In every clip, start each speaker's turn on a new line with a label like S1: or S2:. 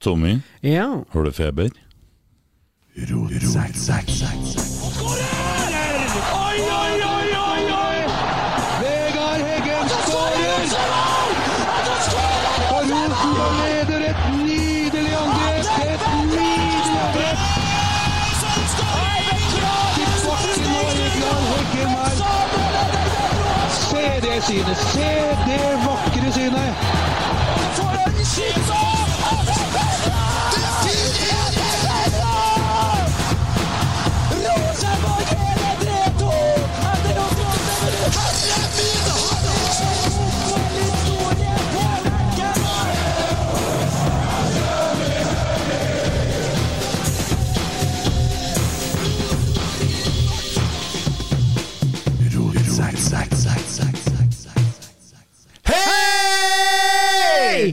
S1: Tommy,
S2: Ja.
S1: har du feber?
S3: Oi, oi, oi, oi, oi! Vegard Heggen skårer! Og Rosenborg leder et nydelig angrep! Et nydelig angrep! Til bakken nå, Vegard Heggen her. Se det synet! Se det vakre synet!
S1: Hei!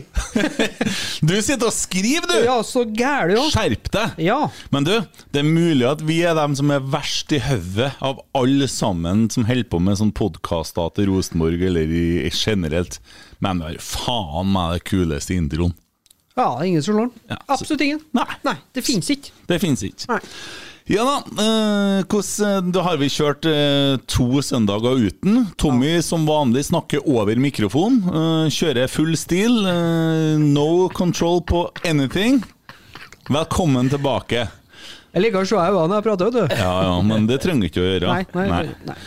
S1: Du sitter og skriver, du!
S2: Ja, så gæren, jo.
S1: Skjerp deg!
S2: Ja.
S1: Men du, det er mulig at vi er dem som er verst i hodet av alle sammen som holder på med sånn podkaster til Rosenborg eller i, i generelt, men det er faen meg det kuleste introen.
S2: Ja, det er ingen som slår den.
S1: Ja, så-
S2: Absolutt ingen.
S1: Nei.
S2: det finnes ikke.
S1: Det fins ikke.
S2: Nei.
S1: Ja da, eh, hvordan, da har vi kjørt eh, to søndager uten. Tommy som vanlig snakker over mikrofon. eh, kjører full stil. eh, no control på anything. Velkommen tilbake.
S2: Jeg liker å se deg i øynene når jeg prater, vet du.
S1: Ja, ja, men det trenger du ikke å gjøre.
S2: Nei, nei, nei. nei.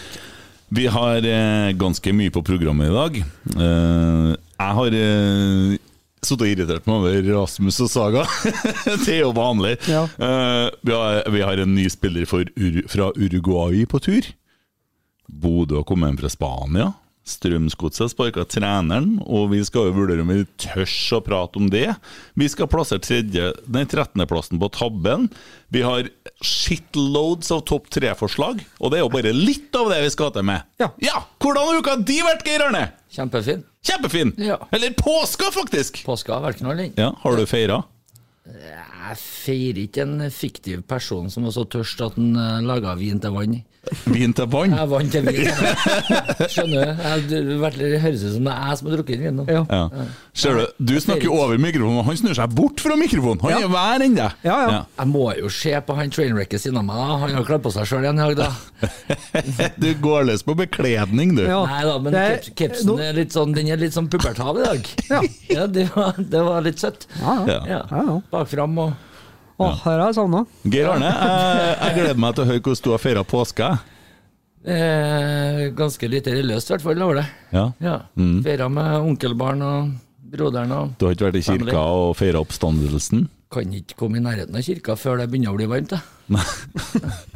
S1: Vi har eh, ganske mye på programmet i dag. Eh, jeg har eh, sittet og irritert meg over Rasmus og Saga. det er jo vanlig.
S2: Ja.
S1: Eh, vi, har, vi har en ny spiller for, Ur- fra Uruguay på tur. Bodø har kommet inn fra Spania. Strømsgodset sparka treneren, og vi skal jo vurdere om vi tør å prate om det. Vi skal plassere tredje, nei, 13.-plassen på tabben. Vi har shitloads av topp tre-forslag, og det er jo bare litt av det vi skal til med.
S2: Ja.
S1: Hvordan har uka di vært, Geir Arne?
S4: Kjempefin.
S1: Kjempefin!
S4: Ja.
S1: Eller påska, faktisk!
S4: Påska har vært knall, den.
S1: Ja, Har du feira?
S4: Jeg feirer ikke en fiktiv person som var så tørst at han eh, laga vin til vann.
S1: Vin til vann?
S4: Jeg vant til vin. Skjønner du? Jeg- Det vært- det høres ut som det er jeg som har drukket vin nå.
S2: Ja.
S1: Ja. Ser du, du snakker jo over mikrofonen, og han snur seg bort fra mikrofonen! Han er hver enn deg!
S2: Ja, ja.
S4: Jeg må jo se på han trainwrecket siden av meg. da. Han har kledd på seg sjøl igjen i dag, da.
S1: Du går løs på bekledning, du.
S2: Ja.
S4: Nei da, men
S2: Det
S4: caps-
S2: er-
S4: capsen
S2: nå-
S4: er litt sånn, den er litt sånn pubertal i dag.
S2: Ja.
S4: Ja, det var, det var litt søtt.
S1: Ja.
S4: Ja.
S2: Ja, ja.
S4: Bakfram og
S2: Å, her har jeg savna.
S1: Geir Arne, jeg, jeg gleder meg til å høre hvordan du har feira påska.
S4: eh, Ganske lite religiøst, i hvert fall, over det.
S1: Ja.
S4: Ja. Feira med onkelbarn og broderen og
S1: Du har ikke vært i kirka og feira oppstandelsen?
S4: kan ikke komme i nærheten av kirka før det begynner å bli varmt. Jeg,
S1: Nei.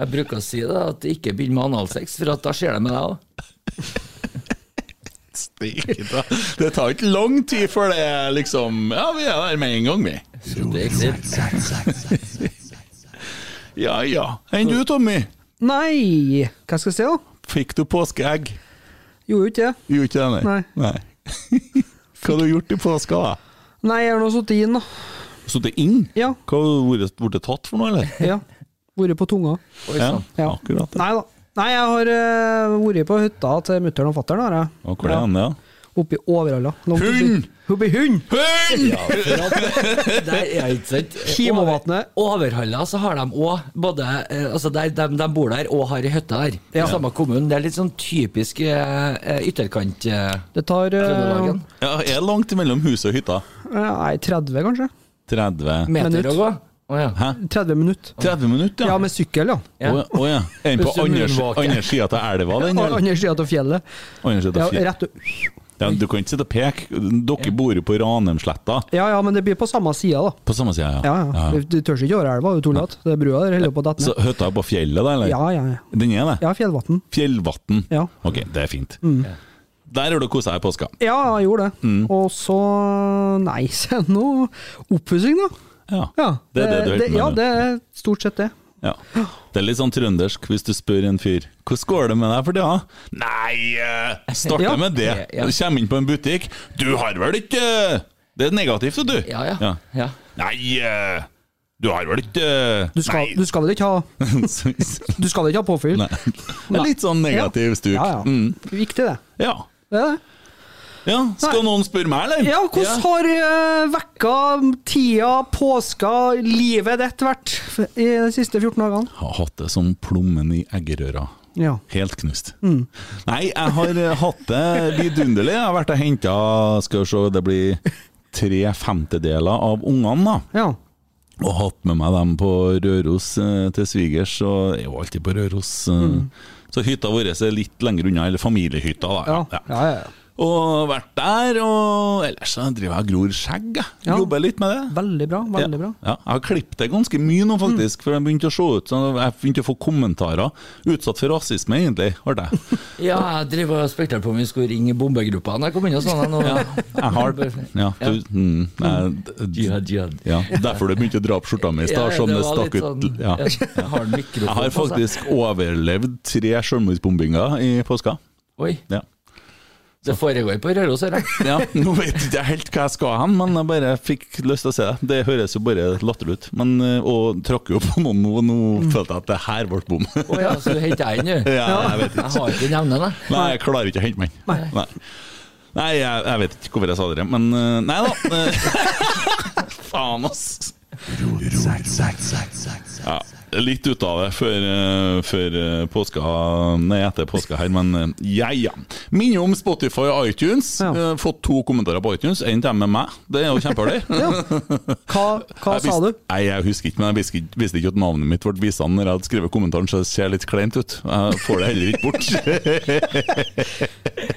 S4: jeg bruker å si det, at ikke begynn med analsex, for at da skjer det med deg òg.
S1: Stikke ta. Det tar ikke lang tid før det er liksom Ja, vi er der med en gang, vi. Ja ja. Enn du, Tommy?
S2: Nei, hva skal jeg si, da?
S1: Fikk du påskeegg?
S2: Gjorde jo ikke det.
S1: Gjorde ikke det,
S2: Nei.
S1: nei? Hva har du gjort i påska? da?
S2: Nei, jeg har nå sittet inn, da.
S1: Sittet inn?
S2: Ja.
S1: Hva har du vært- vært tatt for noe, eller?
S2: Ja. Vært på tunga.
S1: Ja,
S2: Ja.
S1: akkurat. det.
S2: Liksom. Nei da. Nei, jeg har eh, vært på hytta til mutter'n og fatter'n, har jeg.
S1: Ja, hvor er han, ja?
S2: Oppi Overhalla. Langt oppi-
S1: Hund!
S2: Oppi hund!
S1: Hund!
S4: Ja, for at der er ikke sant.
S2: Kimovatnet.
S4: Over- Overhalla så har de òg både eh, Altså, der, de, de bor der og har ei hytte der. I samme kommune. Det er litt sånn typisk eh, eh, ytterkant... Eh,
S2: Det tar eh,
S4: Trøndelagen.
S1: Ja, jeg er langt mellom huset og hytta.
S2: Nei, 30 kanskje.
S1: 30
S4: Meter
S2: Minutt.
S4: å gå. Å ja.
S2: 30 minutter.
S1: 30 minutter,
S2: Ja,
S1: ja.
S2: med sykkel, ja.
S1: Å ja. Å, ja. Er den på
S4: Hvis du
S1: andre,
S4: munnvaker.
S1: andre sida av elva, den?
S2: På
S1: eller?
S2: andre sida av fjellet.
S1: Andre siden
S2: Ja,
S1: av fjellet.
S2: rett og...
S1: Ja, du kan ikke sitte og peke. Dere bor jo på Ranheimsletta.
S2: ja, ja, men det blir på samme sida, da.
S1: På samme sida,
S2: Ja, ja. Du, du tør ikke over elva, du tullete. Det er brua der holder på å dette
S1: Så
S2: ned.
S1: hytta er på fjellet, da? eller?
S2: Ja, ja, ja.
S1: Den er det?
S2: Ja, fjellvatn.
S1: Fjellvatn.
S2: Ja. Mm.
S1: Ok, det er fint. Der har du kosa deg i påska.
S2: Ja, jeg gjorde det.
S1: Mm.
S2: Og så Nei, se nå. Oppussing, da.
S1: Ja.
S2: Ja,
S1: Det er det du holder på med
S2: Ja,
S1: nå.
S2: det er stort sett det.
S1: Ja. Det er litt sånn trøndersk hvis du spør en fyr Hvordan går det med deg for tida? Nei, eh, starter
S2: Ja.
S1: med det.
S4: Ja.
S1: Du kommer inn på en butikk. Du har vel ikke eh, Det er negativt, du.
S4: Ja, ja. ja.
S1: Nei, eh, du har vel ikke eh,
S2: Du skal, du
S1: Nei.
S2: skal vel ikke ha Du skal vel ikke ha påfyll?
S1: Nei. Det er litt sånn negativ stuk.
S2: Ja, ja.
S1: Mm.
S2: Viktig, det.
S1: ja.
S2: det, er det.
S1: ja. Skal noen spørre meg, eller?
S2: Ja, hvordan har eh, vekka, tida, påska, livet ditt vært f- i de siste 14 dagene?
S1: Har hatt det som plommen i eggerøra.
S2: Ja.
S1: Helt knust. Nei, jeg har eh, hatt det vidunderlig. Jeg har vært og henta Skal vi se, det blir tre femtedeler av ungene, da.
S2: ja.
S1: Og hatt med meg dem på Røros eh, til svigers. Og jeg er jo alltid på Røros. eh.
S2: Mm.
S1: Så hytta vår er litt lenger unna, eller familiehytta, da.
S2: Ja.
S1: Ja.
S2: Ja, ja, ja.
S1: Og vært der, og ellers så driver jeg og gror skjegg, jeg.
S2: Ja.
S1: Jobber litt med det.
S2: Veldig bra. veldig bra. Mm.
S1: Ja, jeg har klippet det ganske mye nå, faktisk, for jeg begynte å se ut sånn, Jeg begynte å få kommentarer. Utsatt for rasisme, egentlig, har jeg.
S4: ja, jeg driver og spekulerte på om vi skulle ringe bombegruppa når jeg kom inn og sånn. og-
S1: Jeg har Ja, du mm, jeg, d-
S4: Jihad, jihad.
S1: ja, derfor du begynte å dra opp skjorta mi i stad, som det
S4: var litt
S1: stakk ut
S4: sånn-
S1: ja.
S4: Jeg har en mikrofon
S1: Jeg har
S4: på seg.
S1: faktisk overlevd tre selvmordsbombinger i påska.
S4: Oi,
S1: Ja.
S4: det foregår på Røros, hører jeg.
S1: Ja, nå vet jeg ikke helt hva jeg skal hen, men jeg bare fikk lyst til å se det. Det høres jo bare latterlig ut. Men, eh, og tråkker jo på noen nå, og nå følte jeg at det her ble bom.
S4: Å ja, så du henter jeg den, du?
S1: Mm. Ja, jeg vet
S4: Jeg har ikke nevnet det.
S1: Nei, jeg klarer ikke å hente meg inn. Nei. Nei, jeg, jeg vet ikke hvorfor jeg sa det, men eh, Nei da. eh, Faen, ass. Ja, litt ut av det før, eh, før eh, påska Nei, etter påska her, men eh, ja, ja. Minner om Spotify og iTunes.
S2: Ja.
S1: Eh, Fått to kommentarer på iTunes, én til med meg. Det er jo kjempeartig.
S2: Hva, hva
S1: Jeg
S2: sa du?
S1: visste- Nei, Jeg husker ikke, men jeg visste ikke, visste ikke at navnet mitt ble vist an når jeg hadde skrevet kommentaren, så det ser litt kleint ut. Jeg får det heller ikke bort.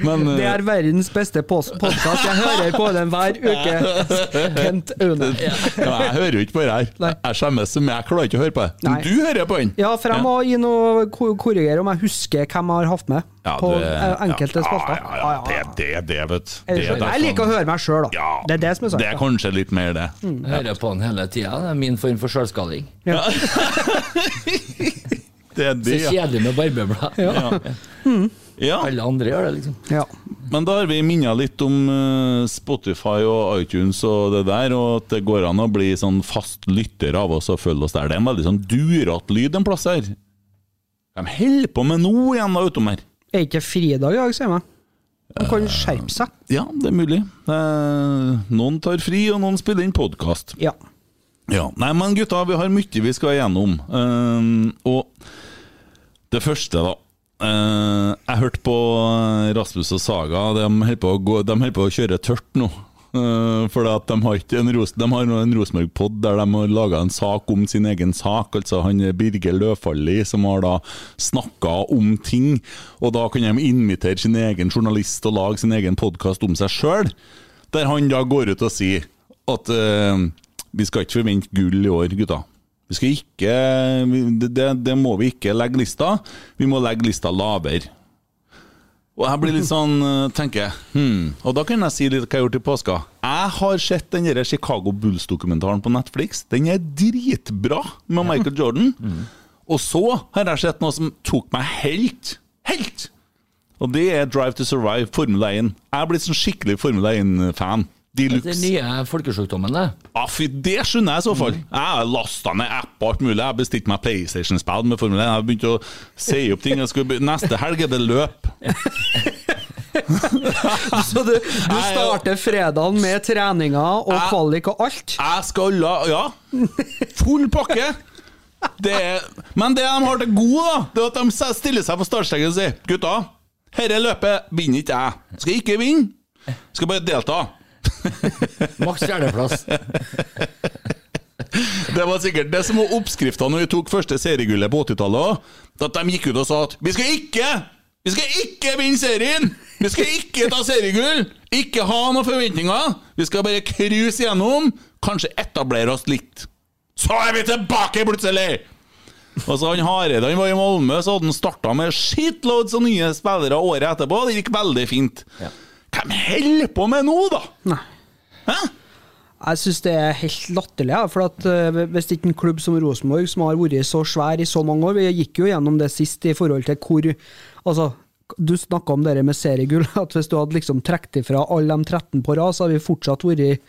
S1: men
S2: Det
S1: eh,
S2: er verdens beste podkast. Jeg hører på den hver uke. Kent Aune.
S1: eh, ja, jeg hører jo ikke på det her.
S2: Nei.
S1: Jeg skjemmes, men jeg klarer ikke å høre på det.
S2: Nei.
S1: Men du hører på den!
S2: Ja, for jeg må gi noe ko- korrigere om jeg husker hvem jeg har hatt med
S1: Ja,
S2: på
S1: det-
S2: eh, enkelte
S1: ja,
S2: spalter.
S1: Ja, ja, ja. Det er det, det, vet du. Det er
S2: Jeg liker å høre meg sjøl, da.
S1: Ja,
S2: Det er det som er
S1: Det er
S2: sagt. Mm.
S1: kanskje litt mer det.
S4: Jeg hører på den hele tida. Det er min form for sjølskading.
S1: Det er
S4: Så
S1: det, ja.
S4: kjedelig med barbeblad.
S1: ja.
S4: Alle andre gjør det, liksom.
S2: Ja.
S1: Men da har vi minnet litt om eh, Spotify og iTunes og det der, og at det går an å bli sånn fast lytter av oss og følge oss der. Det er en veldig sånn durete lyd en plass her. De holder på med noe igjen, da, utom her.
S2: Er ikke fridag i dag, sier jeg. Man
S1: Eh,
S2: kan skjerpe seg.
S1: Ja, det er mulig. Eh, noen tar fri, og noen spiller inn podkast.
S2: Ja.
S1: Ja. Nei, men gutta, vi har mye vi skal igjennom. Eh, og det første, da. Eh, jeg hørte på eh, Rasmus og Saga. De holder på, å gå- de holder på å kjøre tørt nå. Eh, for at de har ikke en, ros, de har nå en Rosenborg-pod der de har laga en sak om sin egen sak. Altså han Birger Løfaldli som har da snakka om ting. Og da kan de invitere sin egen journalist og lage sin egen podkast om seg sjøl. Der han da går ut og sier at eh, vi skal ikke forvente gull i år, gutta. Vi skal ikke, vi- det, det, det må vi ikke legge lista. Vi må legge lista lavere. Og jeg blir litt sånn, eh, tenker jeg, hmm. Og da kan jeg si litt hva jeg har gjort i påska. Jeg har sett den der Chicago Bulls-dokumentaren på Netflix. Den er dritbra med Michael Jordan. Og så har jeg sett noe som tok meg helt, helt Og det er Drive to Survive, Formel 1. Jeg er blitt sånn skikkelig Formel 1-fan. De luxe.
S4: Den nye folkesjukdommen, det.
S1: Ja, fy, det skjønner jeg i så fall. Jeg har lasta ned app og alt mulig. Jeg bestilte meg PlayStation-spill med Formel 1. Jeg har begynt å si opp ting. Jeg skal be Neste helg er det løp.
S2: Så du, du
S1: Nei, ja.
S2: starter fredagen med treninga og
S1: Jeg-
S2: kvalik og alt?
S1: Jeg skal la Ja! Full pakke! Det er, men det de har til gode, da, det er at de se- stiller seg på startstreken og sier Gutta, dette løpet vinner ikke jeg. Skal ikke vinne. Skal bare delta.
S4: Maks fjerdeplass.
S1: Det var sikkert det som var oppskrifta når vi tok første seriegullet på 80-tallet òg. At de gikk ut og sa at vi skal ikke Vi skal ikke vinne serien! Vi skal ikke ta seriegull! Ikke ha noen forventninger! Vi skal bare cruise gjennom, kanskje etablere oss litt. Så er vi tilbake, plutselig! Altså, han Hareide han var i Malmö, så hadde han starta med shitloads av nye spillere året etterpå. Det gikk veldig fint. Hvem holder på med nå, da?
S2: Nei.
S1: Hæ?
S2: Jeg syns det er helt latterlig. Ja, for at, eh, Hvis ikke en klubb som Rosenborg, som har vært så svær i så mange år Vi gikk jo gjennom det sist i forhold til hvor Altså, du snakka om det der med seriegull. At hvis du hadde liksom trukket ifra alle de 13 på rad, så hadde vi fortsatt vært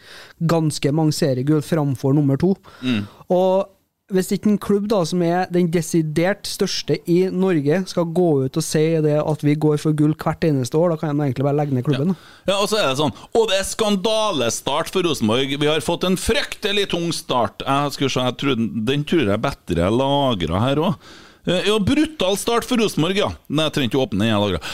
S2: ganske mange seriegull framfor nummer to.
S1: Mm.
S2: Og hvis ikke en klubb da, som er den desidert største i Norge, skal gå ut og si det at vi går for gull hvert eneste år, da kan de egentlig bare legge ned klubben. da.
S1: Ja, og så er det sånn Og det er skandalestart for Rosenborg. Vi har fått en fryktelig tung start. Jeg skal se, jeg tror, Den tror jeg er bedre jeg lagra her òg. Ja, brutal start for Rosenborg, ja. Nei, jeg trenger ikke åpne den jeg lagra.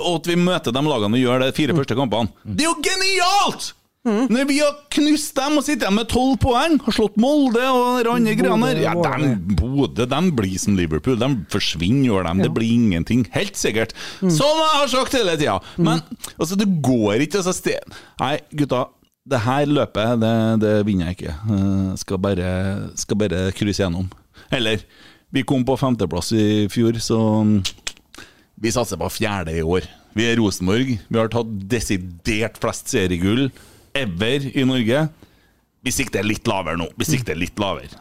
S1: Og at vi møter de lagene vi gjør de fire første kampene. Det er jo genialt! Når vi har knust dem og sitter igjen med tolv poeng, har slått Molde og de andre greiene der Ja, de Bodø de blir som Liverpool. De forsvinner, gjør dem. Det blir ingenting. Helt sikkert. Som jeg har sagt hele tida. Men altså, det går ikke. Altså, sted. Nei, gutta. Det her løpet, det, det vinner jeg ikke. Eh, Skal bare, skal bare krysse gjennom. Eller Vi kom på femteplass i fjor, så vi satser på fjerde i år. Vi er Rosenborg. Vi har tatt desidert flest seriegull ever i Norge. Vi sikter litt lavere nå. Vi sikter litt lavere.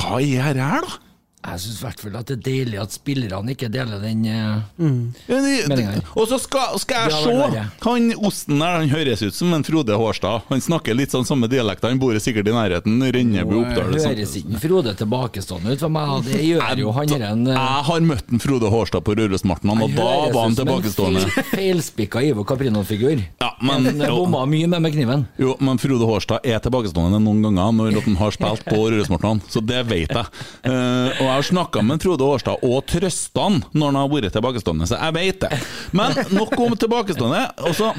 S1: Hva er det her, da?
S4: Jeg syns i hvert fall at det er deilig at spillerne ikke deler den eh,
S1: Mm. Ja, det-
S4: Meldingen her.
S1: Og så skal, skal jeg
S4: Det hadde vært
S1: se
S4: verre.
S1: Han osten der han høres ut som en Frode Hårstad. Han snakker litt sånn samme dialekt. Han bor sikkert i nærheten. Renneby Oppdal. liksom. og sånt.
S4: Høres ikke Frode tilbakestående ut for meg, det gjør jo han her en
S1: Jeg
S4: eh,
S1: har møtt en Frode Hårstad på Rørosmarten, og
S4: han høres
S1: da var han
S4: ut som en
S1: tilbakestående.
S4: feil- Feilspikka Ivo Caprino-figur.
S1: Ja, men-
S4: Han bomma mye med med kniven.
S1: Jo, men Frode Hårstad er tilbakestående noen ganger når at han har spilt på Rørosmartnan, så det vet jeg. Eh, og jeg har snakka med Frode Hårstad og trøsta han når han har vært tilbakestående, så jeg vet det. Men nok om tilbakestående. Og så,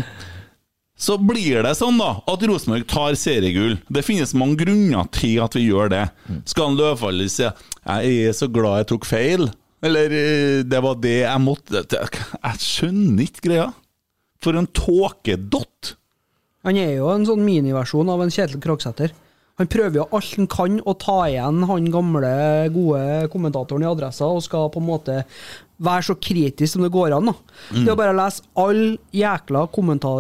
S1: så blir det sånn da at Rosenborg tar seriegull. Det finnes mange grunner til at vi gjør det. Skal han Løvfallet si 'jeg er så glad jeg tok feil', eller eh, 'det var det jeg måtte' Jeg skjønner ikke greia. For en tåkedott!
S2: Han er jo en sånn miniversjon av en Kjetil Krogsæter. Han prøver jo alt han kan å ta igjen han gamle, gode kommentatoren i Adressa, og skal på en måte være så kritisk som det går an. da. Det er bare å lese alle jækla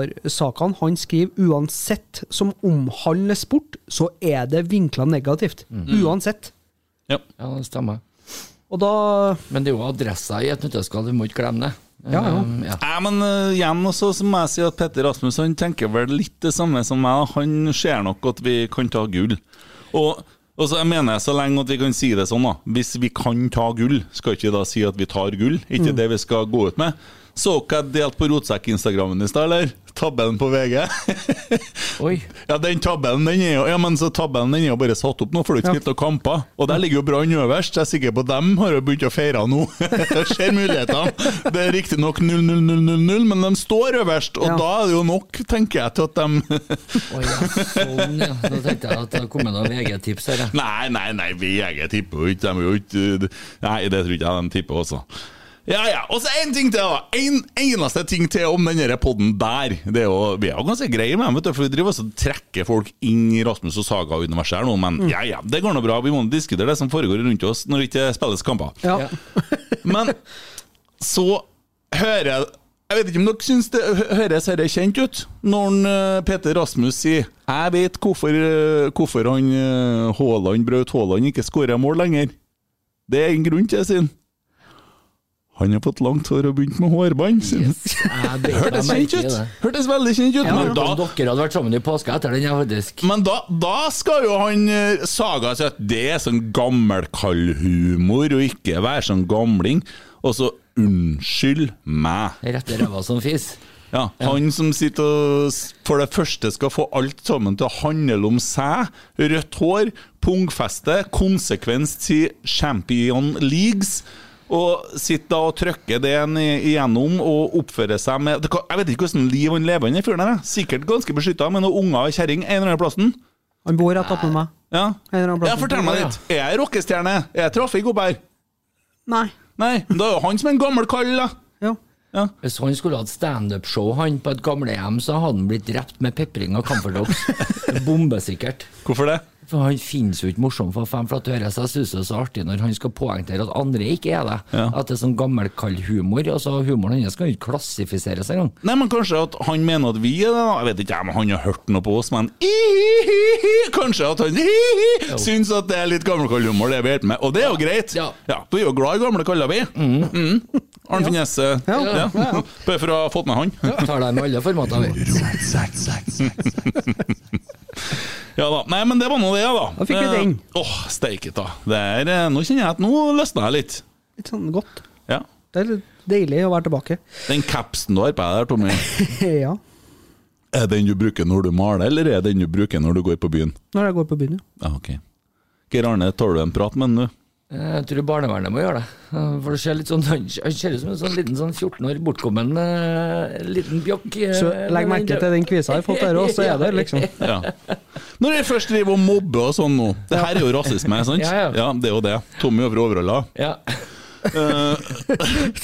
S2: kommentarsakene han skriver, uansett som omhandler sport, så er det vinkla negativt. Uansett.
S1: Ja.
S4: Ja, det stemmer.
S2: Og da
S4: Men det er jo adressa i et nøtteskall, vi må ikke glemme det.
S2: Ja, ja.
S4: Um, ja.
S1: Nei, men eh, igjen også, så må jeg si at Petter Rasmus han tenker vel litt det samme som meg. da. Han ser nok at vi kan ta gull. Og, og så jeg mener jeg så lenge at vi kan si det sånn, da. Hvis vi kan ta gull, skal ikke vi da si at vi tar gull? Ikke det vi skal gå ut med? Så dere jeg delte på Rotsekk-instagrammen i stad, eller? Tabben på VG.
S4: Eh, Oi.
S1: ja, den tabben, den er jo Ja, men så tabben den er jo bare satt opp nå, for det er ikke spilt noen kamper. Og der ligger jo Brann øverst. Jeg er sikker på at dem har jo begynt å feire nå. Ser mulighetene. Det er riktignok 0-0-0-0, men de står øverst. Og
S2: Ja.
S1: da er det jo nok, tenker jeg, til at de
S4: Oi, ja, sånn, ja. Da tenkte jeg at det kom noen VG-tips her. Ja.
S1: Nei, nei, nei, VG tipper jo ikke. De er jo ikke Nei, det tror ikke jeg de tipper også. Ja, ja. Og så én ting til, da. En eneste ting til om denne poden der. Det er jo, vi er jo ganske greie med dem, vet du, for vi driver også og trekker folk inn i Rasmus og Saga-universet her nå, men ja, ja, det går nå bra. Vi må diskutere det som foregår rundt oss når det ikke spilles kamper.
S2: Ja.
S4: Ja.
S1: Men så hører jeg Jeg vet ikke om dere syns det hø- høres dette kjent ut, når han, eh, Peter Rasmus sier 'Jeg vet hvorfor, eh, hvorfor han eh, Haaland, Braut Haaland ikke skårer mål lenger'. Det er en grunn til det, sier han. Han har fått langt hår og begynt med hårbånd.
S4: Jeg bet meg
S1: Hørtes
S4: merke i
S1: kjent ut!
S4: det.
S1: Hørtes veldig kjent ut!
S4: Jeg
S1: Men
S4: lurte om
S1: da,
S4: dere hadde vært sammen i påska etter den, jeg faktisk.
S1: men da, da skal jo han eh, Saga si at det er sånn gammelkallhumor, og ikke være sånn gamling. Og så unnskyld meg.
S4: Rett i ræva som fis.
S1: Ja, Han som sitter og s- for det første skal få alt sammen til å handle om seg. Rødt hår, pungfeste, konsekvens til Champion Leagues. Og sitter da og trykker det en i- igjennom og oppfører seg med Det kan- Jeg vet ikke hvordan liv han lever, han fyren der. jeg. Sikkert ganske beskytta, men noen unger og kjerring en eller annen plassen.
S2: Han bor rett oppe med meg.
S1: Ja.
S2: En eller annen plass.
S1: ja, fortell meg litt. Er jeg rockestjerne? Er jeg trafikkoppær?
S2: Nei.
S1: Nei, men da er jo han som er en gammel kall, da.
S2: Jo.
S4: Hvis han skulle hatt standup-show han på et gamlehjem, så hadde han blitt drept med pepring og camphordrops. Bombesikkert.
S1: Hvorfor det?
S4: For Han finnes jo ikke morsom for fem flatører, så jeg synes det er så artig når han skal poengtere at andre ikke er det. At det er sånn gammelkald humor. Altså, humoren hans kan jo ikke klassifiseres engang.
S1: Nei, men kanskje at han mener at vi er det, da. Jeg vet ikke om han har hørt noe på oss, men i-hi-hi-hi. Kanskje at han i-hi-hi, syns at det er litt gamlekallhumor, det vi holder med. Og det er jo greit.
S4: Ja.
S1: Vi er jo glad i gamle kaller, vi. Mm. Arnfinn Gjesse. Ja. Bare for å ha fått med han.
S4: Tar deg med alle formater, vi.
S1: Ja da. Nei, men det var nå det, da.
S2: Da fikk vi
S1: Eh,
S2: den.
S1: Åh, steike ta. Det er, eh, Nå kjenner jeg at nå løsna jeg litt.
S2: Litt sånn godt.
S1: Ja.
S2: Det er litt deilig å være tilbake.
S1: Den capsen du har på deg der, Tommy,
S2: ja.
S1: er den du bruker når du maler, eller er den du bruker når du går på byen?
S2: Når jeg går på byen, ja.
S1: Ja, ok. Geir Arne, tar du en prat med han, du?
S4: Jeg tror barnevernet må gjøre det. For det ser litt sånn, Han han ser ut som en sånn liten sånn 14 år bortkommen eh, liten bjokk. eh,
S2: Så legg merke til den kvisa jeg har fått der òg, så er det liksom
S1: Ja. Når jeg først driver og mobber og sånn nå Det her er jo rasisme, sant?
S4: Ja, ja.
S1: det er jo det. Tommy over overhalla. Eh,
S4: Ja.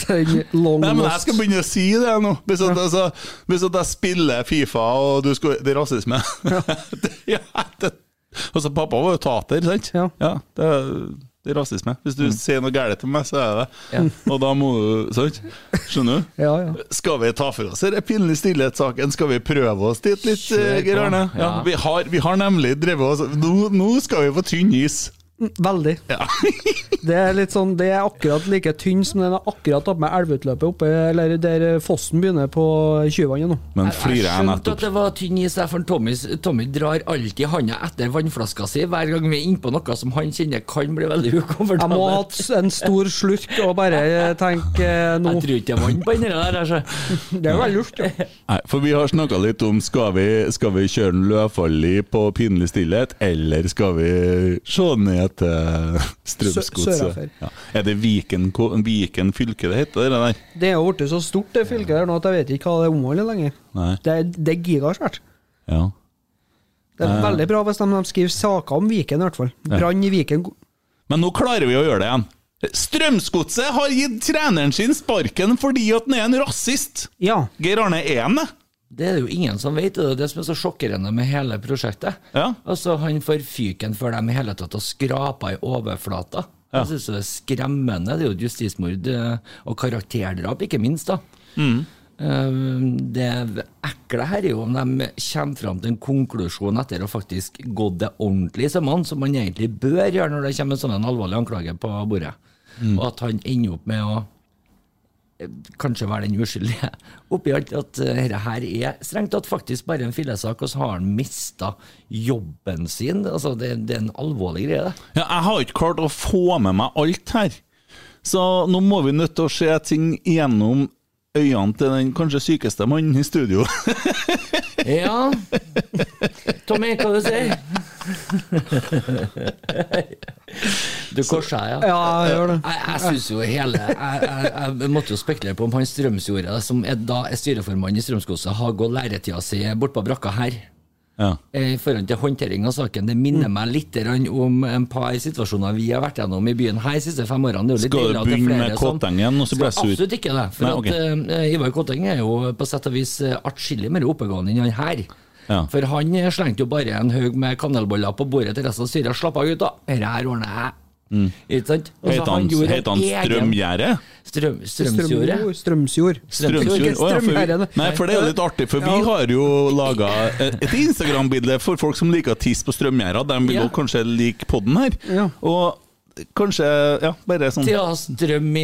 S2: Den long
S1: Nei, men jeg
S2: lost
S1: skal begynne å si det nå. Hvis at, altså, hvis at jeg spiller Fifa og du skal Det er rasisme. det, ja, det, altså, pappa var jo tater, sant?
S2: Ja.
S1: det, er- det er rasisme. Hvis du sier noe galt til meg, så er det
S4: Ja.
S1: Og da må du Sant? Skjønner du?
S2: Ja, ja.
S1: Skal vi ta for oss denne pinlig stillhetssaken? Skal vi prøve oss dit litt,
S4: Kjør på.
S1: Geir Arne? Ja,
S4: Ja.
S1: vi, har- vi har nemlig drevet oss Nå, nå skal vi på tynn is.
S2: Veldig.
S1: Ja.
S2: Det er litt sånn, det er akkurat like tynn som den er akkurat oppe med elveutløpet oppe, eller der fossen begynner på Tjuvvannet nå.
S1: Men
S4: Jeg
S1: flirer jeg
S4: skjønte at
S1: nettopp?
S4: det var tynn is der, for Tommy, Tommy drar alltid handa etter vannflaska si hver gang vi er innpå noe som han kjenner kan bli veldig ukomfortabelt.
S2: Jeg må ha hatt en stor slurk og bare tenke eh, nå.
S4: Jeg tror ikke det er vann på den der. altså.
S2: Det er jo veldig lurt. Ja.
S1: Nei, for vi har snakka litt om skal vi, skal vi kjøre en Løfaldli på pinlig stillhet, eller skal vi se ned til
S2: Sø-
S1: Strømsgodset?
S2: sørafor.
S1: Ja. Er det Viken, ko- Viken fylke det heter, det der?
S2: Det er jo blitt så stort det fylket der nå at jeg vet ikke hva det omholder lenger.
S1: Nei.
S2: Det er, det er gigasvært.
S1: Ja.
S2: Det er veldig bra hvis de, de skriver saker om Viken i hvert fall. Brann i Viken.
S1: Men nå klarer vi å gjøre det igjen. Strømsgodset har gitt treneren sin sparken fordi at han er en rasist!
S2: Ja.
S1: Geir Arne er han det?
S4: Det er det jo ingen som vet, og det er det som er så sjokkerende med hele prosjektet.
S1: Ja.
S4: Altså, Han får fyken før de i hele tatt har skrapa i overflata. Jeg synes det er skremmende. Det er jo et justismord eh, og karakterdrap, ikke minst. da. Eh, Det ekle her er jo om de kommer fram til en konklusjon etter å faktisk gått det ordentlig i sømmene, som man egentlig bør gjøre når det kommer en sånn en alvorlig anklage på bordet. Og at han ender opp med å kanskje være den uskyldige oppi alt, at eh, dette her er strengt tatt faktisk bare en fillesak, og så har han mista jobben sin. Altså, det, det er en alvorlig greie, det.
S1: Ja, jeg har ikke klart å få med meg alt her. Så nå må vi nødt til å se ting gjennom øynene til den kanskje sykeste mannen i studio.
S4: Ja. Tommy, hva du sier du? korser deg, ja.
S2: ja, jeg gjør det.
S4: Jeg, jeg synes jo hele jeg, jeg, jeg måtte jo spekulere på om han Strømsjordet, som er, da er styreformann i Strømsgodset, har gått læretida si bortpå brakka her.
S1: Ja.
S4: eh, i forhold til håndtering av saken. Det minner
S1: Mm.
S4: meg litt grann om en par situasjoner vi har vært gjennom i byen her de siste fem årene. Det er jo litt
S1: Skal du
S4: deilig at det er
S1: begynne med
S4: flere som-
S1: Kottengen, og så blir jeg
S4: Skal
S1: sur?
S4: Absolutt ikke det. For
S1: Nei, ok.
S4: at, eh, Ivar Kotteng er jo på sett og vis eh, atskillig mer oppegående enn han her.
S1: Ja.
S4: For han eh, slengte jo bare en haug med kanelboller på bordet til resten av styret. Slapp av, gutta. Dette her ordner jeg.
S1: Mm.
S4: Ikke sant? Og så
S1: Heter han,
S4: Altså, gjorde en
S1: heter han
S4: egen-
S1: Strømgjerde?
S4: Strøm, Strømsjordet.
S2: Strømsjord. Strømsjord.
S4: Strømsjord.
S2: Ikke
S1: Å ja, for vi,
S2: Strømgjerde.
S1: nei, for det er jo litt artig, for vi har jo laga et Instagram-bilde for folk som liker å tisse på strømgjerder. De vil
S4: Ja.
S1: jo kanskje like podden her.
S2: Ja.
S1: Og kanskje Ja, bare sånn
S4: Thea Strøm i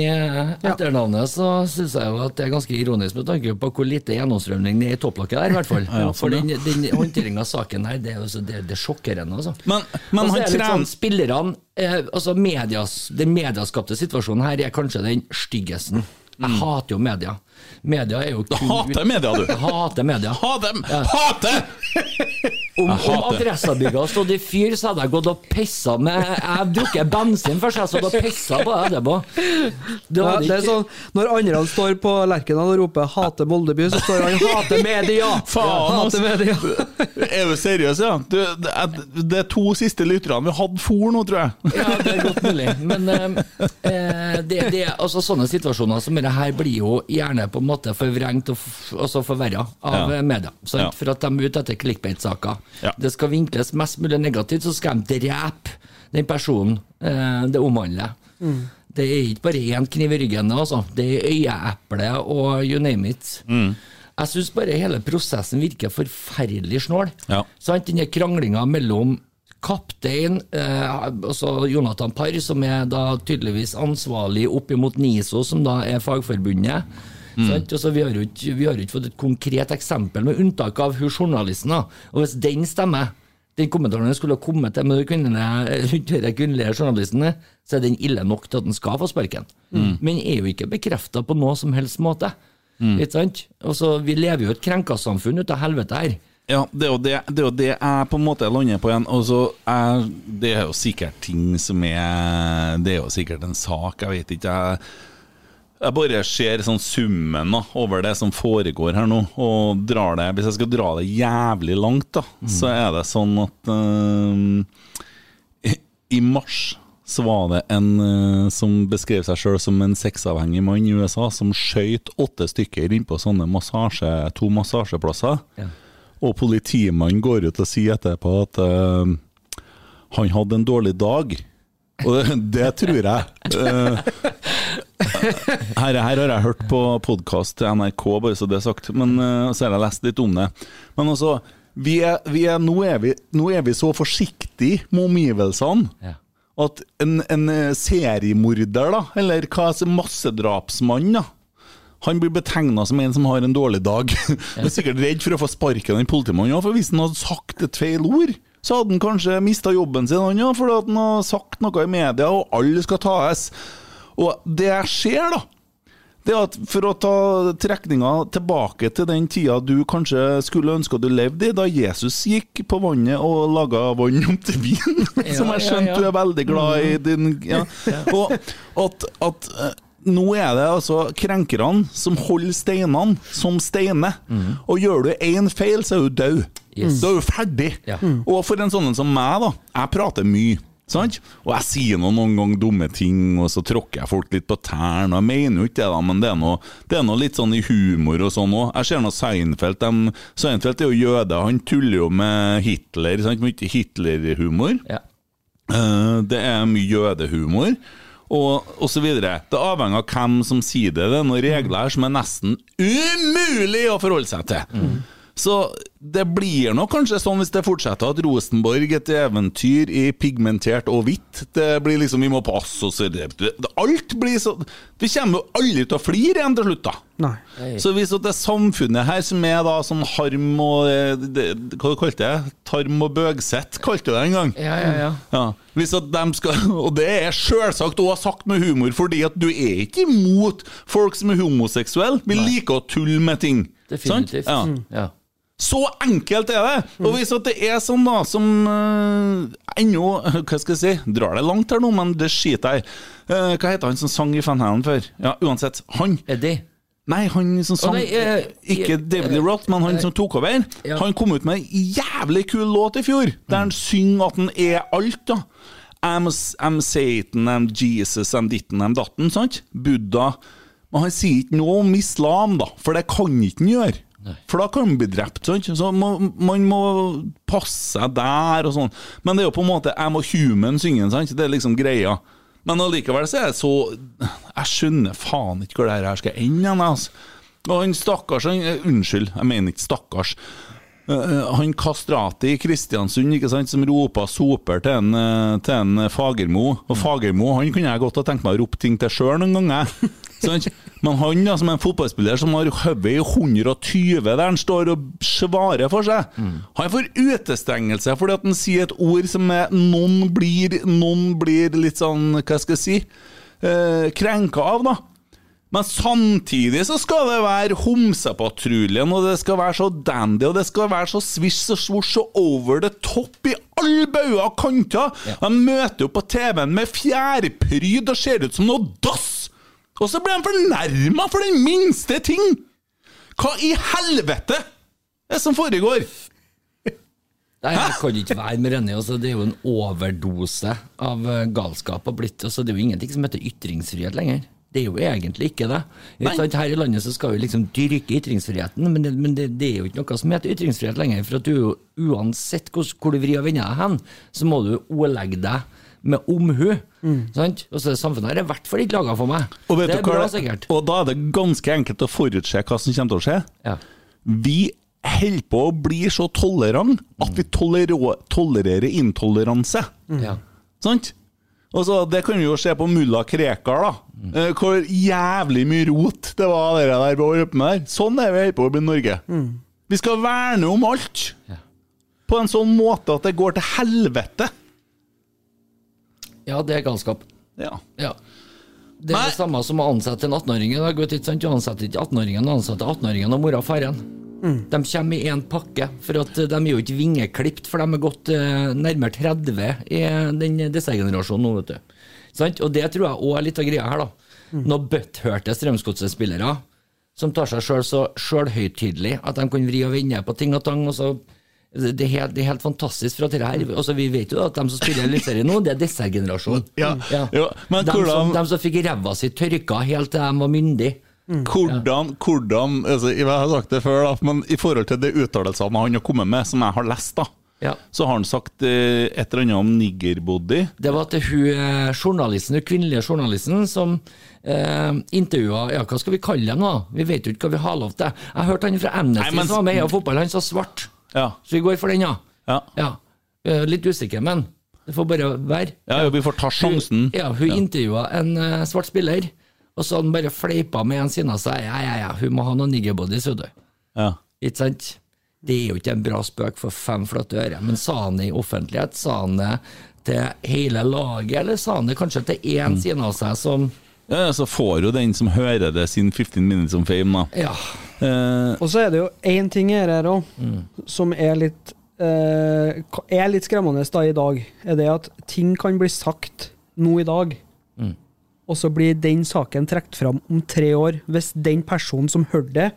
S4: etternavnet, så syns jeg jo at det er ganske ironisk med tanke på hvor lite gjennomstrømning det er i topplokket der, i hvert fall. For
S1: sånn,
S4: den, den håndteringa av saken her, det er, jo så- det, det er sjokkerende, altså.
S1: Men- men
S4: Og så
S1: han
S4: er det litt
S1: trener-
S4: sånn, Spillerne, eh, altså medias, den mediaskapte situasjonen her, er kanskje den styggesten. Jeg hater jo media. Media er jo
S1: Mm. Du hater media, du.
S4: Jeg hater media.
S1: Ha dem! Ha dem!
S4: Om, om
S1: Jeg hater.
S4: adressabygget hadde stått i fyr, så hadde jeg gått og pissa med Jeg drukket bensin først, jeg stod og pissa på det etterpå. Det
S2: Ja,
S4: hadde
S2: det er
S4: ikke-
S2: sånn, Når andre han står på Lerkendal og roper 'hater Moldeby', så står han 'hater media'!
S1: Faen,
S4: altså.
S1: altså.
S2: hater media.
S1: Er du seriøs, ja? Du, det, er, det er to siste lytterne vi hadde for nå, tror jeg.
S4: Ja, det er godt mulig. Men eh, eh, det, det, altså, sånne situasjoner som dette her blir jo gjerne på en måte forvrengt og f- altså forverra av
S1: Ja.
S4: eh, media. Sant?
S1: Ja.
S4: For at de er ute etter clickbait-saker.
S1: Ja.
S4: Det skal vinkles mest mulig negativt, så skal de drepe den personen eh, det omhandler. Det er ikke bare én kniv i ryggen, altså. det er øyeeple og you name it.
S1: Mm.
S4: Jeg syns bare hele prosessen virker forferdelig snål.
S1: Ja.
S4: Sant? Denne kranglinga mellom kaptein, eh, altså Jonathan Parr, som er da tydeligvis ansvarlig opp imot NISO, som da er fagforbundet. Sant? Altså, vi, har jo ikke, vi har jo ikke fått et konkret eksempel, med unntak av hun journalisten. da. Og hvis den stemmer, den kommentaren skulle ha kommet til med de kvinnelige, rundt de kvinnelige journalistene, eh, så er den ille nok til at den skal få sparken. Men er jo ikke bekrefta på noe som helst måte. Ikke sant? Altså, vi lever jo i et krenka samfunn ut av helvete her.
S1: Ja, det er jo det, det, er jo det jeg på en måte lander på igjen. Og så er det er jo sikkert ting som er Det er jo sikkert en sak, jeg vet ikke. Jeg, jeg bare ser sånn summen da, over det som foregår her nå, og drar det Hvis jeg skal dra det jævlig langt, da, så er det sånn at eh, i mars så var det en eh, som beskrev seg sjøl som en sexavhengig mann i USA, som skøyt åtte stykker innpå sånne massasje, to massasjeplasser. Og politimannen går ut og sier etterpå at eh, han hadde en dårlig dag. Og det, det tror jeg. Eh, her, her har jeg hørt på podkast til NRK, bare så det er sagt. Men eh, så har jeg lest litt om det. Men altså, vi er, vi er, nå, er vi, nå er vi så forsiktige med omgivelsene.
S4: Ja.
S1: At en, en eh, seriemorder, da, eller hva som massedrapsmann, da, han blir betegna som en som har en dårlig dag. Han er sikkert redd for å få sparken av den politimannen, ja, for hvis han hadde sagt et feil ord, så hadde han kanskje mista jobben sin, han, ja, fordi at han har sagt noe i media, og alle skal tas. Og det jeg ser, da, det er at For å ta trekninga tilbake til den tida du kanskje skulle ønske at du levde i, da Jesus gikk på vannet og laga vann om til vin, som jeg
S4: ja,
S1: skjønte
S4: ja. Mm.
S1: du er veldig glad i din ja. Og at, at eh, nå er det altså krenkerne som holder steinene som steiner, og gjør du én feil, så er du død.
S4: Mm. Yes.
S1: Da er du ferdig.
S4: Ja.
S1: Og for en sånn en som meg, da. Jeg prater mye. Sant? Og jeg sier noe noen ganger dumme ting, og så tråkker jeg folk litt på tærne. og Jeg mener jo ikke det, da, men det er noe, det er noe litt sånn i humor og sånn òg. Jeg ser nå Seinfeld. De, Seinfeld er jo jøde, han tuller jo med Hitler. Sant? Mye Hitler-humor.
S4: Ja.
S1: Eh, Det er mye jødehumor og, og så videre. Det avhenger av hvem som sier det. Det er noen regler her som er nesten umulig å forholde seg til. Så det blir nok kanskje sånn hvis det fortsetter at Rosenborg et eventyr i pigmentert og hvitt. Det blir liksom Vi må passe oss det- det- Alt blir så Vi kommer jo aldri til å flire igjen til slutt, da.
S2: Nei.
S1: Så hvis at det samfunnet her som er da sånn harm og eh, det, Hva kalte jeg det? Tarm og bøgsett, kalte du det en gang.
S4: Ja, ja, ja.
S1: Ja, hvis at dem skal, Og det er selvsagt også sagt med humor, fordi at du er ikke imot folk som er homoseksuelle. Vi liker å tulle med ting.
S4: Definitivt. Mm.
S1: Sant? Ja.
S4: Ja.
S1: Så enkelt er det! Og hvis at det er sånn da som eh, ennå Hva skal jeg si? Drar det langt her nå, men det skiter jeg i. Eh, hva heter han som sang i Fanhalen før? Ja, uansett. Han
S4: Eddie.
S1: Nei, han som sang
S4: nei, eh,
S1: Ikke David Lee Roth, men han som tok over.
S4: ja.
S1: Han kom ut med en jævlig kul låt i fjor, der han synger at han er alt, da. I'm, I'm Satan, I'm Jesus, I'm ditten, I'm datten, sant? Buddha. Men han sier ikke noe om islam, da, for det kan ikke han gjøre. For da kan han bli drept, sant? Så man, man må passe seg der og sånn. Men det er jo på en måte I'm a human syngen, sant? Det er liksom greia. Men allikevel så er det så Jeg skjønner faen ikke hvor det her skal ende. igjen, Altså. Og han stakkars han, eh, Unnskyld, jeg mener ikke stakkars. Eh, Han kastrati i Kristiansund ikke sant, som ropa soper til en, eh, til en eh, Fagermo. Og Fagermo han kunne jeg godt ha tenkt meg å rope ting til sjøl noen ganger. Sant? Men han da, som er en fotballspiller som har hodet i 120 der han står og svarer for seg, han får utestengelse fordi at han sier et ord som er noen blir, noen blir litt sånn, hva skal jeg si, eh, krenka av, da. Men samtidig så skal det være homsepatruljen, og det skal være så dandy, og det skal være så swish og swosh og over the top i alle bauger og kanter. De møter jo på TV-en med fjærpryd og ser ut som noe dass! Og så blir de fornærma for den minste ting! Hva i helvete er det som foregår?
S4: Nei, jeg kan ikke være med René. Altså, det er jo en overdose av eh, galskap og blitt. Altså, det er jo ingenting som heter ytringsfrihet lenger. Det er jo egentlig ikke det. Ikke sant? Her i landet så skal vi liksom dyrke ytringsfriheten, men, det, men det, det er jo ikke noe som heter ytringsfrihet lenger. For at du, er jo- uansett hvor, hvor du vrir og vender deg hen, så må du ordlegge deg med omhu. Sant? Og så det samfunnet her er i hvert fall ikke laga for meg.
S1: Og, vet
S4: det er
S1: du hva
S4: bra,
S1: det-
S4: sikkert.
S1: og da er det ganske enkelt å forutse hva som kommer til å skje.
S4: Ja.
S1: Vi holder på å bli så tolerant at vi tolerå- tolererer intoleranse.
S4: Ja.
S1: Sant? Altså, det kan vi jo se på mulla Krekar, da. Eh, Hvor jævlig mye rot det var det der vi holdt på med der. Sånn er vi holder på å bli i Norge. Vi skal verne om alt på en sånn måte at det går til helvete.
S4: ja, det er galskap.
S1: Ja.
S4: Ja. Det er
S1: Nei.
S4: det samme som å ansette en 18-åring i dag. vet Du ikke sant? Du ansetter ikke 18-åringen, du ansetter 18-åringen og mora og faren. De kommer i én pakke, for at eh, de er jo ikke vingeklipt, for de er gått eh, nærmere 30 i eh, den dessertgenerasjonen nå, vet du. Sant? Og det tror jeg òg er litt av greia her, da.
S1: Mm.
S4: Når butthørte Strømsgodset-spillere som tar seg sjøl så sjølhøytidelig at de kan vri og vende på ting og tang. og så det det er, helt, det er helt fantastisk fra dette her.
S1: Mm.
S4: Altså, vi vet jo at de som spiller Eliteserien nå, det er dessertgenerasjonen.
S1: Ja, ja, men
S4: de, som,
S1: hvordan-
S4: de som fikk ræva si tørka helt til de var myndige.
S1: Hvordan, hvordan altså, Jeg har sagt det før, da, men i forhold til de uttalelsene han har kommet med, som jeg har lest, da,
S4: Ja.
S1: så har han sagt eh, et eller annet om niggerbody.
S4: Det var til hun eh, journalisten, hun kvinnelige journalisten som eh, intervjua Ja, hva skal vi kalle dem, da? Vi vet jo ikke hva vi har lov til. Jeg hørte han fra Amnesty
S1: Nei, men-
S4: som var med i Heia fotball, han sa svart.
S1: Ja.
S4: Så vi går for den, ja.
S1: Ja.
S4: ja. Eh, Litt usikker, men det får bare være.
S1: ja, jo, vi får ta sjansen.
S4: Ja, hun intervjua en eh, svart spiller, og så han bare fleipa med en siden av seg. Ja, ja, ja, hun må ha noen niggerbodies, vet du.
S1: Ja.
S4: Ikke sant? Det er jo ikke en bra spøk for fem flate øre, men sa han det i offentlighet? Sa han det til hele laget, eller sa han det kanskje til én
S2: Mm.
S4: siden av seg som
S1: Ja, ja, så får jo den som hører det, sin 15 minutes of fame, da.
S4: Ja.
S1: Eh,
S2: Og så er det jo én ting her her òg,
S4: Mm.
S2: som er litt eh, ka- er litt skremmende da i dag, er det at ting kan bli sagt nå i dag,
S4: Mm.
S2: og så blir den saken trukket fram om tre år, hvis den personen som hørte det,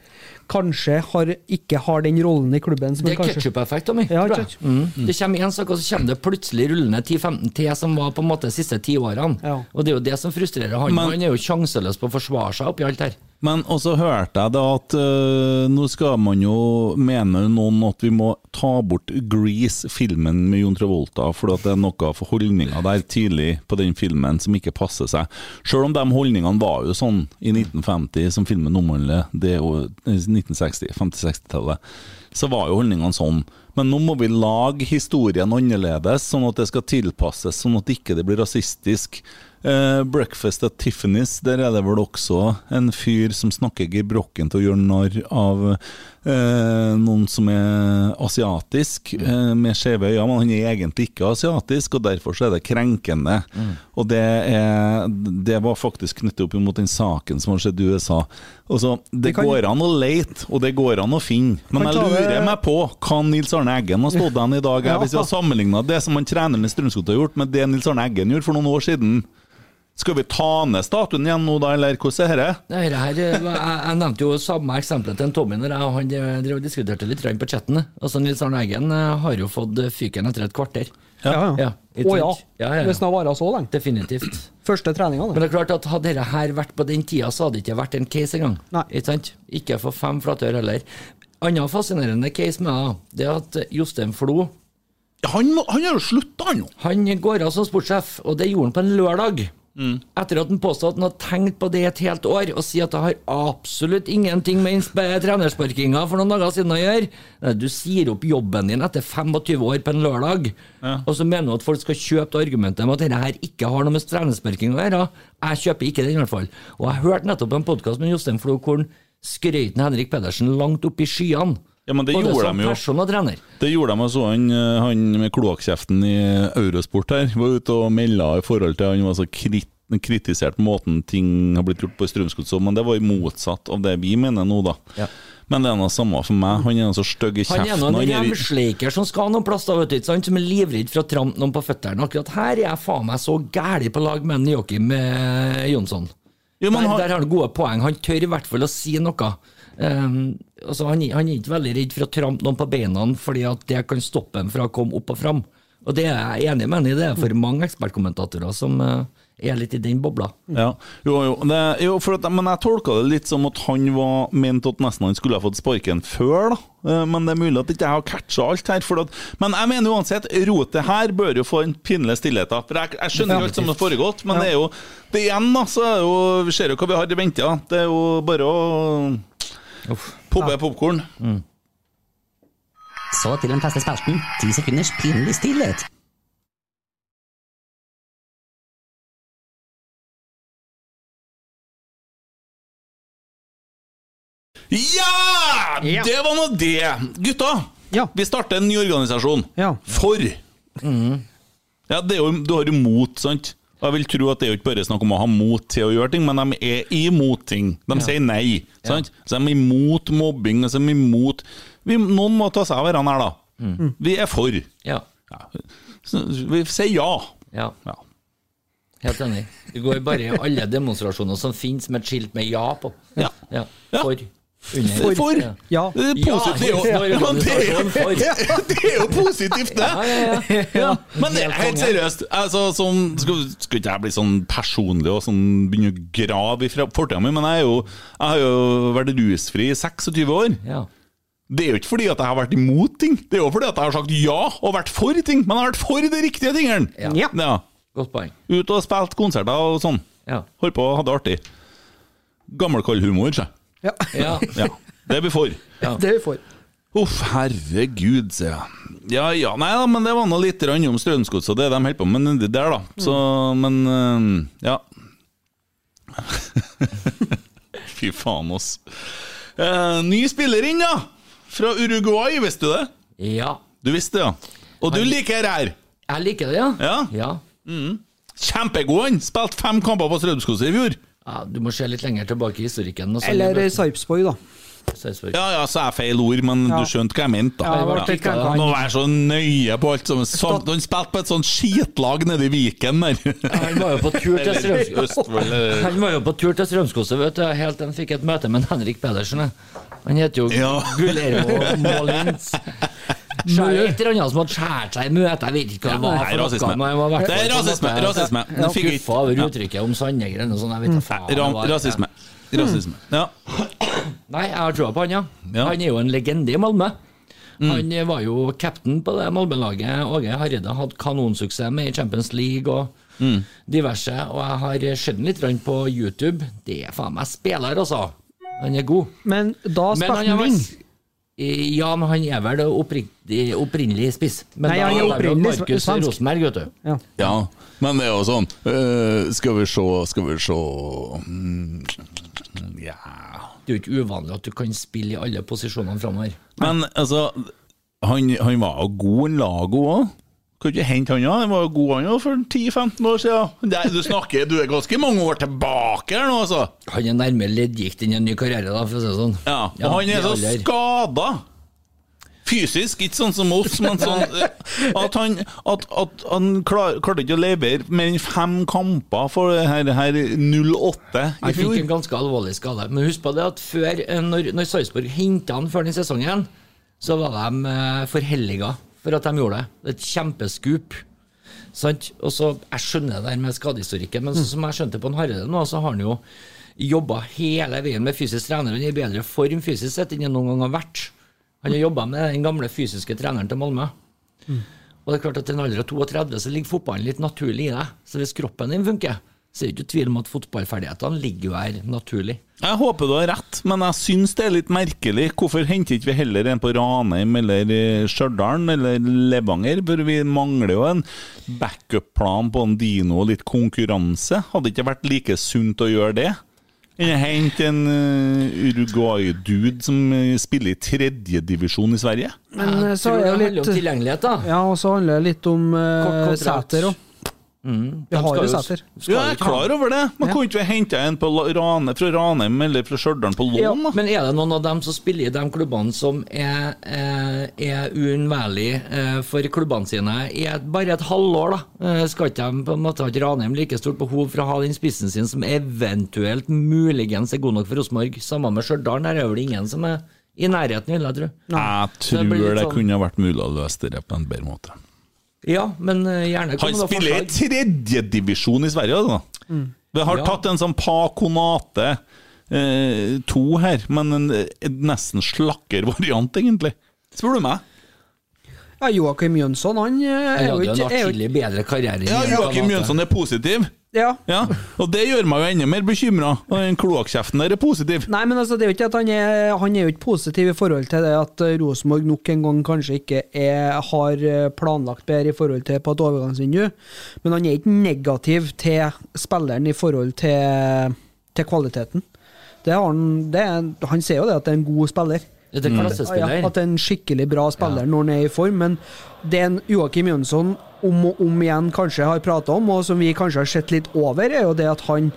S2: kanskje har, ikke har den rollen i klubben som
S4: Det
S2: han
S4: er
S2: kanskje
S4: ketsjup-effekt, Tommy.
S2: Ja,
S4: tror jeg.
S2: ketchup.
S4: Mm. Det kommer én sak, og så kommer det plutselig rullende 10-15 til, som var på en måte de siste ti årene.
S2: Ja.
S4: Og det er jo det som frustrerer han.
S1: Men-
S4: han er jo sjanseløs på å forsvare seg oppi alt her.
S1: men også hørte jeg da at eh, nå skal man jo mene noen at vi må ta bort Grease, filmen med Jon Travolta, for at det er noe for holdninger der tidlig på den filmen som ikke passer seg. Selv om de holdningene var jo sånn i 1950, som filmen omhandler, det er jo 1960, 50-60-tallet, så var jo holdningene sånn. Men nå må vi lage historien annerledes, sånn at det skal tilpasses, sånn at ikke det blir rasistisk. Eh, Breakfast at Tiffany's, der er det vel også en fyr som snakker gebrokkent og gjør narr av eh, noen som er asiatisk,
S2: Mm.
S1: eh, med skjeve øyne, men han er egentlig ikke asiatisk, og derfor så er det krenkende.
S2: Mm.
S1: Og det, er, det var faktisk knyttet opp mot den saken som har skjedd i USA. Og så, det
S2: kan-
S1: går an å leite, og det går an å finne, men
S2: Kan
S1: jeg
S2: ta det-
S1: lurer meg på hva Nils Arne Eggen har stått an i dag, her,
S2: Ja.
S1: hvis vi har sammenligna det som han treneren i Strømsgodset har gjort, med det Nils Arne Eggen gjorde for noen år siden. Skal vi ta ned statuen igjen nå, da, eller hvordan er dette?
S4: Nei, det her, eh, var- jeg, jeg nevnte jo samme eksempelet til en Tommy når jeg og han eh, drev og diskuterte litt grann på chatten. Altså, Nils Arne Eggen eh, har jo fått eh, fyken etter et kvarter.
S2: Ja, ja.
S4: Ja, ikke
S2: Å ja.
S4: sant? Ja, ja, ja.
S2: Hvis den har vara så lenge.
S4: Definitivt.
S2: Første treninga,
S4: Men
S2: det.
S4: det er klart at hadde dette her vært på den tida, så hadde det ikke vært en case engang.
S2: Nei.
S4: Ikke sant? Ikke for fem flatør heller. Anna fascinerende case med det, da, det er at Jostein Flo
S1: Han, må- han har jo slutta, han nå!
S4: han går av som sportssjef, og det gjorde han på en lørdag.
S1: Mm.
S4: Etter at han påstod at han hadde tenkt på det et helt år, og sier at det har absolutt ingenting med innsp- trenersparkinga for noen dager siden å gjøre. Nei, Du sier opp jobben din etter 25 år på en lørdag, og så mener du at folk skal kjøpe det argumentet om at dette her ikke har noe med trenersparking å gjøre. Jeg kjøper ikke den, i hvert fall. Og jeg hørte nettopp en podkast med Jostein Flo hvor han skrøt av Henrik Pedersen langt opp i skyene.
S1: Ja, men det
S4: Både
S1: gjorde
S4: som
S1: de jo.
S4: sånn person og trener.
S1: Det gjorde de, jeg så han, eh, han med kloakkjeften i Eurosport her. Var ute og melda i forhold til Han var så krit, kritisert måten ting har blitt gjort på i Strømsgodset, sånn, men det var jo motsatt av det vi mener nå, da.
S4: Ja.
S1: Men det er noe samme for meg. Han er så stygg i
S4: Han er
S1: kjeften.
S4: nå en
S1: han er i-
S4: remsleiker som skal noen plass, da, vet du, ikke sant? som er livredd for å trampe noen på føttene. Akkurat her er jeg faen meg så gæli på lag med en Joakim eh, Jonsson.
S1: Jo, men
S4: der,
S1: han-
S4: der har han gode poeng. Han tør i hvert fall å si noe. Ehm, altså han, han er ikke veldig redd for å trampe noen på beina, fordi at det kan stoppe ham fra å komme opp og fram. Og det er jeg enig med han i. Det er for mange ekspertkommentatorer som eh, er litt i den bobla.
S1: Ja. Jo, jo, det, jo for at, men jeg tolka det litt som at han var ment at nesten han skulle ha fått sparken før, da. Eh, Men det er mulig at ikke jeg har catcha alt her. For at, men jeg mener uansett, rotet her bør jo få en pinlig stillhet. da. For jeg, jeg skjønner jo alt som har foregått, men det er jo Det igjen, da, så er jo, vi ser jo hva vi har i vente. da. Det er jo bare å Pobbe popkorn.
S5: Så til den faste spalten. Ti sekunders pinlig stillhet.
S1: Ja!
S2: Ja.
S1: Det var nå det! Gutta,
S2: Ja.
S1: vi starter en ny organisasjon.
S2: Ja.
S1: For! Ja, det er jo, du har jo mot, sant? Og Jeg vil tro at det er jo ikke bare snakk om å ha mot til å gjøre ting, men de er imot ting. De sier nei. sant? Så de er imot mobbing. og Så de er imot vi, Noen må ta seg av hverandre her, da. Vi er for.
S4: Ja.
S1: Så vi sier ja.
S4: ja.
S1: ja.
S4: Helt enig. Du går bare i alle demonstrasjoner som finnes med et skilt med ja på.
S1: Ja.
S4: Ja.
S1: Ja.
S4: For. Under.
S1: For!
S4: Ja.
S2: Ja.
S1: Det er positivt. Det er jo-
S4: Ja,
S1: Ja, men det er jo-
S4: for.
S1: det er jo positivt, det!
S4: Ja, ja, ja.
S1: Ja, men det,
S4: Helt
S1: helt
S4: konge.
S1: seriøst, altså, sånn, skal, skal ikke jeg bli sånn personlig og sånn, begynne å grave i fra- fortiden min, men jeg, er jo, jeg har jo vært rusfri i 26 år.
S4: Ja.
S1: Det er jo ikke fordi at jeg har vært imot ting, det er jo fordi at jeg har sagt ja og vært for ting, men jeg har vært for de riktige tingene.
S2: Ja.
S1: Ja.
S4: Godt poeng.
S1: Ut og spilt konserter og sånn.
S4: Ja.
S1: Holdt på og hadde det artig. Gammelkald humor, sier jeg.
S2: Ja.
S4: Ja.
S1: Ja, det blir for.
S2: Det vi får.
S1: Uff, herregud, sier jeg. Ja ja, nei da, men det var nå litt grann om Strømsgodset og det de holder på med nedi der, da. Så, men eh, ja. Fy faen, oss. Eh, ny spiller inn, da! Fra Uruguay, visste du det?
S4: ja.
S1: Du visste det, ja. Og du liker her!
S4: Jeg liker det, ja.
S1: Ja.
S4: ja.
S1: Kjempegod han! Spilte fem kamper på Strømsgodset i fjor.
S4: Ja, du må se litt lenger tilbake i historikken. og sånn. så-
S2: Eller Sarpsborg, da.
S4: Sarpsborg.
S1: Ja ja, så er jeg feil ord, men
S2: Ja.
S1: du skjønte hva jeg mente, da.
S2: Ja,
S4: det var
S2: det
S4: ikke
S2: var
S4: det.
S1: Nå er jeg så nøye på alt som sånn, Han spilte på et sånt skitlag nede i Viken der.
S4: Han var jo på tur til Strømskog.
S1: Østfold eller
S4: Han var jo på tur til Strømskose, vet du, helt til han fikk et møte med en Henrik Pedersen. jeg. Han heter jo
S1: Ja.
S4: Gulermo Molins. Det er jo et eller annet som hadde skåret seg i møtet, jeg vet ikke hva det var.
S1: Nei,
S4: for noe,
S1: rasisme.
S4: men han var i hvert
S1: Det er
S4: fall på en
S1: rasisme,
S4: måte-
S1: rasisme. Den
S4: Ja,
S1: fikk ikke-
S4: Skuffa over uttrykket om Sandegren og sånn, jeg vet da faen.
S1: Ram,
S4: hva det var.
S1: rasisme. Rasisme. Ja.
S4: Nei, jeg har trua på han, ja.
S1: Ja. Mm.
S4: Han er jo en legende i Malmö. Han eh, var jo captain på det Malmö-laget Åge Hareide hadde kanonsuksess med i Champions League og
S1: Mm.
S4: diverse. Og jeg har eh, sett ham litt grann på YouTube. Det er faen meg spiller, altså. Han er god.
S2: Men da
S4: Men
S2: spilte
S4: han er
S2: han
S4: vel-
S2: ving.
S4: Eh, Ja, men han er vel opprinnelig, opprinnelig spiss. Men
S2: Nei,
S4: da
S2: han er
S4: det vel
S2: opprinnelig
S4: Markus
S2: svensk.
S4: Rosenberg, vet du.
S2: Ja.
S1: ja. Men det er jo sånn øh, Skal vi se, skal vi se mm, Ja
S4: Det er jo ikke uvanlig at du kan spille i alle posisjonene framover.
S1: Men altså, han, han var jo god en lago òg. Kan ikke hente han, ja. Han var jo god han òg for 10-15 år siden. Nei, du snakker, du er ganske mange år tilbake her nå, altså.
S4: Han er nærmere leddgikt enn en ny karriere, da, for å si det sånn.
S1: Ja, og han
S4: i
S1: er så
S4: alder.
S1: skada. Fysisk, ikke sånn som oss, men sånn eh, at han, at, at han klar, klarte ikke å levere mer enn fem kamper for det her, her 08 i
S4: Han fikk en
S1: fjor.
S4: ganske alvorlig skade. Men husk på det at før, eh, når, når Sarpsborg henta han før den sesongen, så var de eh, for helliga for at de gjorde det. Det er Et kjempeskup. Sant? Og så, Jeg skjønner det der med skadehistorikken, men sånn som jeg skjønte på han Hareide nå, så har han jo jobba hele veien med fysisk trener. Han er i bedre form fysisk sett enn han noen gang har vært. Han har jobba med den gamle fysiske treneren til Malmö. Og det er klart at til en alder av 32 så ligger fotballen litt naturlig i deg. Så hvis kroppen din funker, så er det ikke tvil om at fotballferdighetene ligger jo her naturlig.
S1: Jeg håper du har rett, men jeg syns det er litt merkelig. Hvorfor henter ikke vi heller en på Ranheim eller eh, Stjørdal eller Levanger? For vi mangler jo en backup-plan på en Dino og litt konkurranse. Hadde ikke vært like sunt å gjøre det? Enn å hente en eh, Uruguay-dude som eh, spiller i tredjedivisjon i Sverige?
S2: Men eh, så
S4: Tror
S2: er
S4: det
S2: det
S4: handler om
S2: litt
S4: tilgjengelighet, da.
S2: Ja, og så handler det litt om eh,
S4: Kort kontrakt. Mm.
S2: Sæter òg. Vi
S4: De
S2: har
S4: skal
S2: jo
S4: jo-
S2: Sæter.
S4: skal
S1: Ja,
S4: jo
S1: jeg er klar over det. Man kunne ikke hente en på La- Rane, fra Ranheim eller fra Stjørdal på lån, da.
S4: Men er det noen av dem som spiller i de klubbene som er, eh, er uunnværlig eh, for klubbene sine i et, bare et halvår, da? Eh, Skal ikke de på en måte ha ikke Ranheim like stort behov for å ha den spissen sin som eventuelt muligens er god nok for Rosenborg? Samme med Stjørdal, der er vel ingen som er i nærheten, vil jeg tro.
S1: Jeg
S4: det
S1: tror
S4: blir litt
S1: det
S4: sånn-
S1: kunne ha vært mulig å løse det på en bedre måte.
S4: Ja, men eh, gjerne kom
S1: Han
S4: med noen
S1: spiller i
S4: forslag.
S1: tredjedivisjon i Sverige, altså. Vi har
S4: Mm. Ja.
S1: tatt en sånn Pakonate eh, to her, men en, en nesten slakker variant, egentlig. Spør du meg?
S2: Ja, Joakim Jønsson, han eh,
S4: Han
S2: er jo
S4: hadde jo en
S2: ikke er jo ikke-
S4: artig bedre karriere.
S1: Ja,
S4: enn
S1: Joakim
S4: Kanata.
S1: Jønsson er positiv.
S2: Ja.
S1: Ja, Og det gjør meg jo enda mer bekymra. Den kloakkjeften der er positiv.
S2: Nei, men altså, det er jo ikke at han er, han er jo ikke positiv i forhold til det at eh, Rosenborg nok en gang kanskje ikke er, har eh, planlagt bedre i forhold til på et overgangsvindu, men han er ikke negativ til spilleren i forhold til, til kvaliteten. Det har han, det er, han ser jo det at det er en god spiller.
S4: Det er
S2: Mm. Ja,
S4: klassespiller.
S2: at det er en skikkelig bra spiller når han er i form, men det en Joakim Jønsson om og om igjen kanskje har prata om, og som vi kanskje har sett litt over, er jo det at han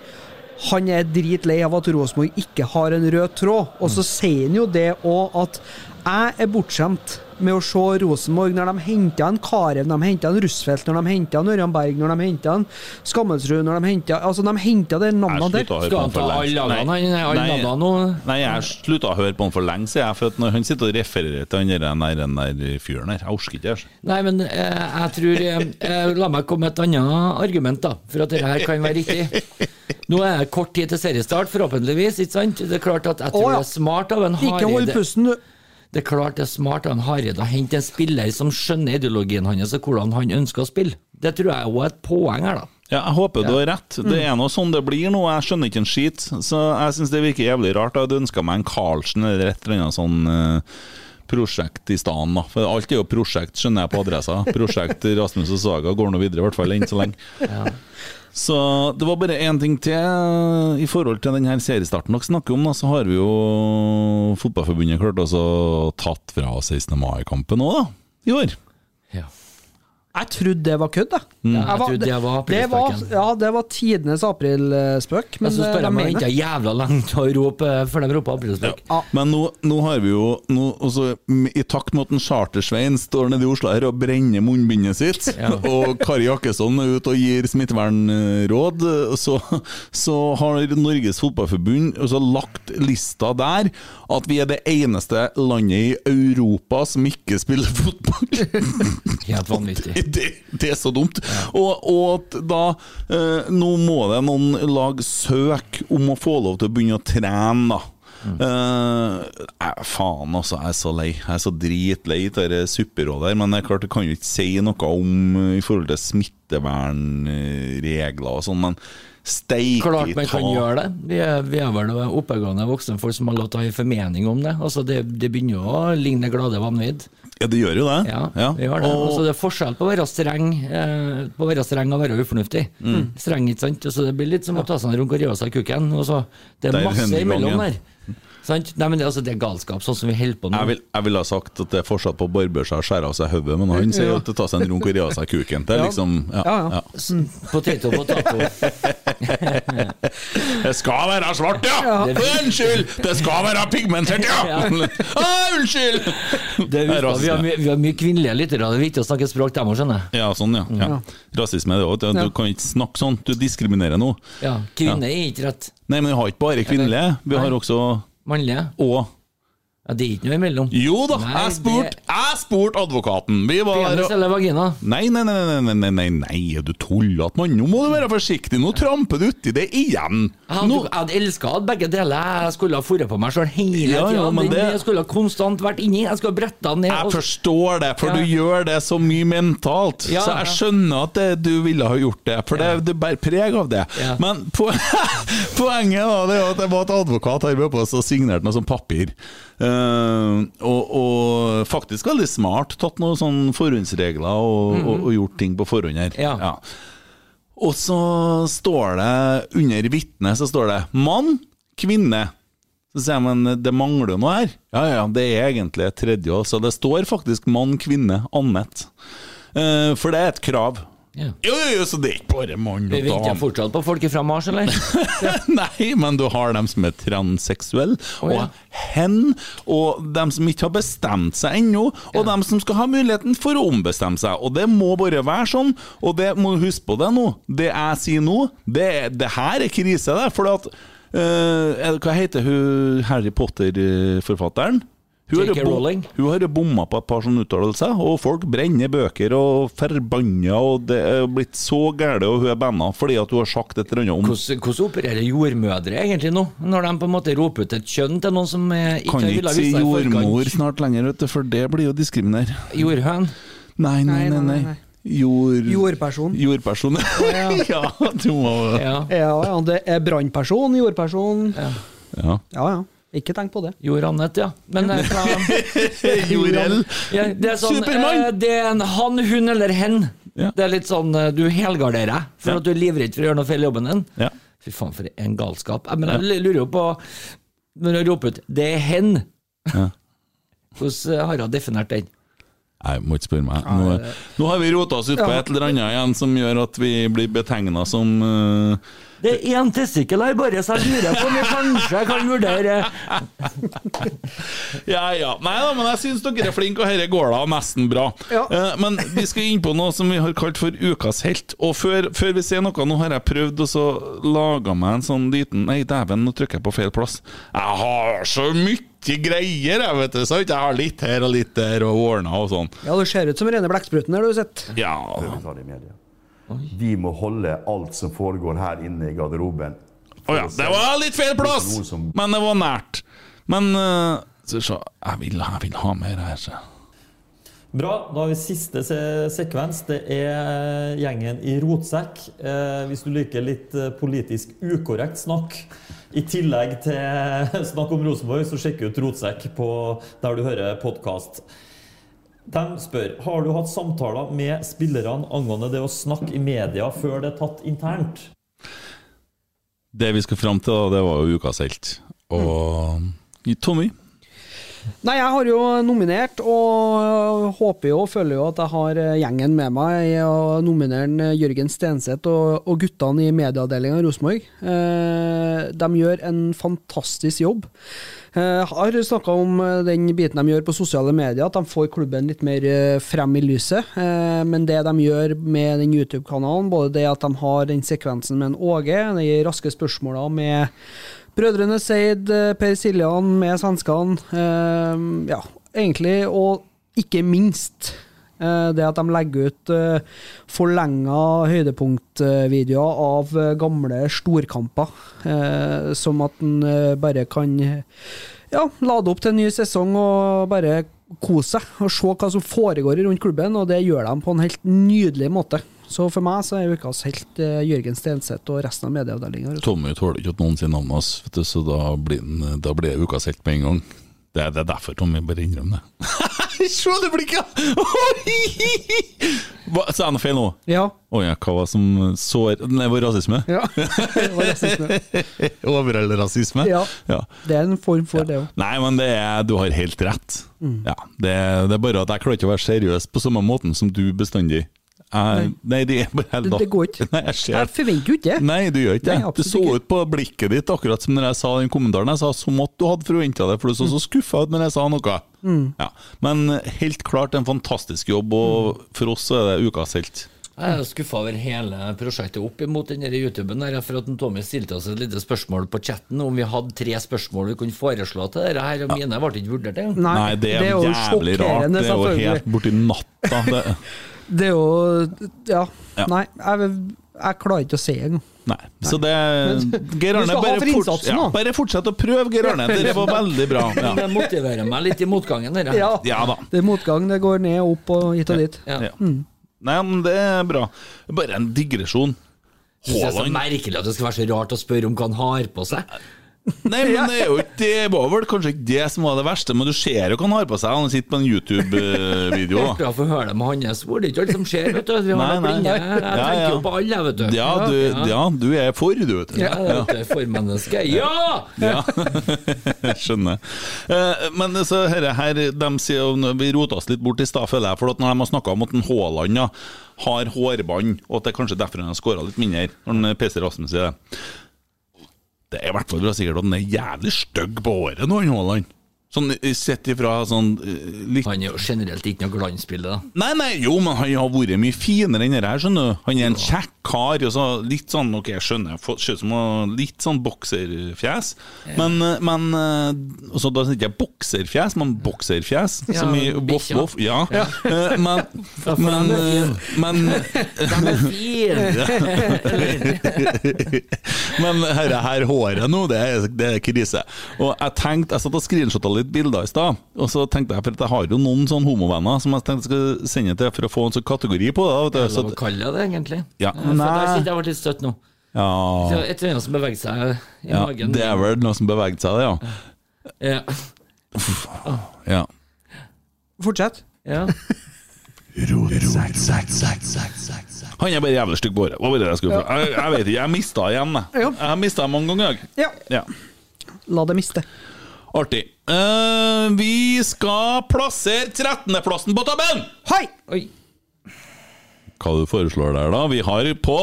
S2: han er dritlei av at Rosenborg ikke har en rød tråd. Og så
S4: Mm.
S2: sier han jo det òg at jeg er bortskjemt med å se Rosenborg når de henta en Karev, når de henta en Russfeldt, når de henta en Ørjan Berg, når de henta en Skammelsrud, når de henta Altså, de henta de navnene
S1: Jeg
S2: der.
S1: slutta å
S4: Skal
S1: høre på
S4: han
S1: han for
S4: ta
S1: lengst.
S4: alle
S1: Nei.
S4: navnene? Alle
S1: Nei.
S4: navnene nå?
S1: Nei, jeg slutta å høre på han for lenge siden, jeg, for at når han sitter og refererer til han der, den der, den der fyren her, jeg orker ikke. altså.
S4: Nei, men eh, jeg tror eh, eh, La meg komme med et annet argument, da, for at dette her kan være riktig. Nå er det kort tid til seriestart, forhåpentligvis. ikke sant? Det er klart at Jeg tror
S2: Å, ja.
S4: det er smart av en
S2: Ikke hold
S4: Hareide
S2: pusten, du.
S4: Det er klart det er smart av en Hareide å hente en spiller som skjønner ideologien hans og hvordan han ønsker å spille. Det tror jeg også er et poeng her, da.
S1: Ja, Jeg håper du har rett. Det er nå sånn det blir nå. Jeg skjønner ikke en skit. Så jeg syns det virker jævlig rart. Jeg hadde ønska meg en Karlsen eller et eller annet sånn eh, prosjekt i stedet. da. For alt er jo prosjekt, skjønner jeg på adressa. Prosjekt Rasmus og Saga går nå videre, i hvert fall enn så lenge. Så det var bare én ting til eh, i forhold til den her seriestarten dere snakker om. da, Så har vi jo Fotballforbundet klart også tatt fra 16. mai-kampen òg, da. I år.
S4: Ja.
S2: Jeg trodde det var kødd, jeg.
S4: Jeg trodde det var
S2: det var-
S4: aprilspøken.
S2: Ja, det var tidenes aprilspøk. Men
S4: Jeg syns
S2: eh, de
S4: bare de har
S2: mener
S4: henta
S2: det.
S4: jævla langt å rope, eh, for de roper aprilspøk.
S1: Ja. Men nå, nå har vi jo nå, også, m- I takt med at en Chartersvein står nede i Oslo her og brenner munnbindet sitt, og Kari Jakkesson er ute og gir smittevernråd, så, så har Norges Fotballforbund også lagt lista der at vi er det eneste landet i Europa som ikke spiller fotball.
S4: Helt vanvittig.
S1: Det, det er så dumt. Og, og at da eh, Nå må det noen lag søke om å få lov til å begynne å trene, da.
S4: Mm.
S1: Eh, eh, faen, altså. Jeg er så lei. Jeg er så dritlei av det supperådet her. Men det er klart, det kan jo ikke si noe om eh, i forhold til smittevernregler og sånn, men steike
S4: Klart
S1: i
S4: man kan
S1: ta-
S4: gjøre det. Vi er, vi er vel noen oppegående voksne folk som har lov til å ha en formening om det. Altså Det, det begynner jo å ligne glade vanvidd.
S1: Ja, det gjør jo det.
S4: Ja, Vi gjør det.
S1: Og-
S4: Altså, det er forskjell på å være streng eh, På å være streng og være ufornuftig. Streng, ikke sant? Så det blir litt som å ta seg en runk og rive av seg kuken. Og så, det
S1: Der
S4: er masse
S1: hender
S4: imellom
S1: gangen.
S4: der. Sant? Nei, men det, altså, det er galskap, sånn som vi holder på nå.
S1: Jeg vil, jeg vil ha sagt at det er fortsatt på å barbere seg og skjære av seg hodet, men han sier jo at det tar seg en runk og river av seg kuken. Det er liksom
S2: Ja, ja.
S4: Potato, potato.
S1: Det skal være svart, ja! Unnskyld! Det skal være pigmentert, ja! Ah, unnskyld!
S4: Det er, vi,
S1: Det er
S4: vi, har,
S1: rasisme.
S4: mye- vi har mye kvinnelige lyttere, det er viktig å snakke språk dem òg, skjønner jeg.
S1: Ja, sånn, ja. ja. Rasisme er det òg. Du kan ikke snakke sånn. Du diskriminerer nå.
S4: Ja, kvinne er ikke rett.
S1: Nei, men vi har ikke bare kvinnelige. Vi har også
S4: Mannlige.
S1: og
S4: Ja, det er ikke noe imellom.
S1: Jo da,
S4: Nei,
S1: jeg spurte jeg spurte advokaten! Vi var
S4: Penis eller vagina?
S1: Nei, nei, nei, nei, nei, nei, nei, nei, er du tullete, mann? Nå må du være forsiktig, nå tramper du uti det igjen!
S4: Jeg hadde,
S1: Nå,
S4: jeg hadde elska at begge deler. Jeg skulle ha foret på meg sjøl hele tida.
S1: Ja, ja, men det-
S4: Jeg skulle ha konstant vært inni. Jeg skulle ha bretta den ned.
S1: jeg
S4: og-
S1: forstår det, for
S4: Ja.
S1: du gjør det så mye mentalt,
S4: Ja,
S1: så
S4: ja.
S1: jeg skjønner at det, du ville ha gjort det, for det, det bærer preg av det.
S4: Ja.
S1: Men po poenget da, det er at det var et advokat her oppe og signerte noe sånt papir. Eh, og, og faktisk veldig smart, tatt noen sånne forhåndsregler og,
S4: Mm.
S1: og, og gjort ting på forhånd her.
S4: Ja.
S1: Og så står det under vitne så står det 'mann, kvinne'. Så sier jeg, men det mangler jo noe her. Ja, ja, det er egentlig et tredje òg, så det står faktisk 'mann, kvinne, Annet'. Eh, for det er et krav.
S4: Ja.
S1: Jo, jo, jo, så det er ikke bare mann
S4: Vi
S1: og
S4: venter
S1: dame.
S4: fortsatt på folk fra Mars, eller?
S1: Nei, men du har dem som er transseksuelle,
S4: ja.
S1: og hen, og dem som ikke har bestemt seg ennå, og dem som skal ha muligheten for å ombestemme seg. Og det må bare være sånn, og det må du huske på det nå. Det jeg sier nå, det, det her er krise, det. For at eh, er det- Hva heter hun Harry Potter-forfatteren? Hun har,
S4: J.K.
S1: jo bom-
S4: Rowling.
S1: hun har jo bomma på et par sånne uttalelser, og folk brenner bøker og forbanna, og det er blitt så gæle, og hun er banna fordi at hun har sagt et eller annet om
S4: Hvordan, hvordan opererer jordmødre egentlig nå, når de på en måte roper ut et kjønn til noen som eh, ikke
S1: Kan
S4: har
S1: ikke
S4: villet
S1: si
S4: vise seg i
S1: jordmor
S4: forkant?
S1: snart lenger, vet du, for det blir jo diskriminer.
S4: Jordhøn?
S1: Nei, nei,
S2: Nei,
S1: nei.
S2: nei, nei,
S1: nei,
S2: nei.
S1: Jord...
S2: Jordperson.
S1: Jordperson. Ja, du må
S4: Ja.
S2: Ja, ja, det er brannperson, jordperson. Ja.
S1: ja.
S2: ja, Ikke tenk på det.
S4: Jordanett, ja. Men eh, hva
S1: Jorel.
S4: ja, det er sånn,
S1: Supermann!
S4: eh, Det er en han, hun eller hen.
S1: Ja.
S4: Det er litt sånn eh, du helgarderer deg, for
S1: Ja.
S4: at du er livredd for å gjøre noe feil i jobben din.
S1: Ja.
S4: Fy faen, for en galskap. Jeg, men jeg lurer jo på, når jeg roper ut 'det er hen',
S1: Ja.
S4: hvordan eh, har hun definert den?
S1: Nei, må ikke spørre meg. Nå, nå har vi rota oss ut på
S2: Ja.
S1: et eller annet igjen som gjør at vi blir betegna som eh,
S4: Det er én testikkel her, bare, så jeg lurer på om jeg kanskje kan vurdere
S1: Ja, ja. Nei da, men jeg syns dere er flinke, og dette går da nesten bra.
S2: Ja.
S1: Eh, men vi skal inn på noe som vi har kalt for ukas helt. Og før, før vi ser noe, nå har jeg prøvd og så laga meg en sånn liten Nei, dæven, nå trykker jeg på feil plass. Jeg har så mye greier, jeg, vet du. Sant? Jeg har litt her og litt der, og ordna og sånn.
S2: Ja, Du ser ut som rene blekkspruten her, du sitter.
S1: Ja.
S6: ta det i media. Vi må holde alt som foregår her inne i garderoben.
S1: Å ja. Det var litt feil plass! Men det var nært. Men eh, så, så, jeg, vil, jeg vil ha mer her. Så.
S7: Bra. Da har vi siste se sekvens. Det er eh, gjengen i rotsekk. Eh, hvis du liker litt eh, politisk ukorrekt snakk i tillegg til eh, snakk om Rosenborg, så sjekk ut Rotsekk på der du hører podkast. De spør har du hatt samtaler med spillerne angående det å snakke i media før det er tatt internt.
S1: Det vi skal fram til, da, det var jo ukas helt. Og Tommy,
S2: Nei, jeg har jo nominert, og håper jo og føler jo at jeg har eh, gjengen med meg. Jeg nominerer en, eh, Jørgen Stenseth og, og guttene i medieavdelinga i Rosenborg. Eh, de gjør en fantastisk jobb. Eh, har snakka om eh, den biten de gjør på sosiale medier, at de får klubben litt mer eh, frem i lyset. Eh, men det de gjør med den YouTube-kanalen, både det at de har den sekvensen med en Åge, de raske spørsmåla med Brødrene Seid, eh, Per Siljan med svenskene. eh, ja, egentlig, og ikke minst eh, det at de legger ut eh, forlenga høydepunktvideoer av eh, gamle storkamper. eh, som at en eh, bare kan ja, lade opp til en ny sesong og bare kose seg. Og se hva som foregår rundt klubben, og det gjør de på en helt nydelig måte. Så for meg så er ukas helt eh, Jørgen Stenseth og resten av medieavdelinga.
S1: Tommy tåler ikke at noen sier navnet hans, vet du, så da blir, den, da blir det ukas helt med en gang. Det er, det er derfor Tommy bare innrømmer det. Se det blikket! Hva, sa jeg noe feil nå?
S2: Ja,
S1: Å ja, hva var det som sår Nei, var det rasisme?
S2: Ja. Det var rasisme.
S1: Overall rasisme?
S2: Ja.
S1: ja.
S2: Det er en form for det òg.
S1: Nei, men det er, du har helt rett.
S2: Mm.
S1: Ja, det, det er bare at jeg klarer ikke å være seriøs på samme måten som du bestandig. Jeg, nei, det er bare
S2: Det- det går ikke.
S1: Nei, jeg ser
S2: Jeg forventer jo ikke det.
S1: Nei, du gjør ikke det.
S2: Nei, absolutt
S1: det så
S2: ikke.
S1: ut på blikket ditt, akkurat som når jeg sa den kommentaren. Jeg sa som at du hadde forventa det, for du så
S2: Mm.
S1: så skuffa ut når jeg sa noe. eh,
S2: Mm.
S1: Ja. Men helt klart en fantastisk jobb, og for oss så er det ukas helt.
S4: Jeg er skuffa over hele prosjektet opp imot denne YouTuben. Der, for at Tommy stilte oss et lite spørsmål på chatten om vi hadde tre spørsmål vi kunne foreslå til dette. her, og Mine ble ikke vurdert engang.
S2: Nei,
S1: Nei, det er,
S2: jo
S1: jævlig rart.
S2: sjokkerende,
S1: Det er jo
S2: selvfølgelig.
S1: helt borti natta. Det,
S2: Det er jo Ja.
S1: Ja.
S2: Nei, jeg, jeg klarer ikke å se engang.
S1: nei. Så det Geir
S2: du
S1: Arne,
S2: skal ha
S1: bare,
S2: for
S1: forts-
S2: innsatsen,
S1: ja,
S2: da.
S1: bare fortsett å prøve, Geir Arne. Det var veldig bra. Ja,
S4: Det motiverer meg litt i motgangen. Dere.
S2: Ja.
S1: ja da.
S2: Det er motgang, det går ned og opp og hit og dit.
S4: Ja.
S1: Ja. Nei, men det er bra. Bare en digresjon.
S4: Synes Det er så
S1: Haaland
S4: merkelig at det skal være så rart å spørre om hva han har på seg.
S1: Nei, men det er jo ikke Det var vel kanskje ikke det som var det verste, men du ser jo hva han har på seg. Han sitter på en YouTube-video.
S4: Artig å få høre det med hans ord. Det er ikke alt som skjer, vet du. Vi har
S1: Nei,
S4: noen blinde.
S1: nei.
S4: Jeg
S1: Ja,
S4: tenker
S1: ja.
S4: jo på alle, vet du.
S1: Ja, du, ja, du er for, du, vet du.
S4: Ja, det er formenneske. Ja!
S1: Ja, jeg skjønner. Eh, Men så her, her de sier jo- Vi rota oss litt bort i stad, føler jeg. For at når de har snakka om at en Haaland ja, har hårbånd, og at det er kanskje derfor han har skåra litt mindre, når eh, en PC Rasmus sier det Det er i hvert fall bra sikkert at han er jævlig stygg på håret nå, han Haaland. Sånn eh, sett ifra sånn eh, litt
S4: Han er jo generelt ikke noe glansbilde, da.
S1: Nei, nei, jo, men han har vært mye finere enn det her, skjønner du. Han er en kjekk kar, og så litt sånn, ok, jeg skjønner, få- ser ut som å- litt sånn bokserfjes. Men, eh, men eh, altså, da sier jeg ikke bokserfjes, men bokserfjes,
S4: Ja,
S1: som i
S4: bikkja.
S1: voff-voff. Ja. Eh, Men, men, eh, men
S4: De er fine!
S1: Men herre her håret nå, det er, det er krise. Og jeg tenkte, jeg satt og screenshotta litt bilder i stad, og så tenkte jeg for at jeg har jo noen sånne homovenner som jeg tenkte jeg skulle sende til for å få en sånn kategori på det. da,
S4: Hva
S1: Vet du. Så,
S4: kaller jeg det, egentlig?
S1: Ja.
S4: Eh, For der
S1: Nei.
S4: sitter jeg og ble litt støtt nå.
S1: ja,
S4: Så Et eller annet som beveger seg i
S1: ja,
S4: magen.
S1: det er vel noe som beveget seg, det, ja.
S4: Ja.
S1: ja.
S2: Fortsett.
S4: Ja.
S1: Han er bare jævlig stygg på håret. Hva var det jeg skulle fra? Jeg, jeg vet ikke, jeg mista igjen, jeg.
S2: Ja.
S1: Jeg har mista mange ganger, jeg.
S2: Ja,
S1: Ja.
S2: la det miste.
S1: Artig. Eh, vi skal plassere 13.-plassen på tabellen!
S2: Hei!
S4: Oi.
S1: hva du foreslår der, da. Vi har på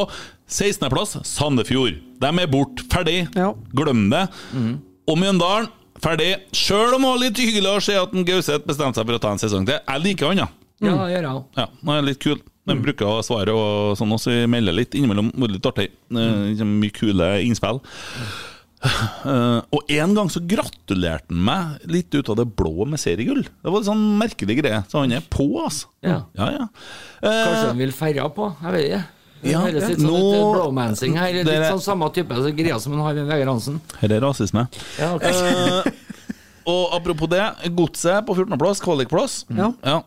S1: 16.-plass Sandefjord. De er borte. Ferdig.
S2: Ja.
S1: Glem det. Og Mjøndalen, ferdig. Sjøl om det var litt hyggelig å se at en Gauseth bestemte seg for å ta en sesong til. Jeg liker han, ja.
S4: Ja, det gjør jeg òg.
S1: ja han er litt kul. De bruker å svare og sånn også. Vi melder litt innimellom. Vært litt artig. Eh, Mye kule innspill. Eh, og en gang så gratulerte han meg litt ut av det blå med seriegull. Det var en sånn merkelig greie. Så han er på, altså.
S4: Ja.
S1: Ja, ja. Eh,
S4: Kanskje de vil feire på? Jeg vet ikke. Det
S1: Ja,
S4: høres litt sånn ut
S1: nå-
S4: blåmansing her. Litt
S1: Dere-
S4: sånn samme type så greia som han har med Vegard Hansen.
S1: Her er rasisme.
S4: Ja, ok.
S1: Eh, Og apropos det, Godset på 14.-plass, kvalikplass.
S2: Ja.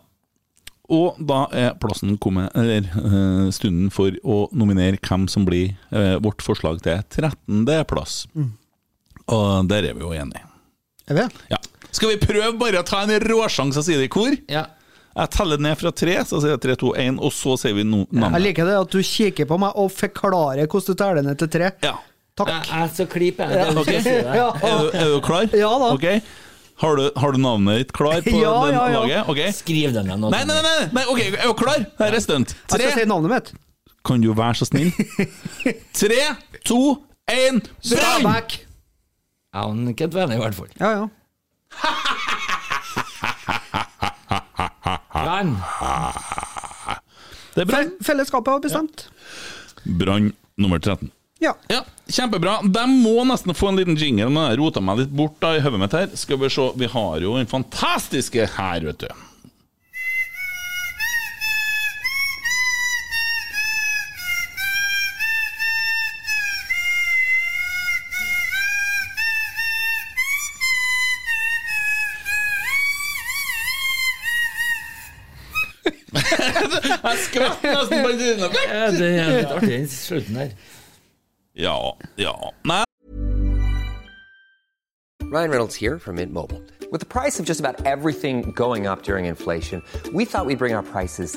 S1: Og da er plassen kommet, eller eh, stunden for å nominere hvem som blir eh, vårt forslag til 13.-plass.
S2: Mm.
S1: Og der er vi jo enige.
S2: Er vi det?
S1: Ja. Skal vi prøve bare å ta en råsjanse og si det i kor?
S4: ja.
S1: Jeg teller ned fra tre, så sier jeg tre, to, én, og så sier vi no
S2: Jeg
S1: navnet.
S2: liker det at du kikker på meg og forklarer hvordan du teller ned til tre.
S1: Ja.
S4: Jeg,
S2: Takk.
S4: jeg skal klippe, jeg. Det er jo ikke å si det.
S2: Ja.
S1: Er, du, er du klar?
S2: Ja da.
S1: Ok. Har, du, har du navnet ditt klar på
S2: Ja,
S1: den
S2: ja, ja.
S1: laget? Ok.
S4: Skriv den ned nå.
S1: Nei, nei, nei, nei, nei, ok, er du klar? Her er stunt.
S2: Jeg skal si
S1: Tre,
S2: navnet mitt.
S1: kan du være så snill? Tre, to, én, bang!
S2: Stabæk.
S4: Ja, han er ikke et venn, i hvert fall.
S2: Ja, ja.
S4: Brann.
S1: Det er Brann.
S2: Fe- Fellesskapet har bestemt.
S1: Brann nummer 13.
S2: Ja.
S1: Ja, kjempebra. De må nesten få en liten jingle, men jeg rota meg litt bort da i hodet mitt her. Skal vi se, vi har jo den fantastiske her, vet du. Jeg skvatt nesten på trynet.
S4: Ja, det er litt artig, den slutten der.
S1: Ja, ja. Nei,
S8: Ryan Reynolds here from Mint Mobile. With the price of just about everything going up during inflation, we thought we'd bring our prices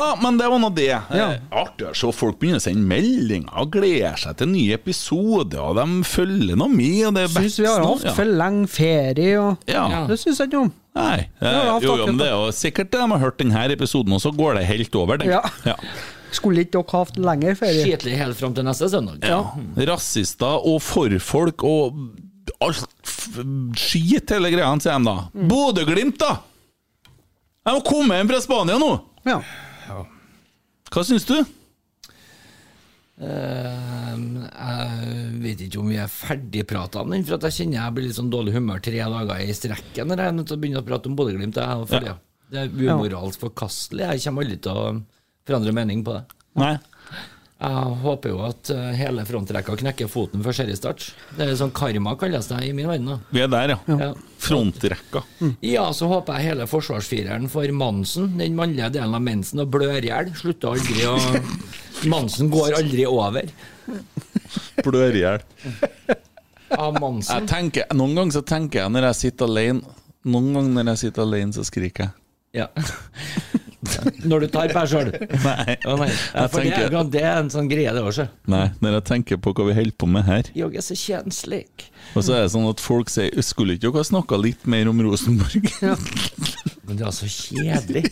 S1: Ja, men det var nå det. Eh, Artig å se folk begynne å sende meldinger og gleder seg til nye episoder, og de følger nå med. og Det er
S2: Syns vi har
S1: vekst nå,
S2: hatt for lang ferie, og
S1: Ja.
S2: det syns jeg ikke om.
S1: Nei,
S2: har
S1: eh,
S2: hatt
S1: jo,
S2: akkurat
S1: jo, men det er jo sikkert det. de har hørt denne episoden, og så går det helt over. tenker
S2: Ja.
S1: jeg. Ja.
S2: Skulle ikke dere hatt lengre ferie?
S4: Skitlig helt fram til neste søndag.
S1: Rasister og forfolk og alt f- skit, hele greia, sier de da.
S2: Mm.
S1: Bodø-Glimt, da! De har kommet hjem fra Spania nå! Hva syns du?
S4: Ehm, jeg vet ikke om vi er ferdigprata om den, for at jeg kjenner jeg blir litt sånn dårlig humør tre dager i strekken når jeg er nødt til å begynne å prate om Bodø-Glimt. jeg er for
S1: Ja.
S4: det. Det er umoralsk forkastelig. Jeg kommer aldri til å forandre mening på det.
S1: Nei.
S4: Jeg håper jo at eh, hele frontrekka knekker foten før seriestart. Det er sånn karma, kalles det i min verden. da.
S1: Vi er der, ja. Frontrekka.
S2: Mm.
S4: Ja, så håper jeg hele forsvarsfireren får Mansen, den mannlige delen av mensen, og blør i hjel. Slutter aldri å Mansen går aldri over.
S1: Blør i hjel.
S4: Av Mansen.
S1: Jeg tenker, noen ganger så tenker jeg når jeg sitter alene Noen ganger når jeg sitter alene, så skriker jeg.
S4: Ja. Når du tar på deg sjøl.
S1: Nei.
S4: nei. Ja,
S1: Jeg
S4: for det, er
S1: tenker,
S4: jo- det er en sånn greie, det også.
S1: nei, når jeg tenker på hva vi holder på med her
S4: Jeg er så kjenslig.
S1: Og så er det sånn at folk sier Skulle ikke dere ha snakka litt mer om Rosenborg?
S4: Men det er så kjedelig.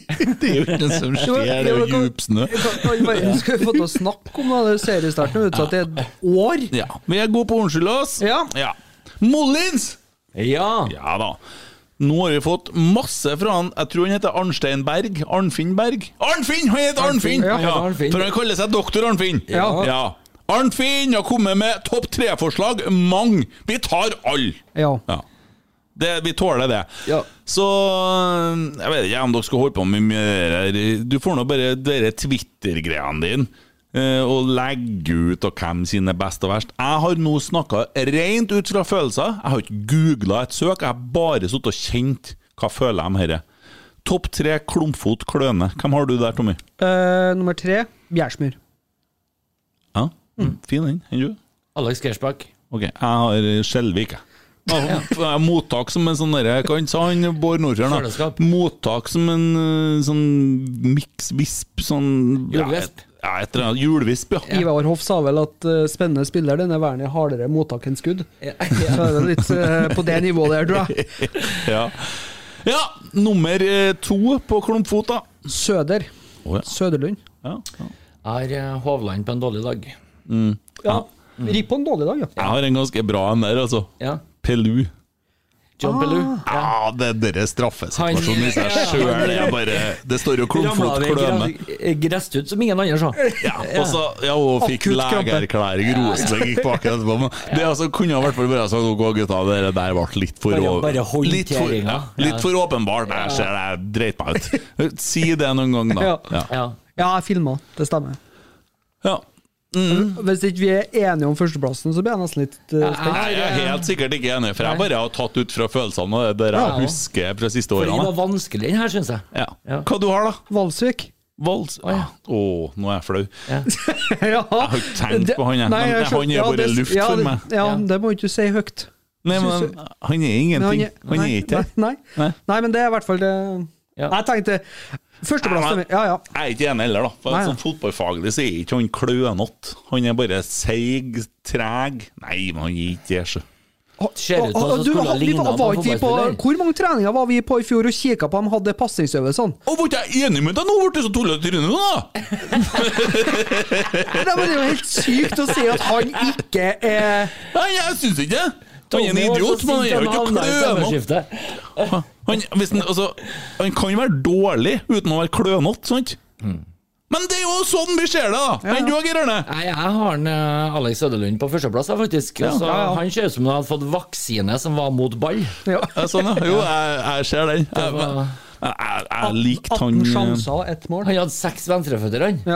S1: det er jo ikke noe som skjer, det er jo djup snø.
S2: All verden skulle fått til å snakke om da, det seriestarten er utsatt i et år.
S1: Ja, Vi er gode på å unnskylde oss. Ja. Mollins!
S4: Ja.
S1: da. Nå har vi fått masse fra han Jeg tror han heter Arnstein Berg. Arnfinn Berg. Arnfinn! Han heter
S4: Arnfinn,
S1: Arnfinn!
S4: ja, han heter Arnfinn.
S1: For han kaller seg doktor Arnfinn.
S4: Ja.
S1: Arnfinn har kommet med topp tre-forslag. Mange. Vi tar alle!
S2: Ja.
S1: Det, vi tåler det. Så jeg vet ikke om dere skal holde på med mye av det der. Du får nå bare de Twitter-greiene dine. eh, Og legge ut av hvem sine best og verst. Jeg har nå snakka rent ut fra følelser. Jeg har ikke googla et søk, jeg har bare sittet og kjent. Hva føler jeg om dette? Topp tre klumpfot kløne. Hvem har du der, Tommy?
S2: Eh, nummer tre, Bjærsmyr.
S1: Ja, Fin den. Enn du?
S4: Alex Gersbakk.
S1: Ok, jeg har eh, Skjelvik, jeg. Ja. Jeg har Mottak som en sånn derre Hva han sa han, Bård Nordtjern? da? Mottak som en eh, sånn miks-visp sånn
S2: Hjulvisp.
S1: Ja, et eller annet. Hjulvisp, ja.
S2: Ivar Hoff sa vel at eh, spennende spiller, denne verden er hardere mottak enn skudd. Så er det litt eh, på det nivået der, tror jeg.
S1: ja. ja! Nummer eh, to på klumpfot, da.
S2: Søder. Søderlund.
S4: Jeg har eh, Hovland på en dårlig dag.
S1: Mm.
S2: Ja. Ripp på en dårlig dag, ja.
S1: Jeg har en ganske bra en der, altså.
S4: Ja.
S1: Pelu.
S4: John Pelu.
S1: Ja, det er dere straffesituasjonen i seg
S4: Han-
S1: sjøl. Det er bare- Det står jo klumpfot kløne.
S4: Gresstut Eh, som ingen andre så.
S1: Ja, og så ja, hun fikk
S4: Akutt krampe.
S1: legeerklæring, Rosenborg gikk bak etterpå. Men det altså, kunne i hvert fall vært sånn Gå, gutta, det der ble litt for
S4: Bare-
S1: over-
S4: bare håndteringa.
S1: Litt for, ja, litt for åpenbart. Jeg ser det, jeg dreit meg ut. Si det noen gang, da. Ja.
S4: Ja,
S2: jeg filma, det stemmer.
S1: Ja.
S2: Hvis ikke vi er enige om førsteplassen, så blir jeg nesten litt eh,
S1: Nei,
S2: spent.
S1: jeg er helt sikkert ikke enig, for jeg bare har tatt ut fra følelsene og det der
S2: Ja, ja.
S1: jeg husker fra siste
S4: For den
S1: årene.
S4: var vanskelig, den her, syns jeg.
S1: Ja. Hva du har da?
S2: Valsvik.
S1: Vold Å, nå er jeg flau.
S2: Jeg
S1: har ikke tenkt på han, jeg.
S2: Nei,
S1: Men
S2: jeg skjønte-
S1: han er
S2: ja,
S1: bare
S2: det-
S1: luft
S2: ja,
S1: for
S2: det-
S1: meg.
S2: Ja, det må ikke du si høyt.
S1: Nei,
S2: Synes
S1: men
S2: du-
S1: han er ingenting. Han er
S2: nei,
S1: ikke her.
S2: Nei, nei. nei, men det er i hvert fall det Jeg tenkte Førsteplassen
S1: Nei,
S2: min. Ja, ja.
S1: Jeg er ikke enig heller, da. For
S2: Nei,
S1: sånn Fotballfaglig så er ikke han klønete. Han er bare seig, treg Nei, men han gir ikke det, sjø.
S4: Ser
S2: Og-
S4: ut som
S2: og
S4: det
S2: du,
S4: skulle ha
S2: vi
S4: lignet
S2: var-
S4: på
S2: var ikke vi på,
S4: fotballspiller.
S2: hvor mange treninger var vi på i fjor og kikka på de hadde sånn? pasningsøvelsene?
S1: Og var ikke jeg enig med deg nå, ble du så tullete i trynet nå, da?
S2: Nei, men Det er jo helt sykt å si at han ikke er
S1: Nei, jeg syns ikke det. Han er en idiot, men han er jo ikke å klønete. Han, hvis han, altså, han kan være dårlig uten å være klønete, sant? Men det er jo sånn vi ser det, da! Enn du, Geir Arne?
S4: Nei, jeg har en, eh, Alex Ødelund på førsteplass, da, faktisk.
S1: Ja.
S4: Så
S1: Ja, ja.
S4: Han ser ut som han hadde fått vaksine som var mot ball.
S1: Ja, sånn, ja. Jo, jeg, jeg ser den. Jeg, jeg, jeg, jeg likte han eh,
S4: 18 sjanser
S2: og ett mål.
S4: Han hadde seks venstreføtter, han.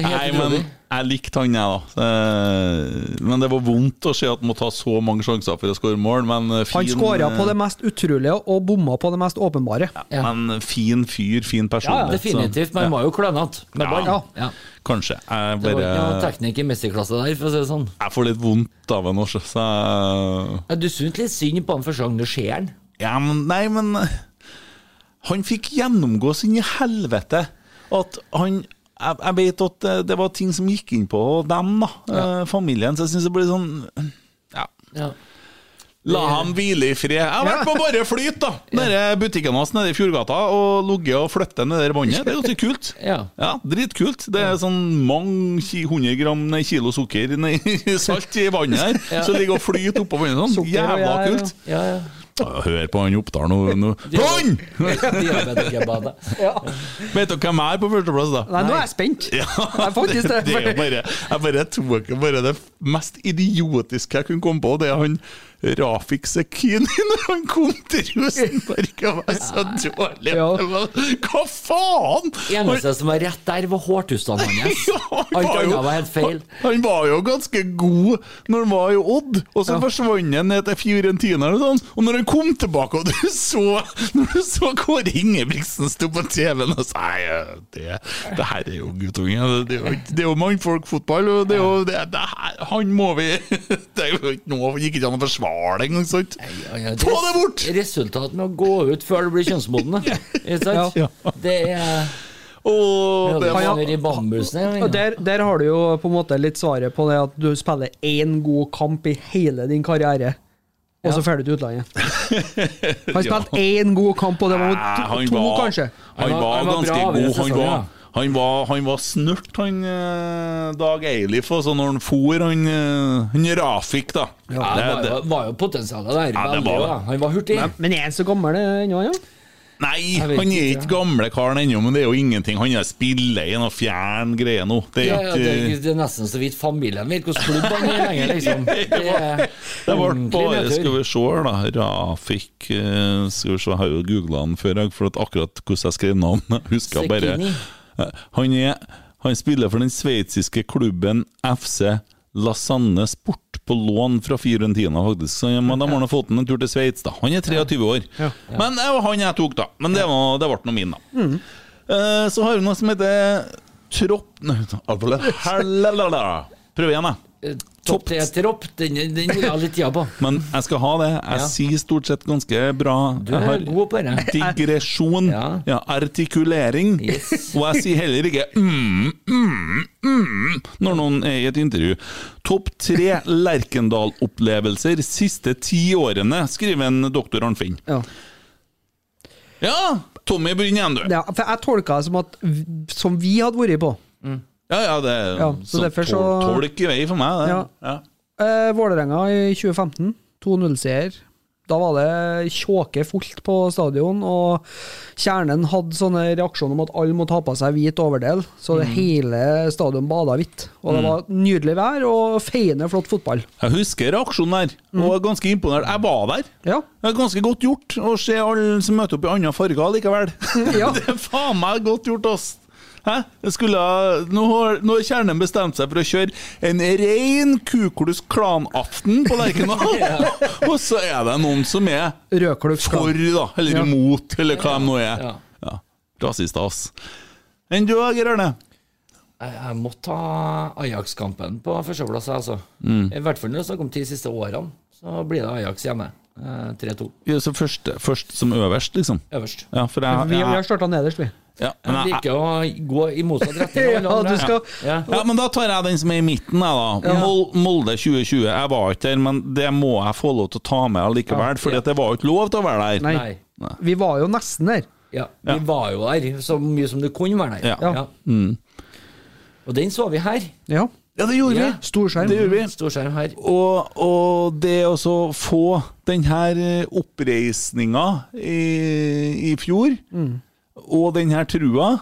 S1: Nei, men jeg likte han, jeg, da. Eh, Men det var vondt å se at han må ta så mange sjanser for å skåre mål, men eh, fin
S2: Han skåra på
S1: eh,
S2: det mest utrolige og bomma på det mest åpenbare.
S1: Men fin fyr, fin person.
S4: Ja, ja, definitivt. Man var jo klønete med
S1: Ja.
S4: ball.
S1: Ja. Kanskje. Jeg
S4: Det var ikke noe
S1: bare
S4: teknikk i mesterklasse der, for å si det sånn.
S1: Jeg får litt vondt av henne også, så jeg
S4: Ja, Du syntes litt synd på han første gang du ser han.
S1: Ja, men nei, men Han fikk gjennomgå sin i helvete. At han Jeg, jeg vet at eh, det, det var ting som gikk inn på dem, da. eh, Familien. Så jeg syns det blir sånn Ja. La ham hvile i fred. Jeg har vært på Bare Flyt, da! Nede butikken hans nede i Fjordgata og ligget og flyttet ned det båndet. Det er ganske kult.
S4: Ja.
S1: Dritkult. Det er sånn mange ki- hundre gram, nei, kilo sukker, nei, salt i vannet her,
S4: Ja.
S1: som ligger og flyter oppå vannet sånn. Jævla kult.
S4: Ja, ja.
S1: Ja, Hør på han Oppdal nå. nå. Han!
S4: Diabetikerbadet.
S1: Vet dere hvem jeg er på førsteplass, da?
S2: Nei, nå er jeg spent.
S1: Ja,
S2: Jeg er faktisk det.
S1: det er jo bare, jeg bare tok bare det mest idiotiske jeg kunne komme på, det er han Rafik Sekini når han kom til Rosenborg og var så dårlig. Det var- Hva faen?!
S4: Eneste som var rett der, var hårtustene hans. Alt
S1: var jo-
S4: annet var helt feil.
S1: Han var jo ganske god når han var i Odd, og så forsvant han ned til Fiorentina. Og, sånn. og når han kom tilbake, og du så Når du så Kåre Ingebrigtsen sto på TV-en og sa Nei, det, det her er jo guttunge. Det, det, er jo ikke- det er jo mannfolkfotball, og det er jo det, det her, Han må vi Det er jo ikke noe gikk ikke an å forsvare det engang, sant?
S4: Ja,
S1: Få det bort!
S4: Resultatet med å gå ut før du blir kjønnsmoden, da. Ikke sant? Det er
S1: Og
S4: det
S2: det var-
S4: var i bambusen her.
S2: Og der, der har du jo på en måte litt svaret på det at du spiller én god kamp i hele din karriere, og så
S4: Ja.
S2: drar du til utlandet. Han spilte én god kamp, og det var mot
S1: Nei,
S2: to,
S1: han
S2: to
S1: var-
S2: kanskje.
S1: Han var,
S4: bra
S1: ganske
S4: over
S1: god. Han
S4: sesongen,
S1: var,
S4: ja.
S1: han var, han var snørt, han eh, Dag Eilif, altså, når han for, han, eh, han Rafik, da.
S4: Ja, det var, jo- var jo potensialet der.
S1: Ja, det
S4: veldig,
S1: var det.
S4: da. Han var hurtig.
S1: Men-
S2: Men er han så gammel eh, ennå, ja?
S1: Nei,
S2: Jeg vet
S1: han er
S2: ikke,
S1: ikke gamle karen ennå, men det er jo ingenting. Han er spiller i noe fjern greie nå. Det
S4: Ja,
S1: er
S4: ja, det, er-
S1: ikke
S4: det er nesten så vidt familien vet hvordan klubb han er lenger, liksom. Det er
S1: det ble
S4: ordentlig
S1: bare
S4: nedtur.
S1: Skal vi se, her, da. Rafik eh, Skal vi se, jeg har jo googla han før, jeg, for at akkurat hvordan jeg skrev navnet Husker jeg bare
S4: Sekini.
S1: Eh, Han, er, han spiller for den sveitsiske klubben FC Lasanne Sport på lån fra Fiorentina, faktisk. Så, ja, men de har nå fått han en tur til Sveits, da. Han er 23 år. Men det var han jeg tok, da. Men det, var, det ble nå min, da. Eh, Så har vi noe som heter Tropp... Nei, Hallalala. Prøv igjen, jeg.
S4: Eh, Topp tre til opp, den, den vil jeg ha litt tida på.
S1: Men jeg skal ha det. Jeg
S4: Ja.
S1: sier stort sett ganske bra.
S4: Du er
S1: jeg har
S4: god på det.
S1: digresjon, ja. artikulering. Og jeg sier heller ikke mm, mm, mm når noen er i et intervju. Topp tre Lerkendal-opplevelser siste ti årene, skriver en doktor Arnfinn.
S2: Ja.
S1: Tommy, begynn igjen, du.
S2: ja for jeg tolka det som at v- som vi hadde vært på.
S1: Ja, ja, det er
S2: Ja, så
S1: så
S2: derfor så-
S1: tol- tolk i vei for meg, det.
S2: Ja.
S1: Ja.
S2: Eh, Vålerenga i 2015, 2-0-seier. Da var det tjåke fullt på stadion, og kjernen hadde sånne reaksjoner om at alle må ta på seg hvit overdel, så det
S1: Mm.
S2: hele stadion bada hvitt. Og det
S1: Mm.
S2: var nydelig vær og feiende flott fotball.
S1: Jeg husker reaksjonen der, og var ganske imponert. Jeg var der. Det er ganske godt gjort å se alle som møter opp i andre farger likevel. det er faen meg godt gjort, ass! Hæ? Jeg skulle, ha- nå, har, nå har kjernen bestemt seg for å kjøre en rein Kuklus Klan-aften på Lerkendal! Og så er det noen som er for, da, eller
S2: Ja.
S1: imot, eller hva de nå er. Ja. Rasister, ass. Enn du, Geir Arne?
S4: Jeg, jeg må ta Ajax-kampen på førsteplass, jeg, altså.
S1: Mm.
S4: I hvert fall når det er snakk om ti siste årene, så blir det Ajax hjemme. Eh, 3-2.
S1: Ja, så først, først som øverst, liksom?
S4: Øverst.
S1: Ja, for jeg,
S2: Vi, vi
S1: jeg,
S2: har starta nederst, vi.
S1: Ja, men
S4: Jeg
S1: jeg-
S4: liker å gå i motsatt retning. av alle
S1: Ja,
S4: andre.
S1: du skal-
S4: Ja.
S1: Ja, men da tar jeg den som er i midten, jeg, da.
S4: Ja.
S1: Mol- Molde 2020. Jeg var ikke der, men det må jeg få lov til å ta med
S4: Ja.
S1: allikevel, Fordi at det var jo ikke lov til å være der.
S4: Nei. Nei.
S2: Vi var jo nesten der.
S4: Ja, vi var jo der så mye som det kunne være der.
S1: Ja. Mm.
S4: Og den så vi her.
S2: Ja,
S1: det gjorde
S4: Ja.
S1: vi. Det gjorde vi.
S4: Storskjerm her.
S1: Og, og det å så få den her eh, oppreisninga i, i fjor, og den her trua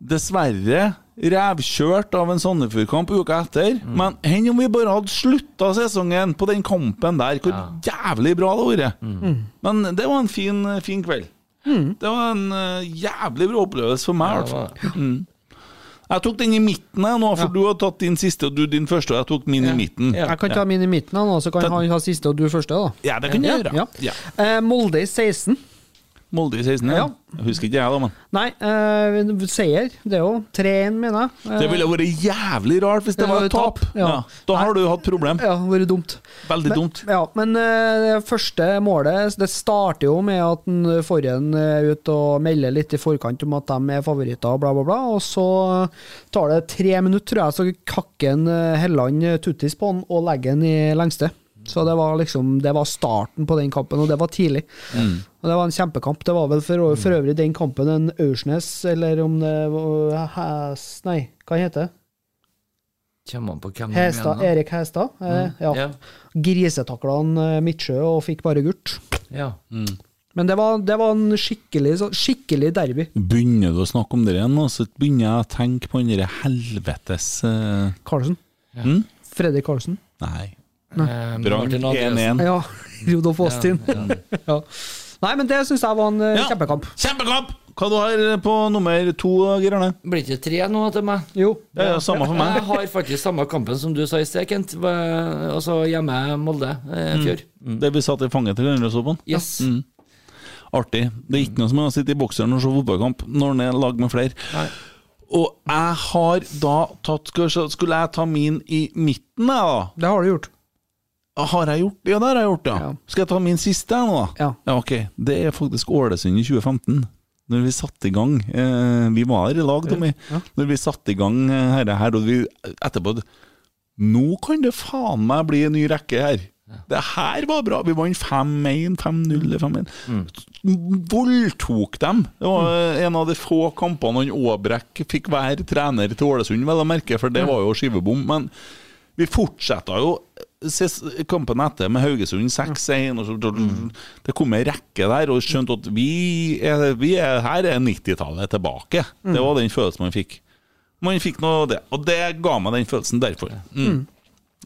S1: Dessverre revkjørt av en Sandefjord-kamp uka etter. Men enn om vi bare hadde slutta sesongen på den kampen der? Hvor jævlig bra det hadde vært! Men det var en fin, eh, fin kveld. Det var en eh, jævlig bra opplevelse for meg, i hvert fall. Mm. Jeg tok den i midten jeg, nå, for du har tatt din siste og du din første, og jeg tok min i midten.
S2: Jeg kan ta min i midten, da, nå, så kan han ha siste og du første. da
S1: Ja, det kan du gjøre.
S2: Ja.
S1: Ja.
S2: Eh, Molde i 16.
S1: Molde i 16. Ja. Jeg husker ikke jeg, da, men
S2: Nei, eh, seier. Det er jo 3-1, mener jeg. Eh,
S1: Det ville vært jævlig rart hvis det,
S2: det
S1: var
S2: var
S1: et tap.
S2: tap, ja.
S1: Ja. Da har du hatt problem.
S2: Ja, vært dumt.
S1: Veldig dumt.
S2: Men, ja, men eh, det første målet Det starter jo med at en får en eh, ut og melder litt i forkant om at de er favoritter, og bla, bla, bla. Og så tar det tre minutter, tror jeg, så kakker en eh, Helland eh, tuttis på han og legger han i lengste. Så det var liksom Det var starten på den kampen, og det var tidlig.
S3: Mm.
S2: Og Det var en kjempekamp. Det var vel for,
S1: Mm.
S2: for øvrig den kampen en Aursnes, eller om det var Hæs... Nei, hva heter det?
S4: Kommer an på hvem du
S2: Hestad,
S4: Mm, mener.
S2: Erik Hestad. Eh,
S4: Mm,
S2: ja.
S4: ja.
S2: Grisetakla han, eh, Midtsjø og fikk bare gult.
S4: Ja.
S1: Mm.
S2: Men det var, det var en skikkelig, så- skikkelig derby.
S1: Begynner du å snakke om det igjen, nå, så begynner jeg å tenke på den der helvetes eh,
S2: Karlsen.
S1: Mm?
S2: Fredrik Karlsen.
S1: Nei.
S2: Nei.
S4: Ehm,
S1: Brann 1-1.
S2: Ja. Rudolf Aastin.
S1: Ja,
S2: ja. Nei, men det syns jeg var en eh,
S1: Ja.
S2: kjempekamp.
S1: Kjempekamp! Hva du har på nummer to, Geir Arne?
S4: Blir ikke tre nå til meg?
S2: Jo.
S1: Det er jo samme for meg.
S4: Jeg har faktisk samme kampen som du sa i sted, Kent. Hva- Altså hjemme Molde eh,
S1: Mm.
S4: fjor.
S1: Det vi satt i fanget til hverandre og så på den?
S4: Yes.
S1: Mm. Artig. Det er ikke noe som er å sitte i bokseren og se fotballkamp når den er lag med flere. Og jeg har da tatt skal vi se, Skulle jeg ta min i midten, jeg, da?
S2: Det har du gjort.
S1: Ah, Har jeg gjort? Ja, det har jeg gjort, ja. Skal jeg ta min siste, jeg, nå, da?
S2: Ja.
S1: ok. Det er faktisk Ålesund i 2015. Når vi satte i gang eh, Vi var her i lag, Tommy. Når vi satte i gang eh, herre her, og vi etterpå Nå kan det faen meg bli en ny rekke her! Det her var bra! Vi vant 5-1, 5-0, 5-1. Voldtok dem! Det var eh, en av de få kampene han Aabrekk fikk være trener til Ålesund, vel å merke, for det var jo skivebom. Men vi fortsetta jo eh, ses- kampen etter med Haugesund 6-1. og
S2: Mm.
S1: så- Det kom en rekke der, og skjønte at vi er, vi er her er 90-tallet tilbake.
S2: Mm.
S1: Det var den følelsen man fikk. Man fikk noe av det, og det ga meg den følelsen derfor. Mm.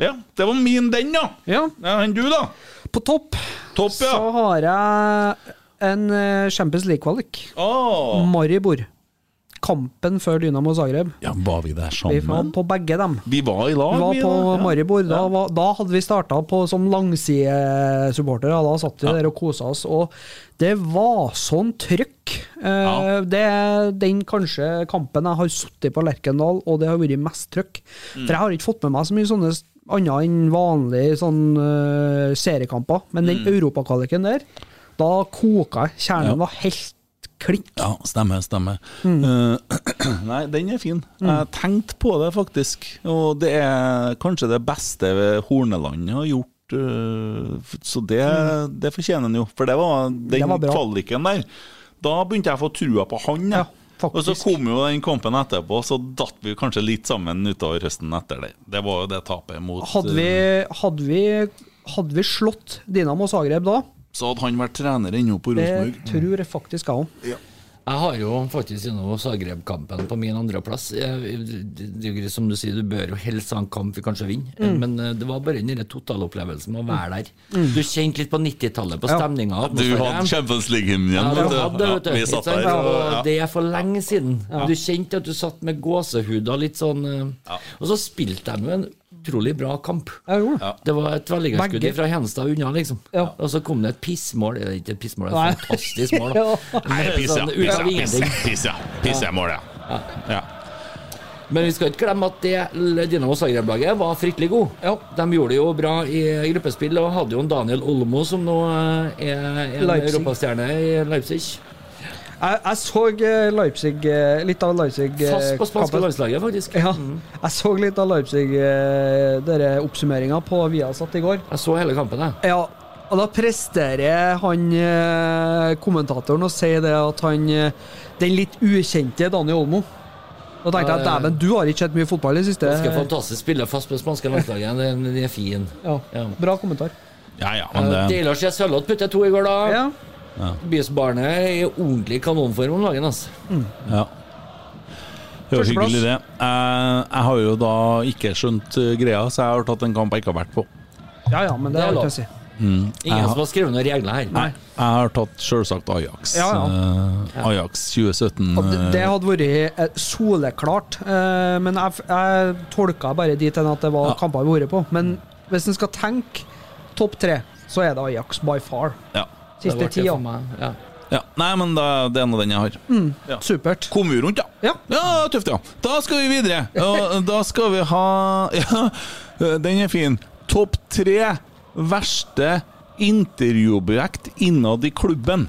S1: Ja, det var min den, da.
S2: Ja.
S1: Enn du, da?
S2: På topp,
S1: Topp, ja.
S2: så har jeg en eh, Champions League-kvalik. Mm.
S1: Oh.
S2: Maribor. Kampen før Dynamo Zagreb.
S1: Ja, var vi der
S2: Vi var
S1: sammen?
S2: på begge dem.
S1: Vi var i lag,
S2: Vi var
S1: vi,
S2: på
S1: da. Ja.
S2: Maribor. Da, var, da hadde vi starta som langsidesupportere. Da satt vi der og kosa oss. Og det var sånn trøkk. Eh, Det er den kanskje kampen jeg har sittet på Lerkendal, og det har vært mest trøkk.
S3: Mm.
S2: For jeg har ikke fått med meg så mye sånne s- annet enn vanlige sånn, eh, seriekamper. Men den
S1: Mm.
S2: europakvaliken der, da koka jeg. Kjernen var helt klikk.
S1: Ja, stemmer, stemmer. Eh, nei, den er fin. Jeg tenkte på det, faktisk. Og det er kanskje det beste Horneland har gjort. eh, f- så det, det fortjener han jo, for det var
S2: Det
S1: den
S2: var bra.
S1: kvaliken der. Da begynte jeg å få trua på han. jeg. og så kom jo den kampen etterpå, så datt vi kanskje litt sammen utover høsten etter det. Det var jo det tapet mot eh,
S2: Hadde vi, hadde vi, hadde vi slått Dinamo Zagreb da,
S1: eh, Så hadde han vært trener ennå på
S2: det
S1: Rosenborg. Mm.
S2: tror jeg faktisk jeg òg.
S4: Jeg har jo faktisk gjennom Zagreb-kampen på min andreplass. Jeg- det- det er jo greit Som du sier, du bør jo helst ha en kamp vi kanskje vinner,
S2: Mm.
S4: men eh, det var bare den der totalopplevelsen med å være der.
S1: Mm.
S4: Du kjente litt på 90-tallet, på
S1: Ja.
S4: stemninga.
S1: Du hadde Champions League-hymnen,
S4: Ja,
S1: vet
S4: du
S1: du.
S4: hadde, det,
S1: Ja,
S4: vet du.
S1: vi satt
S4: Ikke sant?
S1: der, og-
S4: Og
S1: ja.
S4: Det er for lenge siden.
S1: Ja.
S4: Du kjente at du satt med gåsehuda litt sånn eh, Og så spilte de jo en utrolig bra kamp. Det var et velgerskudde
S2: Begge.
S4: fra Henstad unna, liksom. Og så kom det et pissmål. Det er ikke et pissmål, det
S2: Nei.
S4: er et fantastisk mål. da.
S2: Ja.
S1: Nei,
S4: Men
S1: piss, ja.
S4: sånn ut av
S1: Piss, ja. Piss, ja.
S4: ingenting.
S1: Piss, ja. Piss, ja. Mål, ja. ja.
S4: Men vi skal ikke glemme at det Dinamo Zagreb-laget var fryktelig god. De gjorde det jo bra i gruppespill og hadde jo en Daniel Olmo som nå eh, er en
S2: Leipzig.
S4: europastjerne i Leipzig.
S2: Jeg, jeg så eh, Leipzig, eh, litt av Leipzig-kampen.
S4: Fast Eh, på spanske Mm. landslaget, faktisk.
S2: Ja, jeg så litt av Leipzig-oppsummeringa på Viasat i går.
S4: Jeg så hele kampen, jeg.
S2: Ja, og da presterer han eh, kommentatoren å si det at han eh, Den litt ukjente Dani Olmo. Da tenkte jeg at
S4: Ja, ja, ja.
S2: dæven, du har ikke sett mye fotball i det siste.
S4: Ganske fantastisk spiller fast på det spanske landslaget. Den den er fin. Eh,
S2: Ja, Bra kommentar.
S1: Ja, eh, ja,
S2: men det-
S4: Deilig å se Sølvått putte to i går, da.
S1: Ja.
S4: Bysbarnet er i ordentlig kanonform om dagen. Altså.
S1: Ja. Det var
S4: Førsteplass.
S1: hyggelig, det. Jeg, jeg har jo da ikke skjønt eh, greia, så jeg har tatt en kamp jeg ikke har vært på.
S2: Ja, ja, men det,
S4: Det er
S2: er
S4: lov.
S2: lov å si.
S1: Mm.
S4: Ingen
S1: Jeg,
S4: som har skrevet noen regler her.
S1: Nei. jeg har tatt selvsagt Ajax.
S2: Ja,
S1: eh, Ajax 2017.
S2: Og det, det
S1: eh,
S2: hadde vært eh, soleklart, eh, men jeg, f- jeg tolka bare dit hen at det var kamper vi har vært på. Men hvis en skal tenke topp tre, så er det Ajax by far.
S1: ja.
S2: Siste
S4: Det ble det
S2: tida.
S4: for meg, Ja.
S1: Ja. Nei, men da, det er nå den jeg har.
S2: Mm, Supert.
S1: Kom vi rundt, ja.
S2: Ja.
S1: Tøft, ja. Da skal vi videre. Og da skal vi ha ja, Den er fin. Topp tre verste intervjuobjekt innad i klubben.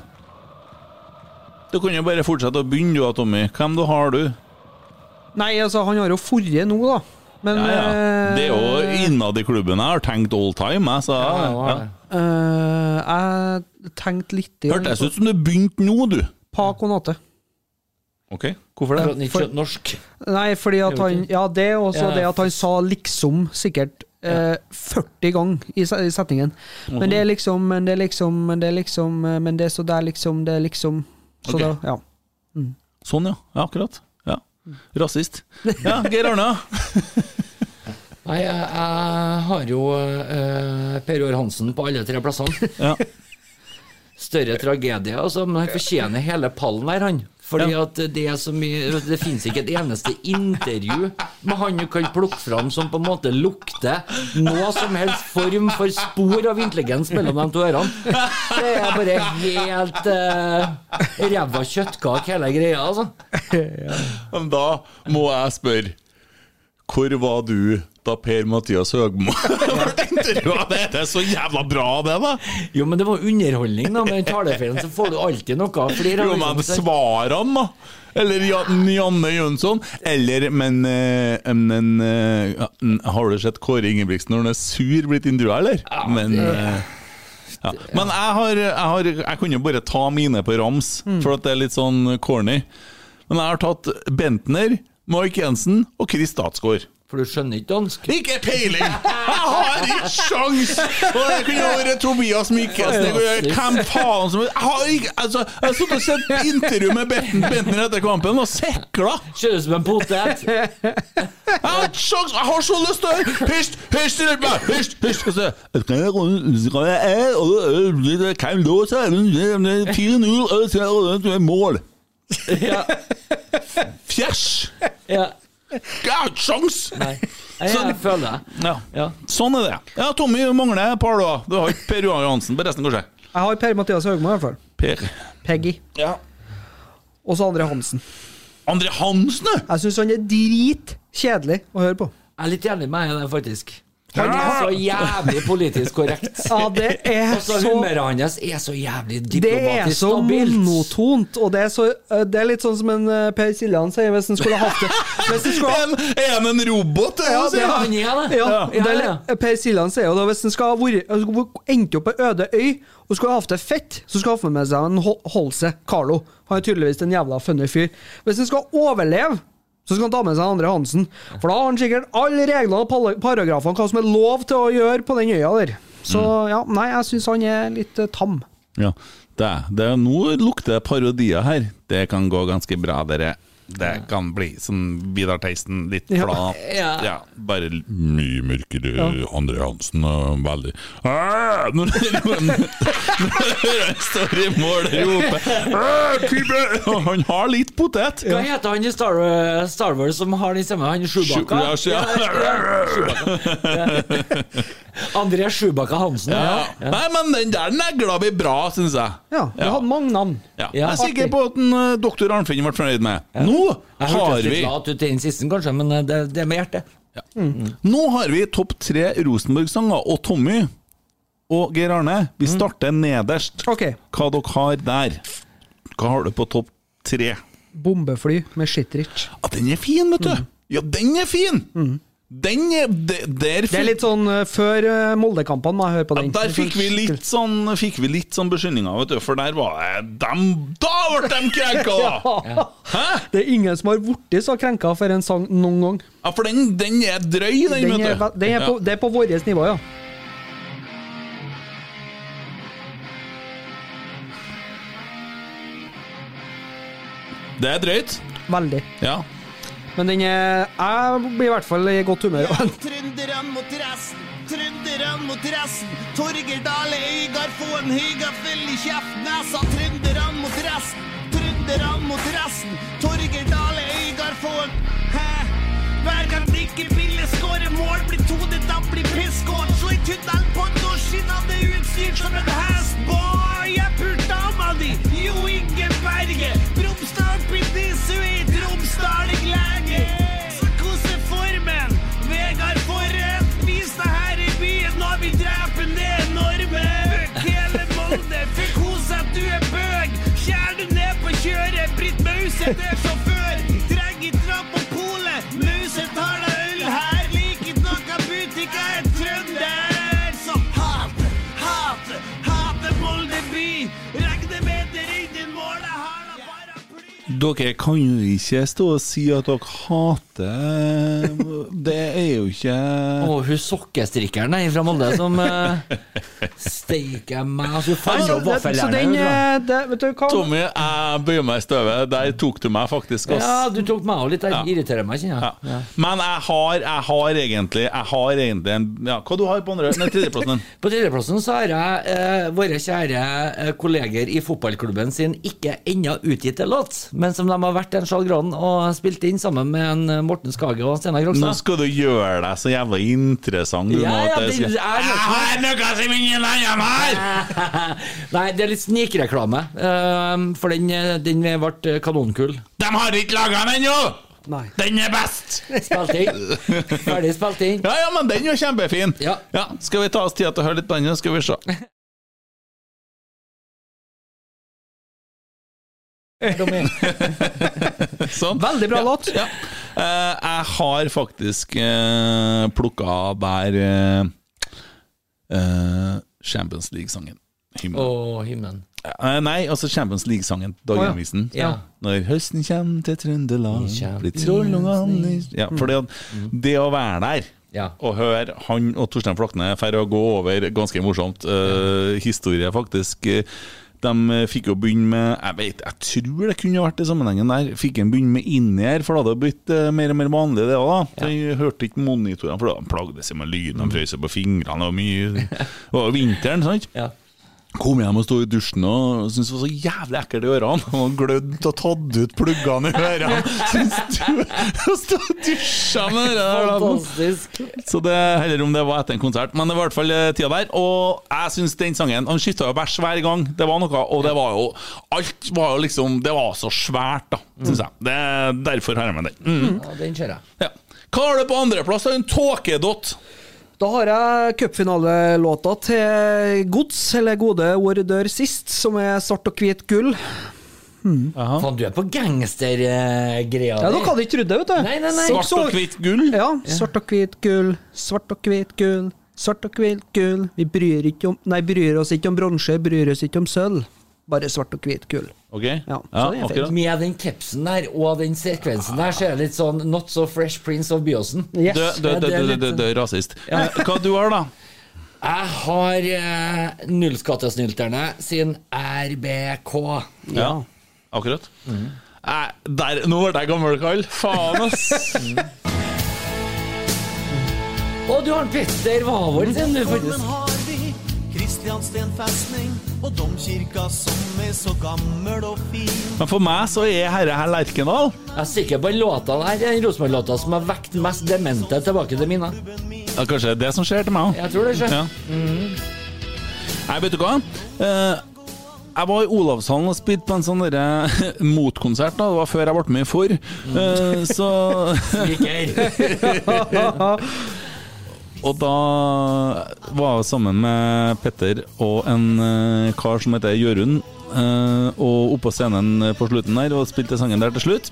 S1: Du kan jo bare fortsette å begynne, du, da, Tommy. Hvem du har du?
S2: Nei, altså, han har jo forrige nå, da. Men
S1: Ja, ja.
S2: eh,
S1: Det er jo innad i klubben. Jeg har tenkt all time, jeg, så ja.
S2: Eh, jeg tenkte litt
S1: Hørtes ut som du begynte nå, du.
S2: Paco Nate.
S1: OK, hvorfor
S4: For at han
S1: det?
S4: ikke skjønte norsk.
S2: Nei, fordi at
S4: Gjorde
S2: han
S4: ikke.
S2: Ja, det og så
S4: Ja,
S2: det at han sa liksom sikkert eh, 40 ganger i se- i setningen. Men
S4: Mhm.
S2: det er liksom, men det er liksom, men det er liksom eh, Men det er så der liksom, det er liksom Så
S1: Ok.
S2: da, ja.
S1: Sånn, ja. ja akkurat. Ja. Rasist. Ja, Geir Arne.
S4: Nei, jeg, jeg har jo eh, Per Jår Hansen på alle tre plassene. Større tragedie, altså. Men han fortjener hele pallen her, han. Fordi at det er så mye Det finnes ikke et eneste intervju med han du kan plukke fram som på en måte lukter noe som helst form for spor av intelligens mellom de to ørene. Det er bare helt uh, ræva kjøttkake, hele greia, altså.
S1: Men da må jeg spørre Hvor var du da Per-Mathias Høgmo ble intervjua? Det er så jævla bra, det, da!
S4: Jo, men det var underholdning, da. Med den talefeilen så får du alltid noe. Fordi det
S1: Jo,
S4: er
S1: men
S4: liksom-
S1: svarene, da! Eller ja- Janne Jønsson. Eller, men, eh, men eh, ja, mm, Har du sett Kåre Ingebrigtsen når han er sur, blitt intervjua, eller? men,
S4: det-
S1: eh, ja. men jeg har, jeg har Jeg kunne jo bare ta mine på rams, for at det er litt sånn corny. Men jeg har tatt Bentner, Mark Jensen og Chris Statsgaard.
S4: For du skjønner ikke dansk?
S1: Ikke peiling! Jeg har ikke sjans! Og det kunne vært Tobias Mikkelsen. det kunne vært Hvem faen som Jeg har ikke Altså, jeg har sittet og sett intervju med Benten- Bentner etter kampen og sekla!
S4: Ser ut som en potet.
S1: Jeg har ikke sjans! Jeg har så lyst til å høre Hysj! Hysj! rundt meg! Hysj! Hysj! Og så Hvem da, sa jeg? 4-0, og så er det mål! Fjæsj!
S4: Ja.
S1: Jeg har ikke sjans!
S4: Nei. Jeg, jeg føler det.
S1: Ja. Sånn er det. Ja, Tommy du mangler et par, da. Du har ikke Per Johan Johansen på resten, kanskje?
S2: Jeg har Per-Mathias Høgmo, i hvert fall.
S1: Per.
S2: Peggy.
S1: Ja.
S2: Og så Andre Hansen.
S1: Andre Hansen, du!
S2: Jeg syns han er dritkjedelig å høre på.
S4: Jeg er litt enig med deg i det, faktisk. Han er så jævlig politisk korrekt.
S2: Ja, det er
S4: Altså,
S2: så
S4: Humøret hans er så jævlig
S2: Det er
S4: diplomatisk
S2: så
S4: stabilt.
S2: monotont, og det er, så, det er litt sånn som en eh, Per Siljan sier hvis han skulle hatt det Hvis han skulle ha
S1: En, en, en robot, det,
S2: Ja,
S1: altså,
S2: det
S4: Ja,
S2: er
S4: han er det.
S2: Ja,
S4: Ja,
S2: det er
S4: ja.
S2: litt- Per Siljan sier jo da hvis han skal ha vært- altså, hvor- endt opp på øde øy og skulle ha hatt det fett, så skal han ha med seg en Hol- Holse, Carlo. Han er tydeligvis en jævla funny fyr. Hvis han skal overleve, så skal han ta med seg Andre Hansen. For da har han sikkert alle reglene og pal- paragrafene hva som er lov til å gjøre på den øya der.
S1: Mm.
S2: Så ja, nei, jeg syns han er litt eh, tam.
S1: Ja, det, det, nå lukter det parodier her. Det kan gå ganske bra, dere. Det kan bli sånn Vidar Theisen, litt
S2: Ja.
S1: flat.
S4: Ja.
S1: bare l- mye mørkere. Andre Hansen og veldig «Æ!» Når han står i mål og roper «Æ, Kibbe!» Og Han har litt potet!
S4: Hva heter han i Star, eh, Star Wars som har den stemmen? Han Sjubakka?
S1: Sju- ja, ja.
S4: André Sjubakka Hansen. Ja.
S1: Ja. Nei, men den der negla blir bra, syns jeg.
S2: Ja, det
S1: Ja.
S2: hadde mange navn.
S1: Ja.
S4: Ja.
S1: Jeg er sikker på at en, eh, doktor Arnfinn ble fornøyd med. Nå
S4: Jeg
S1: har
S4: hørtes
S1: vi
S4: litt lat ut i den siste, kanskje, men eh, det, det er med hjertet.
S1: Nå har vi topp tre Rosenborg-sanger, og Tommy og Geir Arne, vi starter nederst.
S2: Mm. Ok.
S1: Hva dere har der? Hva har du på topp Tre.
S2: Bombefly med Shitrich.
S1: Ja, den er fin, vet du!
S2: Mm.
S1: Ja, den er fin! Den er de, Der
S2: Det er litt sånn eh, før eh, Molde-kampene, må jeg høre på den.
S1: Der fikk vi litt sånn Fikk vi litt sånn beskyldninger, vet du, for der var det dem, Da ble de krenka, da!
S2: Ja. Det er ingen som har blitt så krenka for en sang noen gang.
S1: Ja, for den, den er drøy, den,
S2: Den
S1: vet
S2: er,
S1: du.
S2: ve- den er på,
S1: Ja.
S2: det er på vårt nivå, ja.
S1: Det er drøyt.
S2: Veldig.
S1: Ja.
S2: Men den er Jeg blir i hvert fall i godt humør. av den.
S9: Trønderne mot resten, trønderne mot resten. Torger Dale Øygard får en høygafel i kjeften. Jeg sa trønderne mot resten, trønderne mot resten. Torger Dale Øygard får en Hæ? Hver gang Nikke Bille skårer mål, blir tonet da blir pissgård. Slå i tunnel på et år siden han er utstyrt som en hest. Boy, jeg pultama di, Jo Inge Berge. Bromsdal blir nissevidt, Romsdaling lenge. Så koser formen. Vegard Forren, vis deg her i byen. Nå vil drepe ned normen. Fuck hele Molde, fikk hos at du er bøg. Skjær du ned på kjøret. Britt Mauseth er sjåfør. Trenger ikke dra på polet. Mauseth har da øl her. Liker noe butikk, jeg er trønder. Så hat, hat, hater Molde by. Regner med dere innen målet har
S1: Dere kan jo ikke stå og si at dere hater Det er jo ikke
S4: Og hun sokkestrikkeren der fra Molde som eh, steiker meg Altså, og så faller opp
S2: Så så den
S4: vaffeljernet.
S2: eh, det, Vet du hva?
S1: Tommy, jeg bøyer meg i støvet. Der tok du meg faktisk, ass.
S4: Ja, du tok meg òg litt. Jeg irriterer meg, kjenner jeg. Ja.
S1: Men jeg har, jeg har egentlig Jeg har egentlig en ja, Hva du har på andre Nei, tredjeplassen din?
S4: På tredjeplassen så har jeg eh, våre kjære eh, kolleger i fotballklubben sin ikke ennå utgitte låt, men som de har vært en Skjalg Gran og spilt inn sammen med en eh, Morten Skage og Steinar
S1: Nå
S4: Krogstad.
S1: skal du gjøre deg så jævla interessant. Du,
S4: Ja,
S1: nå, at
S4: ja,
S1: jeg skal-
S4: det er-
S1: Jeg har noe som ingen andre
S4: har! Nei, det er litt snikreklame, eh, for den, eh, den ble kanonkul.
S1: De har ikke laga den ennå! Den er best!
S4: Spilt inn. Ferdig spilt inn.
S1: Ja, ja, men den er jo kjempefin. Ja, skal vi ta oss tid til å høre litt på den, skal vi se. sånn.
S2: Veldig bra låt.
S1: Ja. Eh, jeg har faktisk uh, plukka der eh, eh, Champions League-sangen. Himmelen.
S4: Åh, himmelen.
S1: Eh, nei, altså Champions League-sangen.
S4: Å, ja.
S1: Dagenavisen.
S4: Ja.
S1: Når høsten kommer til Trøndelag blir troll og annis- Ja, for det, det å være der og høre han og Torstein Flakne færre å gå over ganske morsomt eh, historie, faktisk. Eh, De eh, fikk jo begynne med Jeg vet, jeg tror det kunne vært i sammenhengen der. Fikk en begynne med Innier, for det hadde blitt eh, mer og mer vanlig, det òg. Ja. De hørte ikke monitorene, for de plagde seg med lyden, de frøs seg på fingrene og mye. Det var jo vinteren, sant? Kom hjem og sto i dusjen og syntes det var så jævlig ekkelt i ørene. Han var glødd og tatt ut pluggene i ørene. Syntes du å stå og dusje med det der? da.
S4: Fantastisk.
S1: Så det heller om det var etter en konsert. Men det var i hvert fall eh, tida der. Og jeg syns den sangen Han skytta jo bæsj hver gang. Det var noe, og det var jo Alt var jo liksom Det var så svært, da, syns jeg. Det er derfor har jeg med den. Mm.
S4: Ja, den kjører jeg.
S1: Hva har du på andreplass? da? En tåkedott?
S2: Da har jeg cupfinalelåta til Gods, eller Gode ord dør sist, som er svart og hvit gull.
S4: Faen, du er på gangstergreia
S2: Ja, Dere hadde ikke trodd det, vet du.
S4: Nei, nei, nei.
S2: Så-
S4: Svart og
S1: hvitt gull?
S2: Ja. Svart og hvitt gull, svart og hvitt gull, svart og hvitt gull. Vi bryr, ikke om, nei, bryr oss ikke om bronse, bryr oss ikke om sølv. Bare svart og hvitt gull.
S1: Ok? Ja,
S2: så det er fint.
S4: Med den capsen der og den sekvensen der, så er det litt sånn Not so fresh Prince of Byåsen.
S1: Du, du, du, du, du, du,
S2: sånn-
S1: du er rasist. Eh, Hva du har da?
S4: Jeg har eh, Nullskattesnylterne sin RBK.
S1: Ja, Mm. akkurat. Nei, der, nå ble jeg gammel, Karl. Faen, ass!
S4: Og du har en Petter Wavold sin, du,
S9: Holmen
S4: faktisk.
S9: har vi Kristiansten festning og domkirka som er så gammel og fin.
S1: Men for meg så er herre her Lerkendal.
S4: Jeg er sikker på at låta der er den Rosenborg-låta som har vekt mest demente tilbake til minner.
S1: Ja, kanskje det er det som skjer til meg òg.
S4: Jeg tror det skjer. Mm.
S1: Ja. Nei, vet du hva? Eh, jeg var i Olavshallen og spilte på en sånn derre motkonsert. da Det var før jeg ble med i FOR. Eh,
S4: Mm.
S1: så Og da var jeg sammen med Petter og en eh, kar som heter Jørund, eh, og oppå scenen på slutten der, og spilte sangen der til slutt.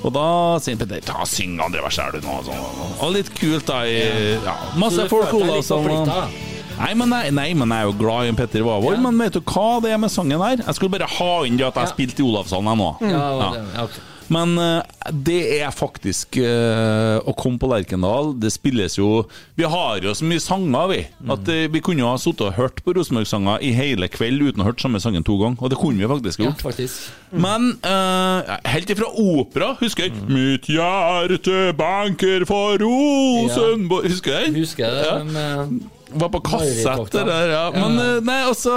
S1: Og da sier Petter Ta syng andre vers her, du, nå. Sånn. Og litt kult, da. I, ja.
S4: Så
S1: Masse
S4: du
S1: folk,
S4: følte deg
S1: Ola,
S4: litt
S1: som eh,
S4: forpliktet?
S1: Nei men, nei, nei, men jeg er jo glad i en Petter Wavold, men vet du hva det er med sangen her? Jeg skulle bare ha inn det at jeg spilte i Olavshallen, jeg nå.
S4: Ja, det var det.
S1: Ja. Men eh, det er faktisk eh, å komme på Lerkendal Det spilles jo Vi har jo så mye sanger, vi.
S4: Mm.
S1: At eh, Vi kunne jo ha sittet og hørt på Rosenborg-sanger i hele kveld uten å ha hørt samme sangen to ganger. Og det kunne vi faktisk ha
S4: Ja,
S1: gjort.
S4: faktisk. Mm.
S1: Men eh, helt ifra opera, husker jeg. Mitt hjerte banker for Rosenborg Husker jeg?
S4: Husker det,
S1: Ja.
S4: men, eh,
S1: Var på kassett, det
S4: Marerittvakta.
S1: der, ja. Men
S4: Ja.
S1: eh, nei, og så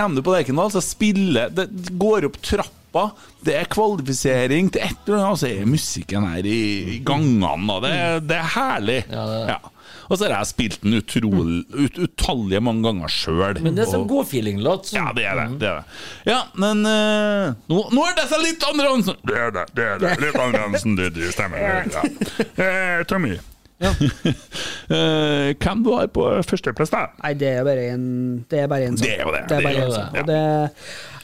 S1: kommer du på Lerkendal, så spiller Det går opp trappa, det er kvalifisering til et eller annet, og så er musikken her i, i gangene, og det, det er herlig. Ja. Og så har jeg spilt den utrolig, ut, utallige mange ganger sjøl.
S4: Men det er sånn
S1: Og-
S4: godfeeling-låt.
S1: Ja, det er det.
S4: Mm.
S1: det, er det. Ja, men eh, nå, nå er det seg litt andre Hansen! Det er det, det er det. Litt andre Hansen, det, det stemmer. Ja. Eh, Tommy. Eh, hvem du har på førsteplass, da?
S2: Nei, det er bare en Det er bare en sang.
S1: Det er jo det,
S2: Det er
S1: det er
S2: bare
S1: jo
S2: en
S1: det.
S2: sang. Og det,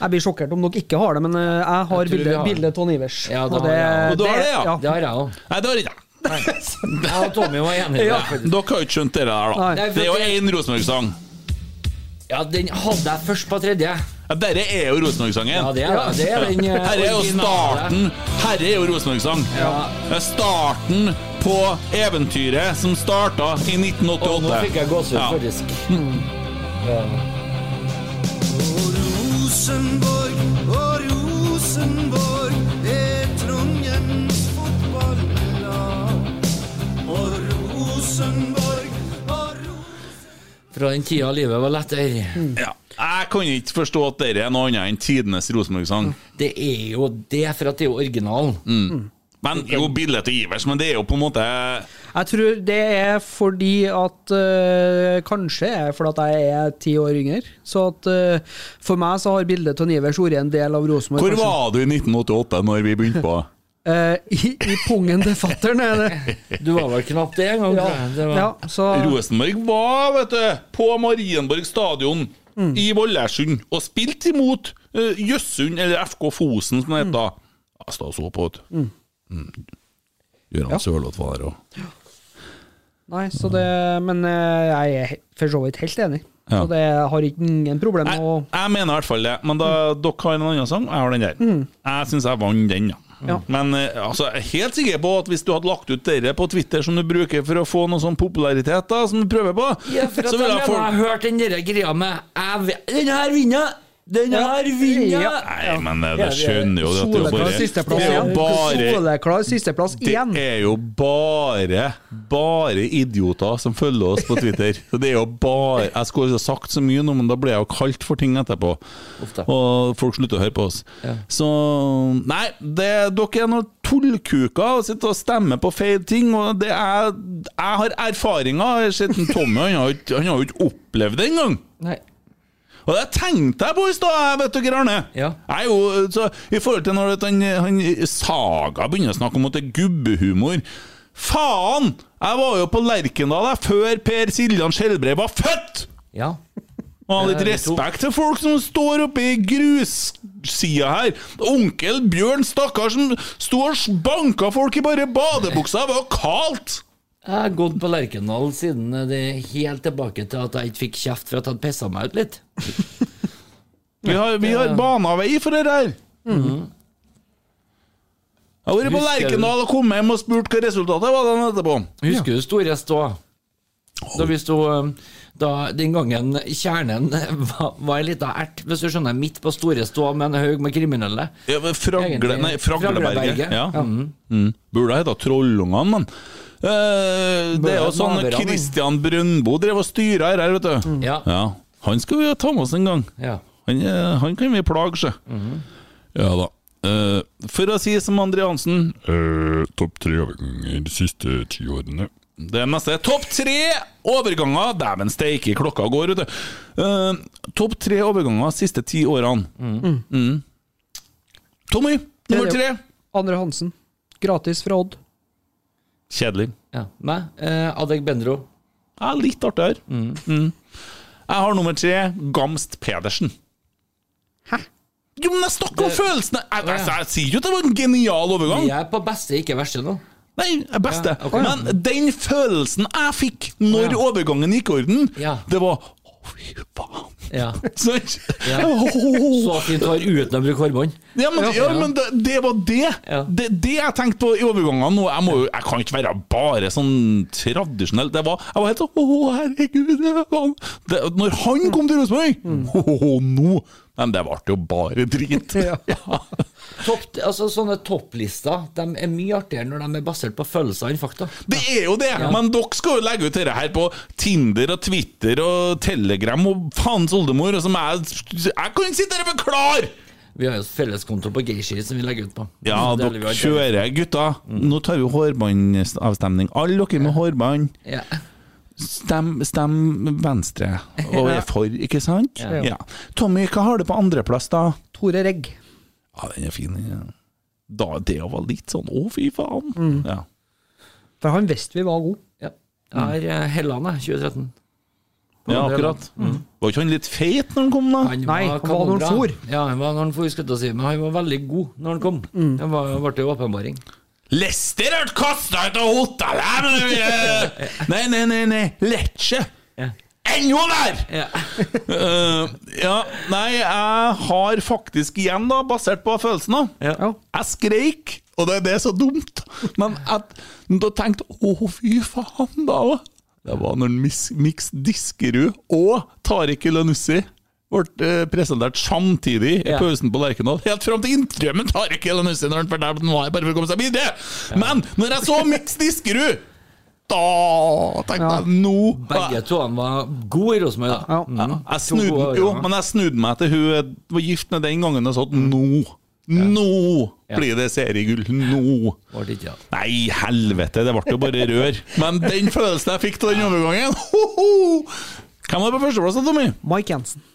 S2: jeg blir sjokkert om dere ikke har det, men eh, jeg har
S1: Jeg tror vi
S2: bildet
S1: har
S2: bildet av Ton Ivers.
S4: Ja, det
S2: Og
S4: har jeg også.
S1: Og du har det, ja?
S2: ja.
S1: Det
S4: har jeg òg.
S1: Nei, det har ikke jeg.
S4: Jeg og Tommy var enige.
S1: Ja.
S4: der, faktisk.
S1: Dere har jo ikke skjønt det der,
S4: Nei.
S1: da. Det er jo én Rosenborg-sang.
S4: Ja, den hadde jeg først på tredje.
S1: Ja, Dette er jo Rosenborg-sangen.
S4: Ja, det er det. Det er den, eh,
S1: Her er jo
S4: originale.
S1: starten. Her er jo Rosenborg-sang.
S4: Ja.
S1: Det er starten på eventyret som starta i 1988.
S4: Og nå fikk jeg gåsehud,
S1: Ja.
S4: faktisk.
S9: Rosenborg, og Rosenborg er Trondheims fotballag. Og Rosenborg, og
S4: Fra den tida livet var lettere.
S1: Ja. Jeg kan ikke forstå at dette er noe annet enn tidenes Rosenborg-sang.
S4: Det er jo det, for at det er jo originalen.
S1: Mm. Men jo, bildet til Ivers, men det er jo på en måte
S2: Jeg tror det er fordi at eh, Kanskje er fordi at jeg er ti år yngre. Så at eh, for meg så har bildet av Ivers vært en del av Rosenborg.
S1: Hvor
S2: kanskje.
S1: var du i 1988 når vi begynte på?
S2: Eh, i, I pungen til fattern, er det.
S4: Du var vel knapt det engang.
S2: Ja.
S4: tror jeg. Det var-
S2: Ja, så
S1: Rosenborg var vet du, på Marienborg stadion
S2: Mm.
S1: i Vollersund og spilte imot eh, Jøssund, eller FK Fosen, som det het da. Jeg stod og så på, vet du.
S2: Mm.
S1: Gøran Sørloth var der òg.
S2: Nei, så det Men eh, jeg er he- for så vidt helt enig.
S1: Ja.
S2: Så det jeg har ikke ingen problem med å
S1: Jeg mener i hvert fall det, men da, dere har en annen sang, og jeg har den der.
S2: Mm.
S1: Jeg syns jeg vant den, ja.
S2: Ja.
S1: Men eh, altså, jeg er helt sikker på at hvis du hadde lagt ut dette på Twitter som du bruker for å få noe sånn popularitet, da, som du prøver på,
S4: Ja, for at
S1: så ville
S4: jeg mener, jeg
S1: jeg folk
S4: har hørt den der greia med jeg vet- Den her vinner! Den her vinner!
S2: Ja.
S1: Nei, men eh, du skjønner jo det at det er jo
S2: Soleklar
S1: bare
S2: sisteplass
S1: Det er
S2: igjen.
S1: jo bare
S2: Soleklar sisteplass
S1: det
S2: igjen.
S1: er jo bare bare idioter som følger oss på Twitter. Så det er jo bare Jeg skulle ha sagt så mye nå, men da ble jeg jo kalt for ting etterpå. Og folk slutter å høre på oss. Så Nei, det, dere er noen tullkuker og sitter og stemmer på feil ting. Og det er, jeg har erfaringer. Jeg har sett en Tommy, han har jo ikke- han har jo ikke opplevd det engang.
S4: Nei.
S1: Og det tenkte jeg på i stad, jeg, vet dere, Arne. Jeg er jo, så, I forhold til når at han, han Saga begynner å snakke om at det er gubbehumor. Faen! Jeg var jo på Lerkendal jeg, før Per Siljan Skjelbreid var født!
S4: Ja.
S1: Og
S4: Det
S1: ha
S4: er
S1: litt
S4: vi to.
S1: respekt til folk som står oppe i grussida her. Onkel Bjørn, stakkar, som sto og banka folk i bare badebuksa. Det var jo kaldt!
S4: Jeg har gått på Lerkendal siden det helt tilbake til at jeg ikke fikk kjeft for at jeg hadde pissa meg ut litt.
S1: Vi har, vi har bana vei for det der. Jeg har vært på
S4: Husker du-
S1: Lerkendal og kommet hjem og spurt hva resultatet var den etterpå.
S4: Husker du Store Stå? Da vi sto um, da, Den gangen kjernen var, var ei lita ert, hvis du skjønner, midt på Store Stå med en haug med kriminelle.
S1: Ja, men Fragle,
S4: Egentlig-
S1: nei, Fragleberget.
S4: Fragleberget,
S1: Ja.
S4: ja.
S1: Mm. Mm. Burde ha heta Trollungene, men eh, Det er jo
S4: Burde hete
S1: sånn
S4: Maverane.
S1: Kristian Brøndbo drev og styra her, her, vet du.
S4: Ja.
S1: Han skal vi jo ta med oss en gang.
S4: Ja.
S1: Han, eh, han kan vi plage, sjø.
S4: Mhm.
S1: Ja da. Eh, for å si som André Hansen Eh, Topp tre overganger de siste ti årene. Det neste. Topp tre overganger! Dæven steike, klokka går, vet du. Eh, Topp tre overganger de siste ti årene.
S2: Mm.
S1: Mm. Tommy, nummer
S2: Det er
S1: tre.
S2: det. Andre Hansen. Gratis fra Odd.
S1: Kjedelig.
S4: Ja. Meg? Eh, Adek Bendro.
S1: Ja, Mm. litt artigere. Mm. Jeg har nummer tre, Gamst Pedersen. Jo, men jeg snakker om
S4: Det-
S1: følelsene! Jeg,
S4: Å, ja.
S1: jeg, jeg, sier jo at det var en genial overgang.
S4: Vi er på beste, ikke verste nå.
S1: Nei, jeg er beste.
S4: Ja, ok.
S1: Men den følelsen jeg fikk når
S4: Ja.
S1: overgangen gikk i orden, det var Å, fy
S4: Ja.
S1: faen! Sant?
S4: Ja.
S1: Så
S4: Så fint hår uten å bruke hårbånd.
S1: Ja, men, ja, men det, det var det. det. Det jeg tenkte på i overgangene nå Jeg, må, jo- jeg kan ikke være bare sånn tradisjonell. Det var, jeg var helt sånn Å, herregud! det var han». Det, når han kom til Rosenborg
S4: Mm.
S1: «Å, nå! Men det ble jo bare drit.
S4: Topp, altså, sånne topplister de er mye artigere når de er basert på følelser enn fakta.
S1: Det er jo det! Men dere skal jo legge ut dette her på Tinder og Twitter og Telegram og faens oldemor, og som jeg Jeg kan ikke sitte her og forklare!
S4: Vi har jo et felleskonto på Geishi som vi legger ut på.
S1: Ja,
S4: Det deler vi
S1: dere
S4: alt.
S1: kjører, gutta. Nå tar vi hårbåndavstemning. Alle dere med hårbånd.
S4: Mm. Ja.
S1: Stem, stem venstre og
S4: Ja.
S1: er for, ikke sant?
S4: Ja.
S1: Ja. Tommy, hva har du på andreplass, da?
S2: Tore Regg.
S1: Ja, den er fin. den, Ja. Da, det var litt sånn å, fy faen.
S4: Mm.
S1: Ja.
S2: For han visste vi var gode.
S4: Jeg har eh, Helland, jeg, 2013.
S1: ja, akkurat. Mm. Var ikke han litt feit når han kom, da?
S4: Han var kanonbra. Ja, han var når han for, skulle jeg til å si. Men han var veldig god når han kom. Det var, ble jo åpenbaring.
S1: Lester ble kasta ut av hotellet! men det ville- Nei, nei, nei, nei. Lecce! Ennå der!
S4: Ja.
S1: Eh, ja, nei, jeg har faktisk igjen, da, basert på følelsen, da. Jeg skreik, og det, det er så dumt, men at, da tenkte jeg å, fy faen, da. Det var når Mis- Mix Diskerud og Tariq Elanussi ble eh, presentert samtidig i
S10: Ja.
S1: pausen på Lerkendal. Helt fram til intervjuet med Tariq Elanussi, når han fortalte at han var her bare for å komme seg videre. Men når jeg så Mix Diskerud, da tenkte jeg nå
S4: Begge to han var gode i Rosenborg, da. Mm.
S1: jeg
S4: To gode
S1: snudde, jo,
S4: overganger.
S1: men jeg snudde meg til hun eh, var gift med den gangen og sa at nå Nå
S4: Ja.
S1: blir det seriegull! Nå! Nei, helvete, det ble jo bare rør. Men den følelsen jeg fikk av den overgangen ho, ho. Hvem var på førsteplass, da, Tommy?
S2: Mike Jensen.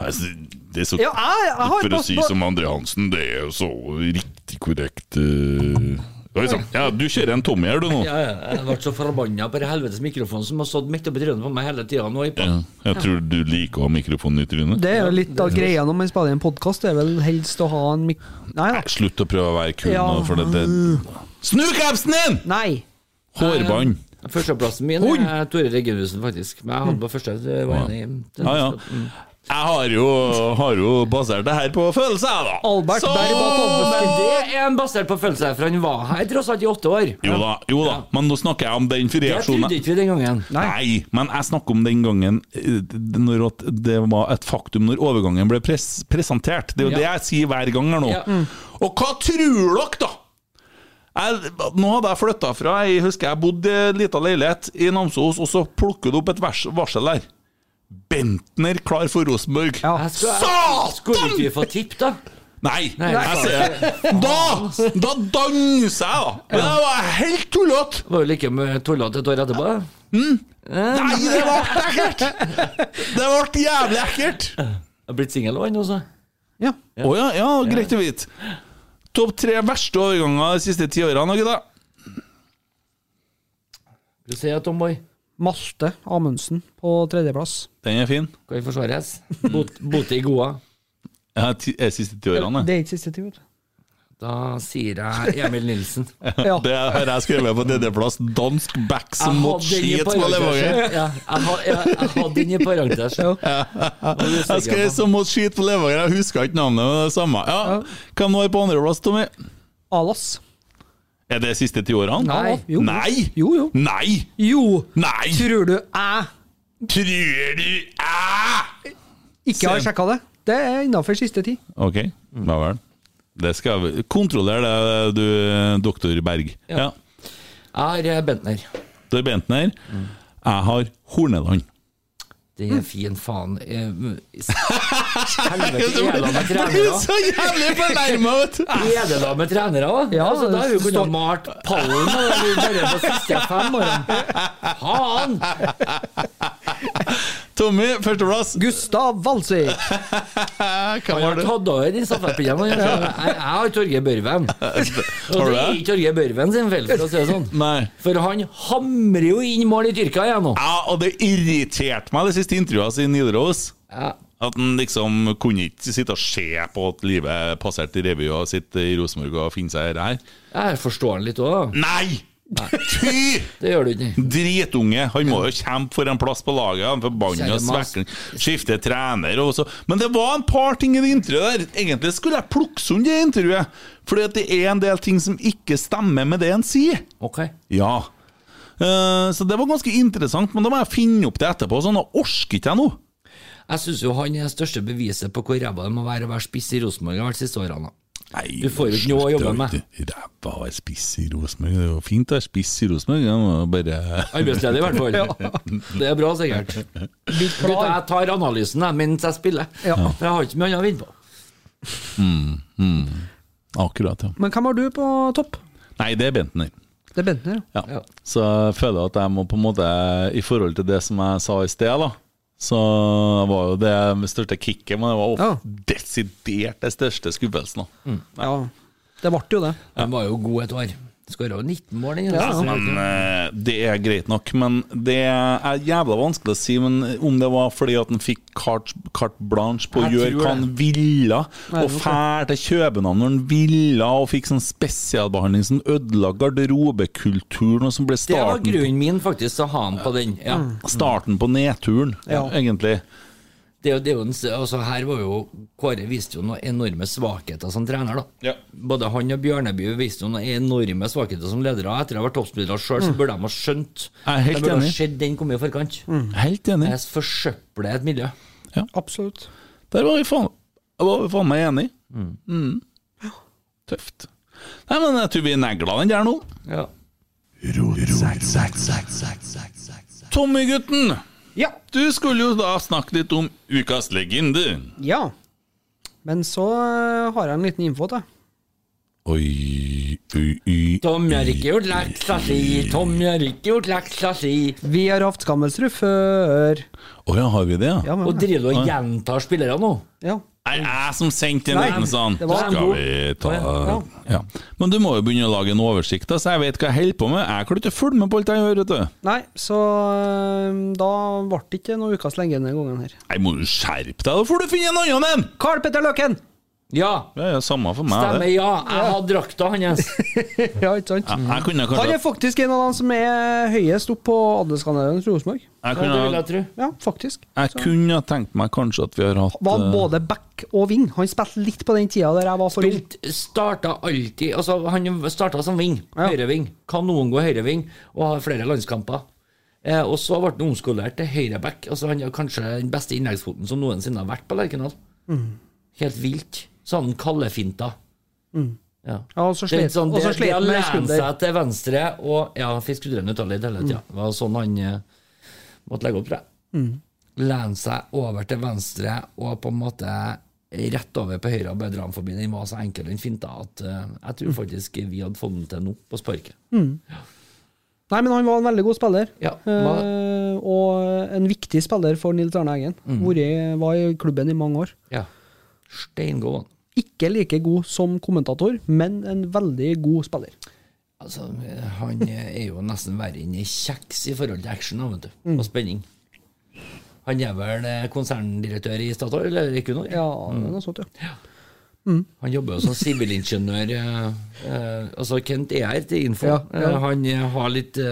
S1: Altså, det er så
S2: Ja, jeg- jeg har
S1: For å
S2: på-
S1: si
S2: på-
S1: som Andre Hansen, det er jo så riktig korrekt eh. Oi sann. Ja, du kjører en Tommy her, du nå.
S4: Ja, ja, jeg ble så forbanna på den helvetes mikrofonen som har stått midt oppi trynet på meg hele tida nå. i
S1: Ja, jeg tror du liker å ha mikrofonen i trynet.
S2: Det er jo litt av greia når man spiller en podkast, det er vel helst å ha en mik... Nei da.
S1: Slutt å prøve å være kul
S2: Ja.
S1: nå, for det, det Snu capsen din!
S2: Nei!
S4: Eh,
S1: Hårbånd.
S4: Førsteplassen min er Tore Reginussen, faktisk. Men jeg hadde på første. Det var enig. i.
S1: Ja, ja.
S4: Mm.
S1: Jeg har jo, har jo basert det her på følelser, jeg, da.
S4: Albert
S1: Så-
S4: Det er en basert på følelser, for han var her tross alt i åtte år.
S1: Jo da, jo da, men nå snakker jeg om den reaksjonen.
S4: Det trodde ikke vi den gangen.
S1: Nei. men jeg snakker om den gangen eh, når at det var et faktum når overgangen ble pres presentert. Det er jo
S10: Ja.
S1: det jeg sier hver gang her nå.
S10: Ja. Mm.
S1: Og hva tror dere, da? Jeg, nå hadde jeg flytta fra Jeg husker jeg bodde i en liten leilighet i Namsos, og så plukker du opp et vers varsel der. Bentner klar for Rosenborg.
S4: Jeg skulle-
S1: Satan!
S4: Skulle ikke vi få tipp, da?
S1: Nei!
S4: Nei,
S1: jeg
S4: faen.
S1: ser Da, da danser jeg, da! Men det var helt tullete!
S4: Var jo like med tullete et år etterpå. da.
S1: Nei, det var ekkelt! Det ble jævlig ekkelt!
S4: Jeg har blitt singel òg, han også.
S2: Ja.
S1: Å ja, ja, greit å vite. Topp tre verste overganger de siste ti årene, gutta.
S4: Du sier jeg, Tomboy.
S2: Malte Amundsen på tredjeplass.
S1: Den er fin.
S4: Kan forsvares. Bot, bote i goa.
S1: Ja, ti, eh, siste ti årene.
S2: Det er ikke siste tid, vet du.
S4: Da sier jeg Emil Nilsen.
S1: Det har jeg skrevet på tredjeplass. Dansk back
S4: Jeg
S1: som måtte
S4: hadde ingen
S1: skite på
S4: parentes,
S1: Levanger.
S4: Ja, jeg, ha- jeg, jeg hadde den i parentes.
S1: Jeg skrev som måtte skite på Levanger, jeg husker ikke navnet, men det er det samme. Ja. Hvem var på andreplass, Tommy?
S2: Alas.
S1: Er det siste ti årene?
S2: Nei. Jo.
S1: Nei!
S2: Jo, jo.
S1: Nei!
S2: Jo!
S1: Nei!
S2: Tror du jeg
S1: Tror du
S2: ikke har sjekka det? Det er innafor siste tid.
S1: Ok, ja vel. Det skal vi Kontroller det, du doktor Berg. Ja.
S4: Jeg har Bentner.
S1: Du er Bentner. Jeg har Horneland.
S4: Det er fin faen. Eh, Helvete, er det med
S1: Du er så
S4: trenere?
S1: jævlig fornærma, vet du!
S4: Er det da med trenere òg?
S2: Ja,
S4: altså, da har vi
S2: det står-
S4: kunnet malt pallen og det blir bare på siste fem årene. Faen!
S1: Tommy, førsteplass.
S2: Gustav Walsvik.
S4: Han har tatt over de stafettpinnene. han. Jeg jeg har Torgeir Børven. Og
S1: Har du
S4: det er
S1: det?
S4: ikke Torgeir Børven sin feil, for å si det sånn.
S1: Nei.
S4: For han hamrer jo inn mål i Tyrkia igjen nå.
S1: Ja, og det irriterte meg, det siste intervjuet hans i Nidaros. At han liksom kunne ikke sitte og se på at livet passerte i revy og sitte i Rosenborg og finne seg i det her.
S4: Jeg forstår han litt òg,
S1: da. Nei! Fy!
S4: Det gjør du ikke.
S1: Dritunge! Han må jo kjempe for en plass på laget. Han forbanna
S4: Kjære mas.
S1: svekker Skifter trener og så Men det var en par ting i det intervjuet der. Egentlig skulle jeg plukke sund det intervjuet, Fordi at det er en del ting som ikke stemmer med det han sier.
S4: Ok.
S1: Ja. Eh, så det var ganske interessant, men da må jeg finne opp det etterpå. Sånn, da orker ikke jeg nå.
S4: Jeg syns jo han er det største beviset på hvor ræva det må være å være spiss i Rosenborg de siste årene. da. du får jo ikke noe å jobbe med.
S1: Ræva er spiss i Rosenborg. Det er jo fint å være spiss i Rosenborg, jeg må bare
S4: Arbeidsledig, i hvert fall. Det er bra, sikkert. Gutta, jeg tar analysen jeg, mens jeg spiller, for jeg har ikke mye annet å vinne på.
S1: Mm, mm. Akkurat, ja.
S2: Men hvem har du på topp?
S1: Nei, det er Bentner.
S2: Det er Bentner,
S1: ja. Så jeg føler at jeg må på en måte I forhold til det som jeg sa i sted, da så var jo det største kicket, men det var jo desidert det største skuffelsen. da.
S4: Mm.
S2: Ja, det ble jo det.
S4: Han var jo god et år. Skåra jo 19 mål, den.
S1: Ja, men eh, Det er greit nok, men det er jævla vanskelig å si men om det var fordi at han fikk carte, carte blanche på å
S4: Jeg
S1: gjøre
S4: tror
S1: hva
S4: det.
S1: han ville,
S4: Nei,
S1: og
S4: det
S1: fær til København når han ville, og fikk sånn spesialbehandling som ødela garderobekulturen, og som ble
S4: Det var
S1: starten Mm. på-
S4: grunnen min, faktisk, til å ha han på den. Ja.
S1: Starten på nedturen,
S4: Ja.
S1: egentlig.
S4: Det, er jo- det er jo en, s- altså, her var jo Kåre viste jo noen enorme svakheter som trener. da Både han og Bjørneby viste jo noen enorme svakheter som ledere. Etter å ha vært toppspillere sjøl, så
S1: Mm.
S4: burde de ha skjønt.
S1: Jeg er helt
S4: de burde ha
S1: enig. Mm.
S4: sett den komme i forkant.
S1: Helt enig.
S4: Jeg forsøpler et miljø.
S1: Ja.
S2: Absolutt.
S1: Der var vi faen, der var vi faen meg enige. Mm. Tøft. Nei, men jeg tror vi negla den der nå.
S4: Ja.
S1: Tommy-gutten! Du skulle jo da snakke litt om ukas legende.
S2: Ja. Men så eh, har jeg en liten info til.
S1: Oi, oi, oi
S4: Tommy har ikke gjort leksa si, Tommy har ikke gjort leksa si.
S2: Vi har hatt Skammelsrud før.
S1: Å ja, har vi det?
S2: Ja, men-
S4: Og driver du og
S2: Ja.
S4: gjentar spillere nå?
S2: Ja.
S1: Nei, jeg som sendte en
S2: Nei,
S1: liten sånn
S2: det var en
S1: Skal
S2: god-
S1: vi ta ja.
S2: Ja.
S1: Men du må jo begynne å lage en oversikt, da, så jeg vet hva jeg holder på med. Jeg klarer ikke å følge med på alt jeg gjør, vet du.
S2: Nei, så eh, da ble det ikke noe ukas lenge denne gangen her.
S1: Nei, må du skjerpe deg, da får du finne en annen en!
S2: Karl Petter Løkken!
S4: Ja.
S1: Det er samme for meg,
S4: Stemmer,
S1: det.
S4: ja. Jeg hadde drakta hans.
S2: ja, ikke sant?
S1: Jeg, jeg kunne
S2: Han
S1: kanskje
S2: er faktisk en av dem som er høyest opp på adelskanalen til Rosenborg.
S1: Jeg kunne- Ja, det vil jeg
S4: tro.
S2: Ja, faktisk.
S1: Jeg kunne ha tenkt meg kanskje at vi har hatt
S2: Var
S1: eh,
S2: både back og wing. Han spilte litt på den tida der jeg var for ung.
S4: Starta alltid altså Han starta som ving. Høyreving. Kanongod høyreving. Og har flere landskamper. Eh, og så ble han omskolert til høyreback. Altså han har kanskje den beste innleggsfoten som noensinne har vært på Lerkendal.
S2: Mm.
S4: Helt vilt. Sånn kallefinta.
S2: Mm.
S4: Ja.
S2: Ja, og så
S4: Det er
S2: slet-
S4: litt sånn,
S2: og
S4: det,
S2: så slet
S4: det å
S2: han med
S4: lene
S2: skulder.
S4: seg til venstre og Ja, han fikk skuldrene utallet hele tida. Det var sånn han eh, måtte legge opp, tror jeg.
S2: Mm.
S4: Lene seg over til venstre og på en måte rett over på høyre og bedre han forbi. Den var så enkel, den finta, at eh, jeg tror faktisk vi hadde fått den til nå, på sparket.
S2: Mm. Nei, men han var en veldig god spiller.
S4: hva-
S2: Eh, og en viktig spiller for Nils Arne Eggen.
S4: Mm.
S2: Hvor jeg var i klubben i mange år.
S4: Ja. Steingod.
S2: Ikke like god som kommentator, men en veldig god spiller.
S4: Altså, eh, han eh, er jo nesten verre enn ei kjeks i forhold til action da, vet du,
S2: Mm.
S4: og spenning. Han er vel eh, konserndirektør i Statoil, eller Equinor?
S2: Ja, det
S4: Mm.
S2: er noe sånt,
S4: ja.
S2: Mm.
S4: Han jobber jo som sivilingeniør. eh, eh, altså, Kent er her til info.
S2: Ja, ja.
S4: Eh, han eh, har litt eh,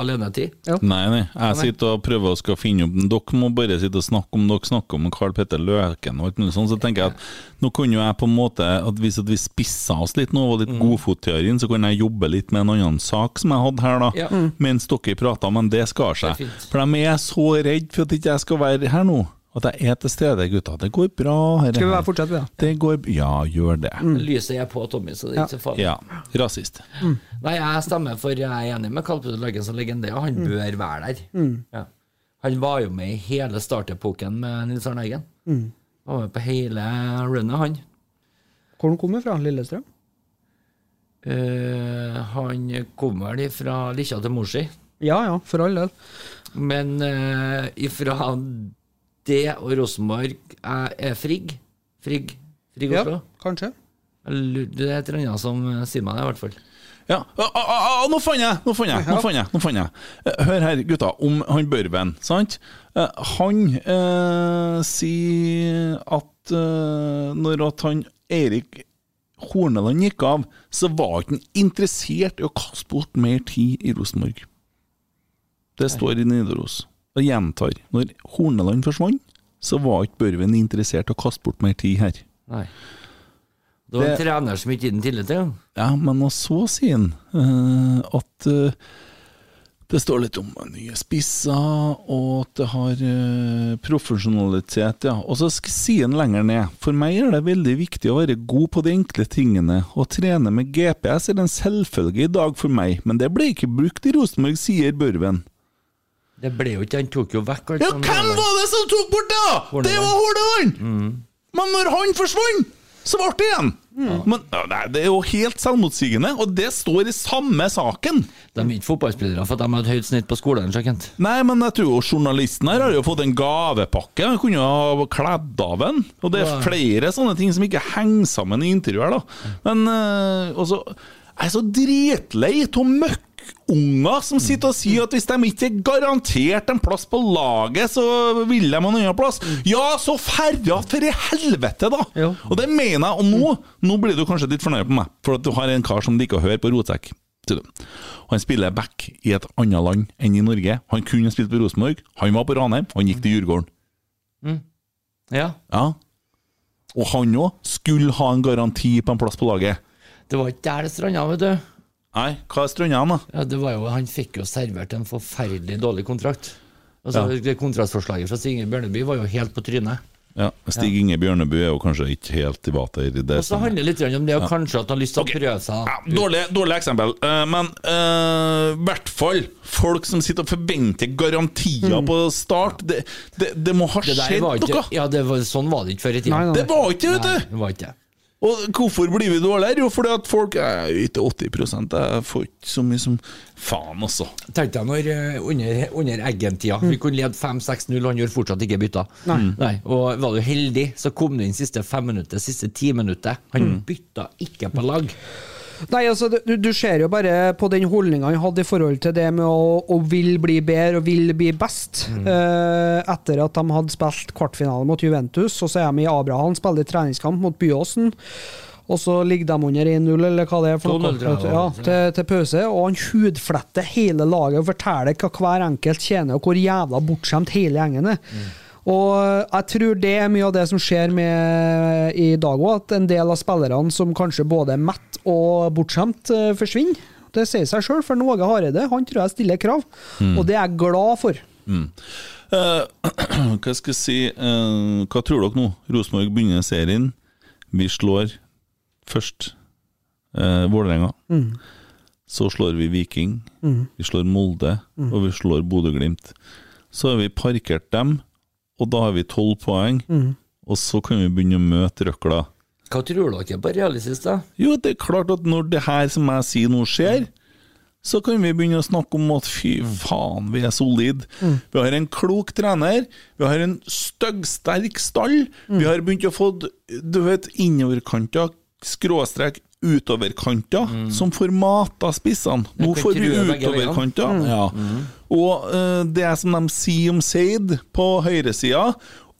S4: alenetid.
S1: Nei, nei. Jeg
S4: Nei.
S1: sitter og prøver å skal finne opp den. Dere må bare sitte og snakke om dere snakker om Carl Petter Løken og alt mulig sånn. Så tenker jeg at nå kunne jo jeg på en måte at Hvis at vi spissa oss litt nå og var
S4: Mm.
S1: litt godfotteorien, så kunne jeg jobbe litt med en annen sak som jeg hadde her, da.
S4: Ja. Mm.
S1: Mens dere prata, men det skal seg.
S4: Det er fint.
S1: For de er så redd for at ikke jeg skal være her nå. At jeg er til stede, gutta. Det går bra. herre
S2: Skal vi
S1: her.
S2: bare fortsette, vi, da?
S1: Det går Ja, gjør det.
S2: Mm.
S4: Lyset er på, Tommy, så det er ikke så farlig.
S1: Ja. Rasist.
S4: Nei, jeg stemmer for jeg er enig med Karl Petter Løggen som legende, og han bør være der.
S2: Mm.
S4: Ja. Han var jo med i hele startepoken med Nils Arne Eggen.
S2: Mm.
S4: Han var med på hele runnet, han.
S2: Hvor han kommer fra? Lillestrøm?
S4: Eh, han kom vel fra Likkja til mor si.
S2: Ja ja, for all del.
S4: Men eh, ifra det og Rosenborg er, er Frigg. Frigg Frigg
S2: Ja,
S4: Oslo?
S2: kanskje.
S4: Jeg lurer- Det er et eller annet som eh, sier meg det, i hvert fall.
S1: Ja, ah, ah, ah, ah, nå fant jeg! Nå fant jeg! Nå fant jeg, nå fant jeg. Eh, Hør her, gutta, om han Børven, sant? Eh, Han eh, sier at eh, når at han Erik Horneland gikk av, så var ikke han interessert i å kaste bort mer tid i Rosenborg. Det står i Nidaros. Og gjentar, når Horneland forsvant, så var ikke Børven interessert i å kaste bort mer tid her.
S4: Nei. Det var en
S1: Det-
S4: trener som ikke gikk den tillit til.
S1: Ja, men og så sier han eh, at eh, det står litt om nye spisser, og at det har eh, profesjonalitet, ja. Og så sk- sier han lenger ned For meg er det veldig viktig å være god på de enkle tingene. Å trene med GPS er en selvfølge i dag for meg, men det ble ikke brukt i Rosenborg, sier Børven.
S4: Det ble jo ikke, han tok jo vekk alt
S1: Ja,
S4: som
S1: hvem
S4: var der.
S1: var det som tok bort det?! da? Mm. Det var Hordaland! Men når han forsvant, så ble det igjen! Men ja, nei, Det er jo helt selvmotsigende, og det står i samme saken!
S4: De er ikke fotballspillere, for de har et høyt snitt på skolen. så Kent.
S1: Nei, men jeg tror jo journalisten her har jo fått en gavepakke. Han kunne jo ha kledd av en. Og det
S4: Ja.
S1: er flere sånne ting som ikke henger sammen i intervjuer, da. Men eh, også Jeg er så dritlei av møkkunger som sitter og sier at hvis de ikke er garantert en plass på laget, så vil de ha en annen plass. Ja, så ferja for i helvete, da! Og det mener jeg. Og nå, nå blir du kanskje litt fornøyd på meg, for at du har en kar som liker å høre på rotsekk. Sier du. Han spiller back i et annet land enn i Norge. Han kunne spilt på Rosenborg, han var på Ranheim, han gikk til Djurgården.
S4: Ja.
S1: Ja. Og han òg skulle ha en garanti på en plass på laget.
S4: Det var ikke der det stranda, vet du.
S1: Nei, hva er stranda han, da?
S4: Ja, det var jo, Han fikk jo servert en forferdelig dårlig kontrakt. Altså,
S1: Ja.
S4: det Kontraktforslaget fra Signe Bjørneby var jo helt på trynet.
S1: Ja, Stig Inge Bjørneby er jo kanskje ikke helt i vater. i det
S4: Og så
S1: stemmer.
S4: handler det litt grann om det, og
S1: Sånn. Ja.
S4: kanskje at han har lyst til å prøve seg.
S1: Dårlig, dårlig eksempel, eh, men eh, i hvert fall folk som sitter og forventer garantier på start. Det, det, det må ha
S4: Mm. Det der
S1: skjedd
S4: var ikke,
S1: noe!
S4: ja, det var, Sånn var det ikke før i tiden.
S1: Nei, nei, nei. Det var ikke, vet
S4: Nei,
S1: du.
S4: det var ikke.
S1: Og hvorfor blir vi dårligere? Jo, fordi at folk er ikke 80 Jeg får ikke så mye som Faen, altså.
S4: Tenk deg når eh, under, under Eggen-tida Vi kunne lede 5-6-0, han gjorde fortsatt ikke bytta.
S1: Mm. Nei.
S4: Og var du heldig, så kom det inn siste fem minutter, siste ti minutter. Han
S1: Mm.
S4: bytta ikke på lag.
S2: Nei, altså, du, du ser jo bare på den holdninga han hadde i forhold til det med å, å vil bli bedre og vil bli best. Eh, etter at de hadde spilt kvartfinale mot Juventus, og så er de i Abraham, spiller treningskamp mot Byåsen. Og så ligger de under 1-0, eller hva det er. for
S4: 2-0 tror jeg
S2: noe.
S4: det var.
S2: Ja, til, til pause, og han hudfletter hele laget og forteller hva hver enkelt tjener, og hvor jævla bortskjemt hele gjengen er. Og jeg tror det er mye av det som skjer med i dag òg, at en del av spillerne som kanskje både er mett og bortskjemt, eh, forsvinner. Det sier seg sjøl, for Åge Hareide han tror jeg stiller krav,
S1: Mm.
S2: og det er jeg glad for.
S1: Mm. Eh, hva skal jeg si eh, Hva tror dere nå? Rosenborg begynner serien. Vi slår først uh, Vålerenga.
S2: Mm.
S1: Så slår vi Viking.
S2: Mm.
S1: Vi slår Molde.
S2: Mm.
S1: Og vi slår Bodø-Glimt. Så har vi parkert dem, og da har vi tolv poeng.
S4: Mm.
S1: Og så kan vi begynne å møte røkla.
S4: Hva tror dere på realistisk, da?
S1: Jo, det er klart at når det her som jeg sier nå skjer, så kan vi begynne å snakke om at fy faen, vi er solid.
S2: Mm.
S1: Vi har en klok trener, vi har en styggsterk stall.
S4: Mm.
S1: Vi har begynt å få du vet, innoverkanter, skråstrek utoverkanter, som får mata spissene. Nå
S4: Mm. kan
S1: får vi
S4: true begge veier.
S1: utoverkanter.
S4: Mm.
S1: Ja. Og eh, det som de sier om Seid på høyresida,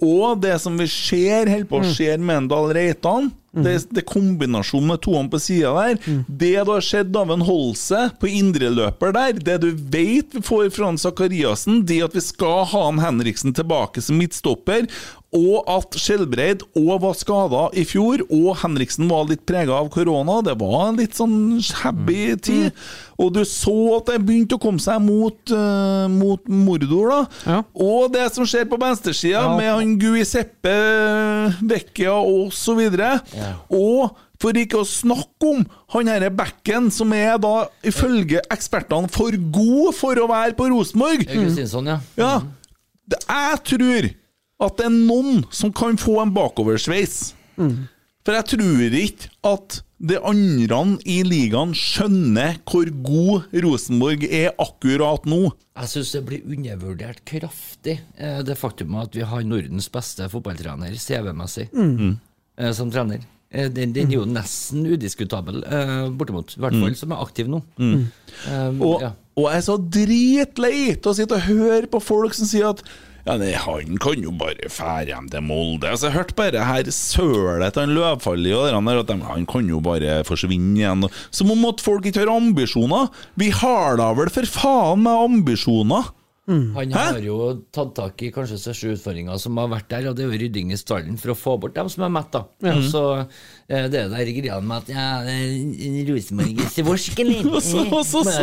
S1: og det som vi ser holder på å skje med en Dahl Reitan det, det kombinasjonen med toene på sida der Det du har sett av en Holse på indreløper der, det du vet vi får fra han Sakariassen, det at vi skal ha han Henriksen tilbake som midtstopper, og at Skjelbreid òg var skada i fjor, og Henriksen var litt prega av korona. Det var en litt sånn shabby tid. Og du så at det begynte å komme seg mot, eh, mot Mordor, da. Og det som skjer på venstresida,
S2: Ja.
S1: med han Guiseppe Vecchia osv. videre Og for ikke å snakke om han herre backen, som er da ifølge ekspertene for god for å være på Rosenborg.
S4: Mm. Augustinsson, sånn, ja.
S1: Ja. Det, jeg tror at det er noen som kan få en bakoversveis. For jeg tror ikke at de andre i ligaen skjønner hvor god Rosenborg er akkurat nå.
S4: Jeg syns det blir undervurdert kraftig, eh, det faktum at vi har Nordens beste fotballtrener CV-messig
S1: Mm.
S4: eh, som trener. Eh, Den, den er jo nesten udiskutabel, eh, bortimot. I hvert fall
S1: Mm.
S4: som er aktiv nå.
S1: Mm.
S4: Eh,
S1: Og,
S4: ja.
S1: og jeg er så dritlei til å sitte og høre på folk som sier at ja, nei, han kan jo bare fære hjem til Molde. Altså, jeg hørte bare her sølet til han Løvfalli og der, at de, han kan jo bare forsvinne igjen. Som om at folk ikke har ambisjoner! Vi har da vel for faen meg ambisjoner!
S4: Han har jo tatt tak i kanskje største utfordringa som har vært der, og det er jo rydding i stallen for å få bort dem som er mett, da.
S1: Ja.
S4: Og så eh, det er der greia med at ja, eh, Rosenborg er svorsken
S1: Og så- og så- så-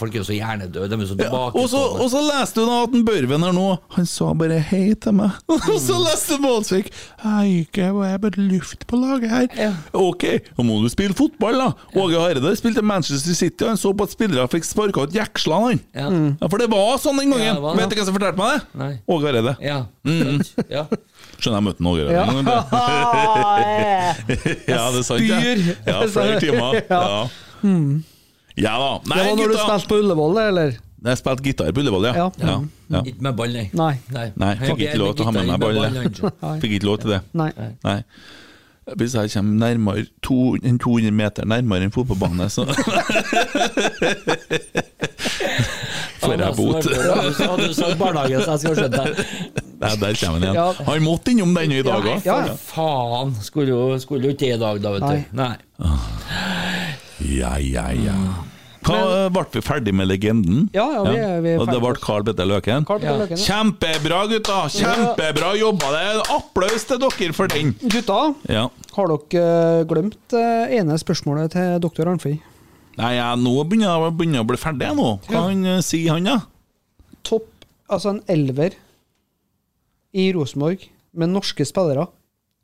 S4: Folk er jo så hjernedøde, de er jo så
S1: Og så, og
S4: tilbakestående.
S1: så leste du da at en Børven her nå Han sa bare hei til meg. Og så
S4: Mm.
S1: leste Målsvik Hei, ikke jeg er bare luft på laget her. Ok, nå må du spille fotball, da. Åge Hareide spilte i Manchester City, og han så på at spillere fikk sparka ut jekslene, han.
S4: Ja.
S1: Ja, for det var sånn den gangen!
S4: Ja, det var det.
S1: Vet du hvem som fortalte meg det?
S4: Nei.
S1: Åge Hareide.
S4: Ja.
S1: Mm.
S4: Ja.
S1: Skjønner jeg møtte en Åge Hareide en gang. Ah, ja, det er sant,
S2: Spyr.
S1: det. Ja, flere timer. Ja,
S2: Ja. Mm.
S1: ja da. Nei,
S2: det var når du
S1: gutta!
S2: spilte på Ullevål, det, eller?
S1: Jeg spilte gitar på Ullevål, ja. Mm. ja. ja.
S4: Ikke med ball, nei.
S2: Nei.
S1: Nei, jeg fikk ikke lov til å ha med meg ball. jeg.
S2: Nei.
S1: Fikk ikke lov til det.
S2: Nei.
S1: Nei. Hvis jeg kommer nærmere to, enn 200 meter nærmere en fotballbane, så får jeg bot.
S4: Hadde du sagt barnehagen, så jeg skulle ha skjønt det.
S1: Nei, der kommer han
S4: Ja.
S1: igjen. Han måtte innom denne i dag
S4: Nei,
S1: òg.
S4: for faen. Skulle jo, skulle jo ikke det i dag, da, vet
S1: Nei.
S4: du. Nei.
S1: Ja, ja, ja. Hva, eh, ble vi ferdig med legenden?
S2: Ah. Ja, ja, vi er- vi er
S1: Og det
S2: ferdig.
S1: ble Carl Petter Løken?
S2: Carl Petter Løken, ja.
S1: Kjempebra, gutta! Kjempebra jobba! Det er en applaus til dere for den!
S2: Gutta,
S1: Ja.
S2: har dere glemt eh, ene spørsmålet til doktor Arnfri?
S1: Nei, jeg nå begynner jeg begynner å bli ferdig, jeg nå. Hva han, eh, sier han, da?
S2: Topp, altså en elver i Rosenborg med norske spillere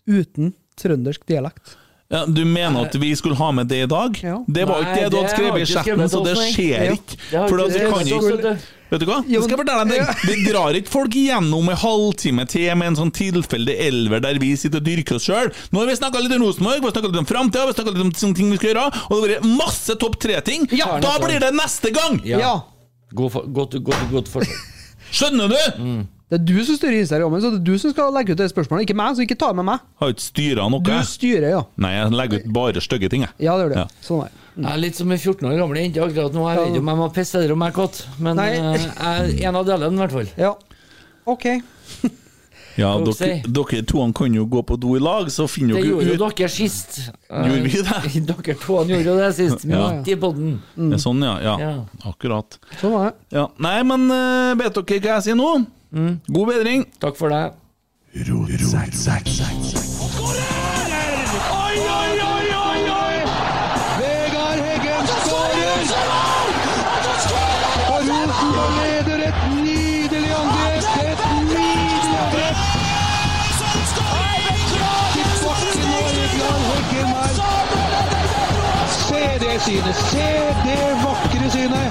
S2: uten trøndersk dialekt.
S1: Ja, du mener at vi skulle ha med det i dag? Det var ikke
S2: Nei,
S1: det du hadde
S2: det har
S1: skrevet i
S2: jeg ikke
S1: chatten,
S2: skrevet
S1: så det
S2: opp, nei.
S1: skjer
S2: Ja.
S1: ikke.
S2: Det har ikke
S1: For da
S2: det. Det
S1: kan ikke
S2: skulle-
S1: Vet du hva? Nå skal jeg fortelle deg en ting. Vi drar ikke folk gjennom en halvtime til med en sånn tilfeldig elver der vi sitter og dyrker oss sjøl. Nå har vi snakka litt om Rosenborg, vi har snakka litt om framtida, vi har snakka litt om sånne ting vi skal gjøre, og det har vært masse topp tre-ting.
S4: Ja.
S1: Da blir det neste gang!
S4: Ja. God for, godt, godt, godt forsøk.
S1: Skjønner du?
S2: Det er du som styrer Instagrammen, så det er du som skal legge ut det spørsmålet, ikke meg. Så ikke ta med meg.
S1: Har ikke styra noe.
S2: Du styrer, ja.
S1: Nei, jeg legger ut bare stygge ting, jeg.
S2: Ja, det gjør du.
S1: Ja.
S2: Sånn er det.
S4: Jeg er litt som en 14 år gammel jente akkurat nå. Jeg vet ikke om jeg må pisse eller om jeg er kåt, men
S2: Nei.
S4: eh, jeg er en av delene, i hvert fall.
S2: Ok.
S1: Ja,
S4: Folk
S1: dere, dere to han kan jo gå på do i lag, så finner
S4: Det
S1: dere
S4: gjorde
S1: ut
S4: jo dere sist.
S1: Gjorde vi det?
S4: Dere to han gjorde jo det sist,
S1: Ja.
S4: midt i podden.
S1: Ja, Sånn, ja. ja.
S4: Ja.
S1: Akkurat.
S2: Sånn var det.
S1: Ja. Nei, men eh, vet dere hva jeg sier nå? God bedring.
S4: Takk for det.
S3: Oi, oi, oi, oi, oi! Vegard Heggen skårer! Og Rosenborg leder et nydelig angrep! Et nydelig angrep! Tilbake nå, Heggeland, Heggemark. Se det synet! Se det vakre synet!